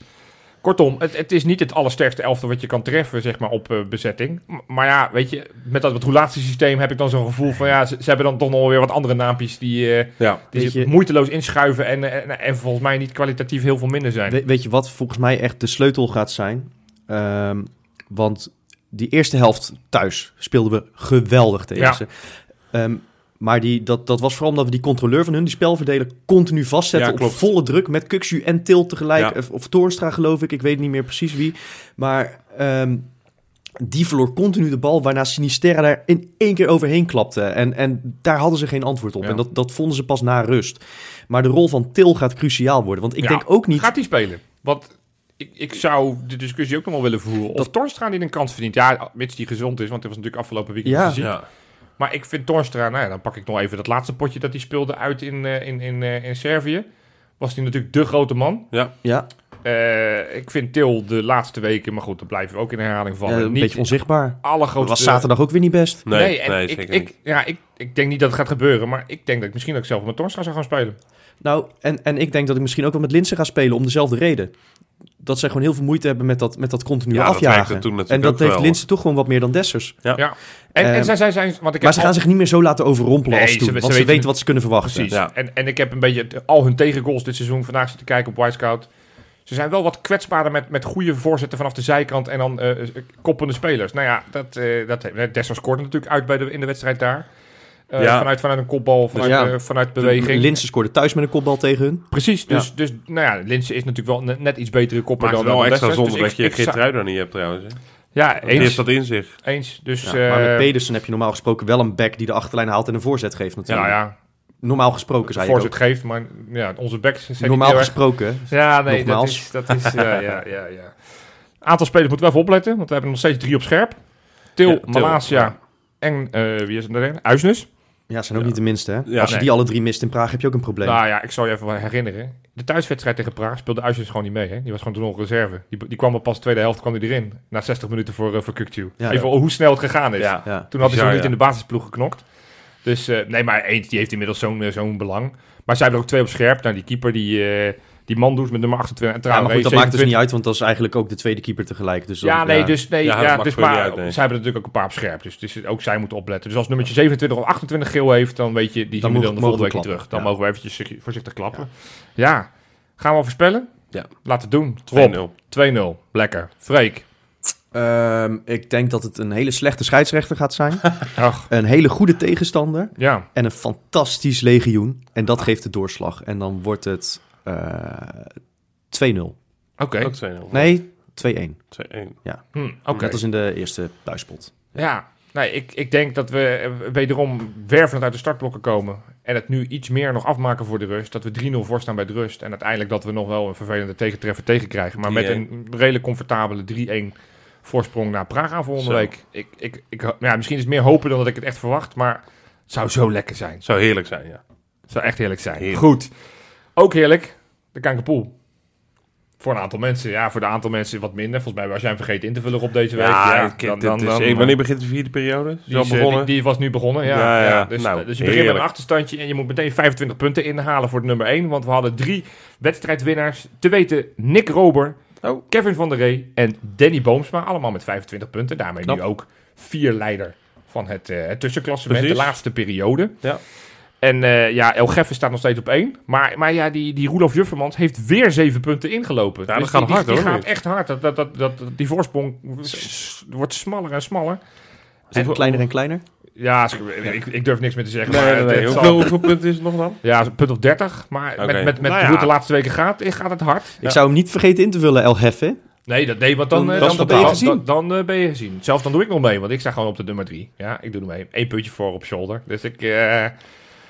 Speaker 3: Kortom, het, het is niet het allersterkste elftal wat je kan treffen, zeg maar, op eh, bezetting. M- maar ja, weet je, met dat roulatiesysteem heb ik dan zo'n gevoel van... ja, ze, ze hebben dan toch nog weer wat andere naampjes die... eh,
Speaker 4: Ja.
Speaker 3: die
Speaker 2: Weet je-
Speaker 3: ze moeiteloos inschuiven en, eh, en, en volgens mij niet kwalitatief heel veel minder zijn.
Speaker 2: We- weet je wat volgens mij echt de sleutel gaat zijn? Ehm, want die eerste helft thuis speelden we geweldig tegen
Speaker 3: Ja.
Speaker 2: ze. Ehm, Maar die, dat, dat was vooral omdat we die controleur van hun, die spelverdeler, continu vastzetten
Speaker 4: Ja,
Speaker 2: op
Speaker 4: klopt.
Speaker 2: volle druk. Met Kuxu en Til tegelijk.
Speaker 4: Ja.
Speaker 2: Of, of Toornstra geloof ik, ik weet niet meer precies wie. Maar ehm, die verloor continu de bal, waarna Sinisterra daar in één keer overheen klapte. En, en daar hadden ze geen antwoord op.
Speaker 3: Ja.
Speaker 2: En dat, dat vonden ze pas na rust. Maar de rol van Til gaat cruciaal worden. Want ik
Speaker 3: Ja,
Speaker 2: denk ook niet...
Speaker 3: Gaat hij spelen? Want ik, ik zou de discussie ook nog wel willen voeren. Of Torstra niet een kans verdient. Ja, mits die gezond is, want hij was natuurlijk afgelopen weekend
Speaker 2: Ja.
Speaker 3: te zien. Maar ik vind Torstra, nou ja, dan pak ik nog even dat laatste potje dat hij speelde uit in, eh, in, in, eh, in Servië. Was hij natuurlijk de grote man.
Speaker 2: Ja,
Speaker 3: Eh, ik vind Til de laatste weken, maar goed, daar blijven we ook in herhaling van.
Speaker 2: ja, een
Speaker 3: niet
Speaker 2: beetje onzichtbaar. Eh,
Speaker 3: alle
Speaker 2: Dat
Speaker 3: grote...
Speaker 2: was zaterdag ook weer niet best.
Speaker 4: Nee, nee,
Speaker 3: en ik,
Speaker 4: zeker
Speaker 3: ik,
Speaker 4: niet.
Speaker 3: Ja, ik, ik denk niet dat het gaat gebeuren, maar ik denk dat ik misschien ook zelf met Torstra zou gaan spelen.
Speaker 2: Nou, en, en ik denk dat ik misschien ook wel met Linsen ga spelen om dezelfde reden. Dat zij gewoon heel veel moeite hebben met dat, met dat continue
Speaker 4: Ja, dat
Speaker 2: afjagen.
Speaker 4: lijkt het toen natuurlijk
Speaker 2: en dat
Speaker 4: ook
Speaker 2: heeft
Speaker 4: wel.
Speaker 2: Linsen toch gewoon wat meer dan Dessers.
Speaker 3: En,
Speaker 2: Ehm,
Speaker 3: en zij, zij zijn... Want ik
Speaker 2: Maar
Speaker 3: heb
Speaker 2: ze
Speaker 3: al-
Speaker 2: gaan zich niet meer zo laten overrompelen
Speaker 3: Nee,
Speaker 2: als
Speaker 3: ze-
Speaker 2: toen.
Speaker 3: ze
Speaker 2: want ze
Speaker 3: weten-
Speaker 2: weten wat ze kunnen verwachten.
Speaker 3: Precies.
Speaker 4: Ja.
Speaker 3: En, en ik heb een beetje t- al hun tegengoals dit seizoen vandaag zitten kijken op Wisecout. Ze zijn wel wat kwetsbaarder met, met goede voorzetten vanaf de zijkant en dan eh, koppende spelers. Nou ja, dat, eh dat eh, Dessers scoorde natuurlijk uit bij de, in de wedstrijd daar. Eh,
Speaker 4: Ja.
Speaker 3: vanuit, vanuit een kopbal, vanuit,
Speaker 2: Dus ja.
Speaker 3: eh, vanuit
Speaker 2: De-
Speaker 3: beweging.
Speaker 2: Linsen scoorde thuis met een kopbal tegen hun.
Speaker 3: Precies, dus, dus nou ja, Linse is natuurlijk wel ne- net iets betere kopper
Speaker 4: Maar het
Speaker 3: dan
Speaker 4: is wel
Speaker 3: dan
Speaker 4: extra
Speaker 3: Dessers.
Speaker 4: zonde
Speaker 3: Dus
Speaker 4: dat je
Speaker 3: ik- ik
Speaker 4: Geert
Speaker 3: zou-
Speaker 4: Ruider niet hebt trouwens. hè.
Speaker 3: Ja,
Speaker 4: Want Die heeft
Speaker 3: eens.
Speaker 4: dat in zich.
Speaker 3: eens. Dus,
Speaker 2: Ja, maar met
Speaker 3: eh,
Speaker 2: Pedersen heb je normaal gesproken wel een back die de achterlijn haalt en een voorzet geeft natuurlijk.
Speaker 3: nou ja,
Speaker 2: Normaal gesproken, zei je
Speaker 3: voorzet geeft, maar ja, onze backs zijn niet
Speaker 2: Normaal
Speaker 3: heel erg
Speaker 2: gesproken.
Speaker 3: Ja, nee,
Speaker 2: Nogmaals.
Speaker 3: dat is... Dat is ja, ja, ja, ja. Aantal spelers moeten we even opletten, want we hebben nog steeds drie op scherp. Til,
Speaker 4: Ja, Til,
Speaker 3: Malasia
Speaker 4: ja.
Speaker 3: en eh, wie is er derde? Uisnes.
Speaker 2: Ja, zijn ook niet de minste. Hè?
Speaker 4: Ja,
Speaker 2: Als je
Speaker 3: nee.
Speaker 2: die alle drie mist in Praag heb je ook een probleem.
Speaker 3: Nou ja, ik zal je even wel herinneren. De thuiswedstrijd tegen Praag speelde Uisnes gewoon niet mee. Hè? Die was gewoon toen nog reserve. Die, die kwam al pas de tweede helft kwam die erin. Na 60 minuten voor, eh, voor Kukcu.
Speaker 2: Ja.
Speaker 3: even hoe snel het gegaan is.
Speaker 2: ja.
Speaker 3: Toen had hij zo
Speaker 4: Bizar,
Speaker 3: niet
Speaker 4: ja.
Speaker 3: in de basisploeg geknokt. Dus eh, nee, maar eens, die heeft inmiddels zo'n eh, zo'n belang. Maar zij hebben er ook twee op scherp. Nou, die keeper, die, eh, die man doet met nummer 28. En
Speaker 2: Ja,
Speaker 3: trouwens,
Speaker 2: maar goed, dat maakt dus niet uit, want dat is eigenlijk ook de tweede keeper tegelijk. Dus dan-
Speaker 3: Ja, nee, dus, nee,
Speaker 4: Ja,
Speaker 3: ja,
Speaker 4: dat maakt
Speaker 3: dus
Speaker 4: voor jullie
Speaker 3: maar
Speaker 4: uit, nee.
Speaker 3: zij hebben er natuurlijk ook een paar op scherp. Dus, dus ook zij moeten opletten. Dus als nummertje 27 of 28 geel heeft, dan weet je,
Speaker 2: Dan
Speaker 3: die zien we
Speaker 2: mogen-
Speaker 3: dan
Speaker 2: mogen
Speaker 3: de
Speaker 2: we
Speaker 3: volgende week niet
Speaker 2: klappen,
Speaker 3: terug. Dan
Speaker 2: ja.
Speaker 3: mogen we eventjes zich- voorzichtig klappen. Ja, gaan we voorspellen?
Speaker 4: Ja.
Speaker 3: Laten we het doen. Rob,
Speaker 4: 2-0.
Speaker 3: 2-0. Lekker. Freek.
Speaker 2: Ehm, ik denk dat het een hele slechte scheidsrechter gaat zijn.
Speaker 3: Ach,
Speaker 2: een hele goede tegenstander.
Speaker 3: ja.
Speaker 2: En een fantastisch legioen. En dat geeft de doorslag. En dan wordt het eh 2-0.
Speaker 3: Oké.
Speaker 4: Ook 2-0.
Speaker 2: Nee,
Speaker 4: 2-1.
Speaker 2: 2-1.
Speaker 3: Hm,
Speaker 2: Dat
Speaker 3: oké.
Speaker 2: is in de eerste thuispot.
Speaker 3: Ja, nee, ik, ik denk dat we eh, wederom wervelend uit de startblokken komen. En het nu iets meer nog afmaken voor de rust. Dat we 3-0 voorstaan bij de rust. En uiteindelijk dat we nog wel een vervelende tegentreffer tegenkrijgen. Maar met
Speaker 4: 3-1.
Speaker 3: een redelijk comfortabele 3-1 voorsprong naar Praag aan volgende
Speaker 4: Zo.
Speaker 3: week. Ik, ik, ik, ho- ja, misschien is het meer hopen dan dat ik het echt verwacht. Maar het zou zo lekker zijn.
Speaker 4: Zou heerlijk zijn, ja.
Speaker 3: Het zou echt heerlijk zijn.
Speaker 4: Heerlijk.
Speaker 3: Goed. Ook heerlijk. De Kankerpoel. Voor een aantal mensen. Ja, voor de aantal mensen wat minder. Volgens mij was jij hem vergeten in te vullen op deze week.
Speaker 4: ik- dit is- eh, wanneer begint de vierde periode? Is
Speaker 3: Die,
Speaker 4: al
Speaker 3: is, eh,
Speaker 4: begonnen?
Speaker 3: die, die was nu begonnen, ja.
Speaker 4: Ja,
Speaker 3: ja,
Speaker 4: ja.
Speaker 3: Dus,
Speaker 4: Nou,
Speaker 3: dus je begint met
Speaker 4: heerlijk.
Speaker 3: een achterstandje en je moet meteen 25 punten inhalen voor de nummer 1. Want we hadden drie wedstrijdwinnaars. Te weten Nick Rober,
Speaker 4: Oh.
Speaker 3: Kevin van der Ree en Danny Boomsma. Allemaal met 25 punten. Daarmee
Speaker 2: Knap.
Speaker 3: nu ook vier leider van het, eh, het tussenklassement.
Speaker 4: Precies.
Speaker 3: De laatste periode.
Speaker 4: Ja.
Speaker 3: En eh, ja, El Geffen staat nog steeds op 1. Maar, maar ja, die, die Roelof Juffermans heeft weer 7 punten ingelopen. Dus
Speaker 4: dat
Speaker 3: die,
Speaker 4: gaat
Speaker 3: die-
Speaker 4: hard,
Speaker 3: die
Speaker 4: hoor,
Speaker 3: gaat
Speaker 4: nu.
Speaker 3: echt hard. Dat, dat, dat, dat, die voorsprong s- wordt smaller en smaller.
Speaker 2: Is het
Speaker 4: En-
Speaker 2: kleiner en kleiner?
Speaker 3: Ja, ik, ik, ik durf niks meer te zeggen.
Speaker 4: Nee,
Speaker 3: maar
Speaker 4: nee,
Speaker 3: het-
Speaker 4: nee.
Speaker 3: het zal-
Speaker 4: Hoeveel, hoeveel punten is het nog dan?
Speaker 3: ja, een punt of 30. Maar
Speaker 4: Oké.
Speaker 3: met, met, met
Speaker 4: Nou ja.
Speaker 3: hoe het de laatste weken gaat, eh, gaat het hard.
Speaker 2: Ik zou hem niet vergeten in te vullen, El Hefe.
Speaker 3: Nee, dat, nee want dan,
Speaker 2: Dan-
Speaker 3: eh,
Speaker 2: dat
Speaker 3: dan,
Speaker 2: is
Speaker 3: ben je
Speaker 2: fataal.
Speaker 3: gezien. Dan, dan, eh, ben je gezien. Zelfs dan doe ik nog mee, want ik sta gewoon op de nummer 3. Ja, ik doe er mee. Eén puntje voor op shoulder. Dus ik... eh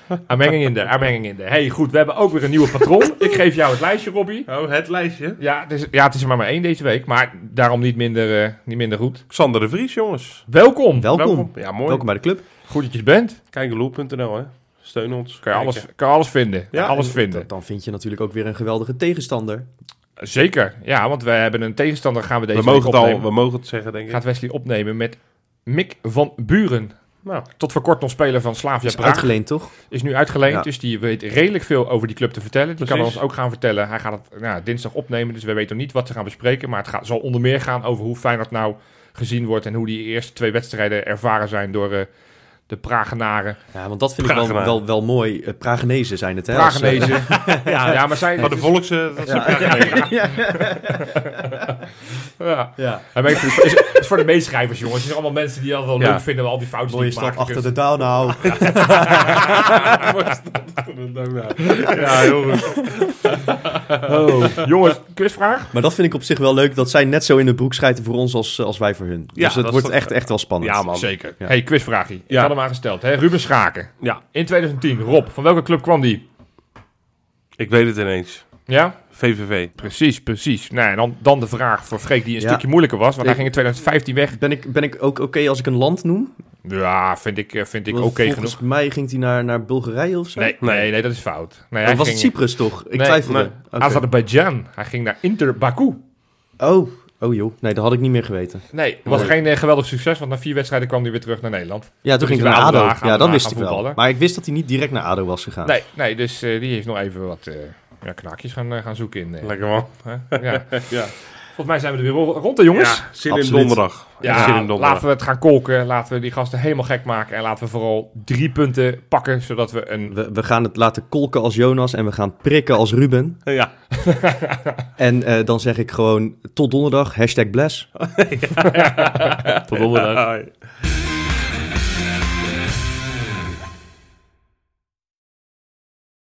Speaker 3: I'm hanging in there, I'm hanging in there. Hey, goed, we hebben ook weer een nieuwe patroon. ik geef jou het lijstje, Robbie.
Speaker 4: Oh, het lijstje.
Speaker 3: Ja, het is, ja, het is er maar maar één deze week, maar daarom niet minder, eh, niet minder goed.
Speaker 4: Xander de Vries, jongens.
Speaker 3: Welkom.
Speaker 2: Welkom. Welkom.
Speaker 4: Ja, mooi.
Speaker 2: bij de club.
Speaker 3: Goed dat je er bent.
Speaker 4: Kijkeloel.nl, hè. Steun ons.
Speaker 3: Kan je
Speaker 4: Kijken.
Speaker 3: alles, kan je alles vinden.
Speaker 4: Ja,
Speaker 3: alles
Speaker 4: en-
Speaker 3: vinden.
Speaker 2: Dan vind je natuurlijk ook weer een geweldige tegenstander.
Speaker 3: Zeker, ja, want we hebben een tegenstander gaan we deze
Speaker 4: We mogen,
Speaker 3: week
Speaker 4: het al,
Speaker 3: opnemen.
Speaker 4: we mogen het zeggen, denk ik.
Speaker 3: Gaat Wesley opnemen met Mick van Buren.
Speaker 4: Nou,
Speaker 3: Tot voor kort nog speler van Slavia
Speaker 2: Is
Speaker 3: Praag.
Speaker 2: uitgeleend, toch?
Speaker 3: Is nu uitgeleend,
Speaker 2: Ja.
Speaker 3: dus die weet redelijk veel over die club te vertellen. Die kan
Speaker 4: Precies.
Speaker 3: ons ook gaan vertellen. Hij gaat het nou, dinsdag opnemen, dus we weten nog niet wat ze gaan bespreken. Maar het gaat, zal onder meer gaan over hoe Feyenoord nou gezien wordt... en hoe die eerste twee wedstrijden ervaren zijn door, eh, de Pragenaren.
Speaker 2: Ja, want dat vind ik wel,
Speaker 4: Pragenaar.
Speaker 2: wel, wel mooi. Eh, Pragenezen zijn het, hè? als, eh,
Speaker 3: Pragenezen. ja, ja, maar zij...
Speaker 4: Maar de volks... eh, dat is ook
Speaker 2: ja,
Speaker 4: eigenlijk-
Speaker 2: ja, ja,
Speaker 3: Ja.
Speaker 2: ja.
Speaker 3: Ja, maar ik vind- is- is voor de meeschrijvers, jongens. Het zijn allemaal mensen die dat wel
Speaker 4: Ja.
Speaker 3: leuk vinden, maar al die fouten
Speaker 2: Mooie
Speaker 3: die dus- ik
Speaker 2: stap
Speaker 3: maak.
Speaker 2: achter de touw nou.
Speaker 4: Ja, heel goed.
Speaker 3: Oh. Jongens, quizvraag?
Speaker 2: Maar dat vind ik op zich wel leuk, dat zij net zo in de broek schijten voor ons als, als wij voor hun.
Speaker 4: Ja,
Speaker 2: dus het
Speaker 4: dat
Speaker 2: wordt
Speaker 4: is-
Speaker 2: echt, echt wel spannend.
Speaker 4: Ja, man.
Speaker 3: Zeker.
Speaker 2: Ja.
Speaker 3: hey, quizvraagje. Ik
Speaker 4: Ja.
Speaker 3: had hem aangesteld. Hè? Ruben Schaken.
Speaker 4: Ja,
Speaker 3: In 2010, Rob, van welke club kwam die?
Speaker 4: ik weet het ineens.
Speaker 3: Ja?
Speaker 4: VVV.
Speaker 3: Precies, precies. Nou, en dan, dan de vraag voor Freek die een
Speaker 2: Ja.
Speaker 3: stukje moeilijker was, want
Speaker 2: Ik-
Speaker 3: hij ging in 2015 weg.
Speaker 2: Ben ik, ben ik ook oké als ik een land noem?
Speaker 3: Ja, vind ik, eh, vind ik oké
Speaker 2: Want volgens
Speaker 3: genoeg.
Speaker 2: mij ging hij naar, naar Bulgarije of zo?
Speaker 3: Nee,
Speaker 4: Nee.
Speaker 3: nee, nee, dat is fout. Nee,
Speaker 2: Oh, was het Cyprus toch? Ik
Speaker 3: Nee,
Speaker 2: twijfelde.
Speaker 4: nee.
Speaker 2: Oké.
Speaker 3: Azerbeidzjan. Hij ging naar Inter Baku.
Speaker 2: Oh, oh joh. Nee, dat had ik niet meer geweten.
Speaker 3: Nee, het was
Speaker 2: Nee.
Speaker 3: geen eh, geweldig succes, want na vier wedstrijden kwam hij weer terug naar Nederland.
Speaker 2: Ja, toen
Speaker 3: is
Speaker 2: ging hij
Speaker 3: hij
Speaker 2: naar
Speaker 3: bij
Speaker 2: ADO.
Speaker 3: ADO gaan-
Speaker 2: ja, dat
Speaker 3: gaan
Speaker 2: wist ik wel.
Speaker 3: voetballen.
Speaker 2: Maar ik wist dat hij niet direct naar ADO was gegaan.
Speaker 3: Nee, nee dus eh, die heeft nog even wat eh, ja, knaakjes gaan, eh, gaan zoeken. In, eh,
Speaker 4: Lekker man.
Speaker 3: hè? ja.
Speaker 4: Ja.
Speaker 3: Volgens mij zijn we er weer ro- rond, hè, jongens?
Speaker 4: Ja, zin in
Speaker 2: Absoluut.
Speaker 4: donderdag.
Speaker 3: Ja,
Speaker 4: Echt zin in donderdag.
Speaker 3: laten we het gaan kolken. Laten we die gasten helemaal gek maken. En laten we vooral drie punten pakken, zodat we een...
Speaker 2: We, we gaan het laten kolken als Jonas en we gaan prikken als Ruben.
Speaker 4: Ja,
Speaker 2: En eh, dan zeg ik gewoon tot donderdag, hashtag bless.
Speaker 1: Tot donderdag.
Speaker 4: Hoi.